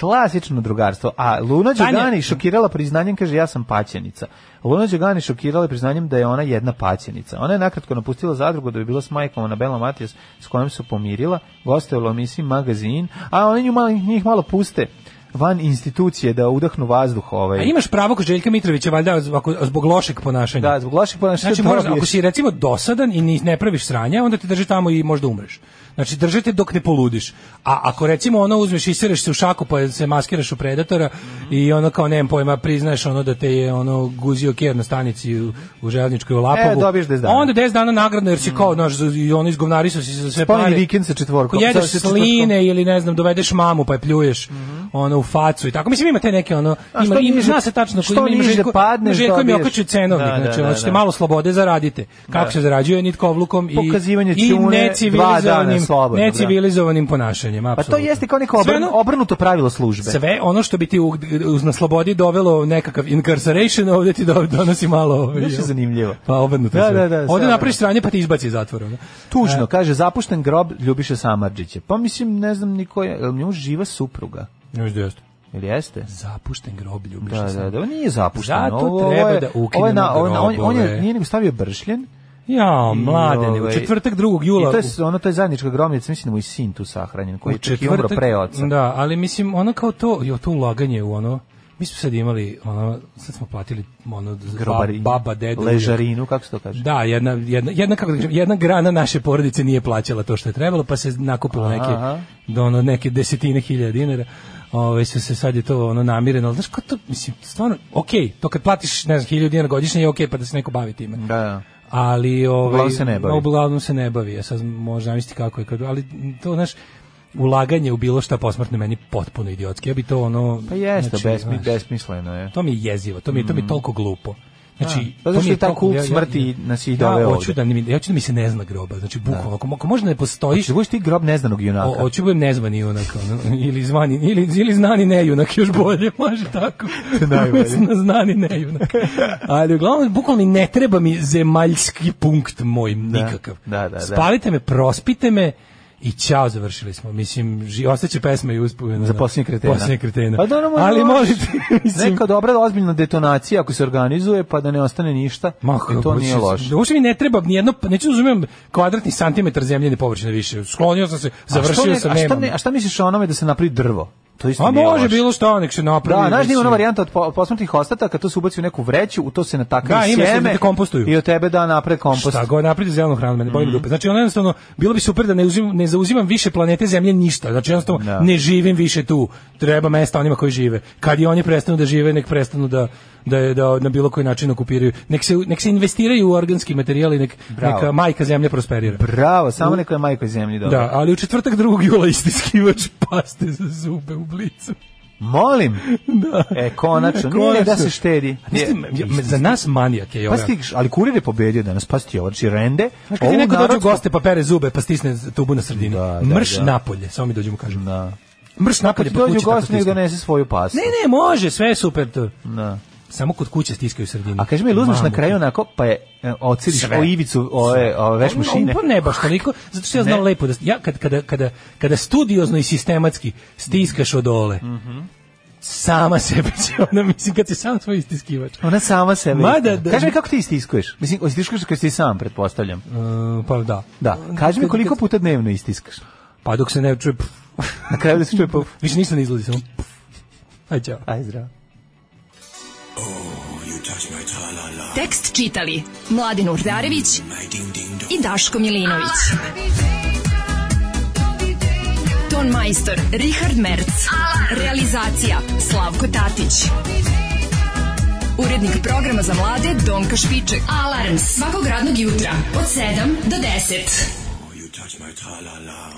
Speaker 3: klasično drugarstvo. A Luna
Speaker 4: Tanja-
Speaker 3: Đugani šokirala priznanjem, kaže ja sam paćenica. Luna Đugani šokirala je priznanjem da je ona jedna paćenica. Ona je nakratko napustila zadrugu da bi bila s majkom na Bela Matijas s kojom se pomirila, gostovala u emisiji magazin, a oni nju malo, njih malo puste van institucije da udahnu vazduh ovaj.
Speaker 4: A imaš pravo kod Željka Mitrovića, valjda, ako- zbog lošeg ponašanja.
Speaker 3: Da, zbog loših ponašanja
Speaker 4: Znači,
Speaker 3: to
Speaker 4: možda,
Speaker 3: dobiješ.
Speaker 4: ako si recimo dosadan i ni- ne praviš sranja, onda te drži tamo i možda umreš. Znači, držite dok ne poludiš. A ako recimo ono uzmeš i sereš se u šaku pa se maskiraš u predatora i ono kao nemam pojma priznaš ono da te je ono guzio ker na stanici u, u železničkoj u Lapovu.
Speaker 3: E, dobiješ 10 dana.
Speaker 4: Onda 10 dana nagradno jer si kao, znaš, za- i ono izgovnarisao si se za sve
Speaker 3: Spomeni
Speaker 4: pare.
Speaker 3: vikend sa četvorkom.
Speaker 4: Ako jedeš
Speaker 3: Sa- sa četvorkom.
Speaker 4: sline ili ne znam, dovedeš mamu pa je pljuješ ono u facu i tako. Mislim ima te neke ono,
Speaker 3: Mhm. A
Speaker 4: ima,
Speaker 3: što
Speaker 4: ima,
Speaker 3: niže-
Speaker 4: zna se tačno koji
Speaker 3: što
Speaker 4: ima, ima
Speaker 3: niže
Speaker 4: Željko-
Speaker 3: padneš,
Speaker 4: Željko mi je
Speaker 3: dobiješ.
Speaker 4: okačio cenovnik,
Speaker 3: Da, da,
Speaker 4: znači
Speaker 3: da,
Speaker 4: hoćete
Speaker 3: da.
Speaker 4: malo slobode zaradite. Kako se zarađuje nitkovlukom i
Speaker 3: Pokazivanje
Speaker 4: i
Speaker 3: ćune, dva dana
Speaker 4: necivilizovanim
Speaker 3: slobodno, da.
Speaker 4: necivilizovanim ponašanjem,
Speaker 3: Pa to
Speaker 4: apsolutno.
Speaker 3: jeste kao neko
Speaker 4: Sve
Speaker 3: obrnu-
Speaker 4: ono-
Speaker 3: obrnuto pravilo službe.
Speaker 4: sve ono što bi ti u- uz na slobodi dovelo nekakav incarceration, ovdje ti do- donosi malo... ovaj,
Speaker 3: Znaš što je zanimljivo?
Speaker 4: Pa obrnuto
Speaker 3: Da,
Speaker 4: sve.
Speaker 3: da, da,
Speaker 4: Ovdje
Speaker 3: sve,
Speaker 4: napraviš stranje pa ti izbaci iz zatvora. ono. e.
Speaker 3: Tužno, kaže, zapušten grob Ljubiše Samarđića. Pa mislim, ne znam ni ko je, jel njemu živa supruga?
Speaker 4: Još da jeste.
Speaker 3: Ili jeste?
Speaker 4: Zapušten grob, ljubiš.
Speaker 3: Da, da, da, on nije zapušten.
Speaker 4: Zato
Speaker 3: Ovo- ovo
Speaker 4: treba
Speaker 3: je-
Speaker 4: da
Speaker 3: ovo je
Speaker 4: ukinemo
Speaker 3: na- ovo je na- on, on je,
Speaker 4: grobove.
Speaker 3: nije nego stavio bršljen.
Speaker 4: Ja, mladene, u
Speaker 3: ovaj,
Speaker 4: četvrtak 2.
Speaker 3: I
Speaker 4: jula.
Speaker 3: to je, ono, to je zajednička grobnica, mislim da mu i sin tu sahranjen, koji
Speaker 4: u
Speaker 3: je čak Pa i umro pre oca.
Speaker 4: Da, ali mislim, ono kao to, jo, to ulaganje u ono, mi smo sad imali, ono, sad smo platili ono,
Speaker 3: Grobari,
Speaker 4: ba, pa baba, deda, ujak.
Speaker 3: ležarinu, kako se to kaže?
Speaker 4: Da, jedna, jedna, jedna, kako da kažem, jedna grana naše porodice nije plaćala to što je trebalo, pa se nakupilo
Speaker 3: Aha.
Speaker 4: neke, do ono, neke desetine hiljada dinara. Ove, su se sad je to ono namireno, ali znaš ko to, mislim, stvarno, okej, to kad platiš, ne znam, hiljadu dinara godišnje je okej, pa da se neko bavi time.
Speaker 3: Da, da.
Speaker 4: ali ovaj
Speaker 3: Uglavnom se ne bavi.
Speaker 4: uglavnom se ne bavi. Ja sad možda zamisliti kako je kad ali to znaš ulaganje u bilo šta posmrtno je meni potpuno idiotski. Ja bi to ono
Speaker 3: Pa jeste,
Speaker 4: znači,
Speaker 3: besmi,
Speaker 4: znaš,
Speaker 3: besmisleno je.
Speaker 4: To mi je jezivo, to mi je, to mi je toliko glupo. Znači,
Speaker 3: Pa
Speaker 4: to
Speaker 3: zašto
Speaker 4: mi
Speaker 3: je ta
Speaker 4: toliko-
Speaker 3: kult smrti nas i doveo
Speaker 4: ja hoću
Speaker 3: ovde? Da.
Speaker 4: da, mi, ja hoću da mi se ne zna groba. Znači, bukvalno, ako, ako možda ne postojiš,
Speaker 3: Hoćeš da budeš ti grob neznanog junaka?
Speaker 4: O, hoću budem nezvani junak, ono, ili zvani, ili, ili znani nejunak, još bolje, može tako.
Speaker 3: To je najbolje.
Speaker 4: Umesto na znani nejunak. Ali uglavnom, bukvalno i ne treba mi zemaljski punkt moj nikakav.
Speaker 3: da, da, da.
Speaker 4: Spalite me, prospite me, I ćao, završili smo. Mislim, ži, ostaće pesme i uspomenu.
Speaker 3: za posljednje kretena.
Speaker 4: Posljednje kretena.
Speaker 3: Pa dobro, možda
Speaker 4: Ali
Speaker 3: možeš.
Speaker 4: možete, mislim,
Speaker 3: Neka dobra ozbiljna detonacija ako se organizuje, pa da ne ostane ništa.
Speaker 4: Ma,
Speaker 3: jer E, to nije loše.
Speaker 4: Uopšte mi ne treba ni jedno, neću razumijem kvadratni santimetar zemljene površine više. Sklonio sam se,
Speaker 3: A što
Speaker 4: završio
Speaker 3: ne-
Speaker 4: sam,
Speaker 3: a šta,
Speaker 4: nemam.
Speaker 3: ne, a šta misliš o onome da se napravi drvo? To isto
Speaker 4: A
Speaker 3: nije
Speaker 4: može
Speaker 3: loše.
Speaker 4: bilo šta, nek se napravi.
Speaker 3: Da, znaš da ima ona
Speaker 4: mislim.
Speaker 3: varijanta od po- od posmrtnih ostataka, to se ubaci u neku vreću, u to se natakaju
Speaker 4: Da, ima se
Speaker 3: sjeme
Speaker 4: da te kompostuju.
Speaker 3: i od tebe da napred kompost.
Speaker 4: Šta god napredi zelenu hranu, mene
Speaker 3: Mhm.
Speaker 4: boli me dupe. Znači, ono jednostavno, bilo bi super da ne, uzim, ne zauzimam više planete zemlje ništa. Znači, jednostavno,
Speaker 3: Da.
Speaker 4: ne živim više tu. Treba mesta onima koji žive. Kad i oni prestanu da žive, nek prestanu da, da, je- da na bilo koji način okupiraju. Nek se, nek se investiraju u organski materijal i nek,
Speaker 3: Bravo.
Speaker 4: neka majka zemlja prosperira.
Speaker 3: Bravo, samo neko je majko iz zemlji dobro.
Speaker 4: Da, ali u četvrtak 2. jula istiskivač paste za zube u blicu.
Speaker 3: Molim.
Speaker 4: Da.
Speaker 3: E, konačno. Nije,
Speaker 4: Konačno.
Speaker 3: da se štedi.
Speaker 4: A niste-
Speaker 3: Nije.
Speaker 4: za nas da? manijak je
Speaker 3: Pa
Speaker 4: Jovan.
Speaker 3: stiš, ali kurir je pobedio danas, pa sti ovo, znači rende.
Speaker 4: Znaš kad ti
Speaker 3: ovu
Speaker 4: neko dođe u
Speaker 3: narodsku-
Speaker 4: goste pa pere zube pa stisne tubu na sredinu.
Speaker 3: Da, da,
Speaker 4: Mrš
Speaker 3: da.
Speaker 4: napolje, samo mi dođe mu kažem.
Speaker 3: Da.
Speaker 4: Mrš
Speaker 3: Kad
Speaker 4: napolje
Speaker 3: ti
Speaker 4: pa
Speaker 3: dođe u
Speaker 4: kući tako
Speaker 3: goste, nek
Speaker 4: stisne.
Speaker 3: donese svoju pastu.
Speaker 4: Ne, ne, može, sve je super to.
Speaker 3: Da.
Speaker 4: Samo kod kuće stiskaju sredinu.
Speaker 3: A kaži mi, luzmeš na
Speaker 4: Mamu.
Speaker 3: kraju onako, pa je e, ociriš
Speaker 4: Sve.
Speaker 3: o ivicu ove, ove veš mašine.
Speaker 4: Pa ne baš toliko, zato što ja znam
Speaker 3: Ne.
Speaker 4: lepo da ja kad, kada kada kada studiozno i sistematski stiskaš od dole.
Speaker 3: Mhm.
Speaker 4: Sama sebe će ona, mislim, kad si sam svoj istiskivač.
Speaker 3: Ona sama sebe.
Speaker 4: Mada
Speaker 3: istiska.
Speaker 4: da-
Speaker 3: Kaži mi kako ti istiskuješ? Mislim, da istiskuješ kad si sam, pretpostavljam.
Speaker 4: Uh, pa da.
Speaker 3: Da. Kaži mi koliko puta dnevno istiskaš.
Speaker 4: Pa dok se ne čuje... pff,
Speaker 3: Na kraju da se čuje puf.
Speaker 4: Više ništa ne izlazi, samo... pff. Aj, čao.
Speaker 3: Aj, zdravo.
Speaker 2: Tekst čitali Mladin Urdarević i Daško Milinović. Ton majstor Richard Merc. Realizacija Slavko Tatić. Urednik programa za mlade Donka Špiček. Alarms svakog radnog jutra od 7 do 10.
Speaker 8: You touch my tra-la-la.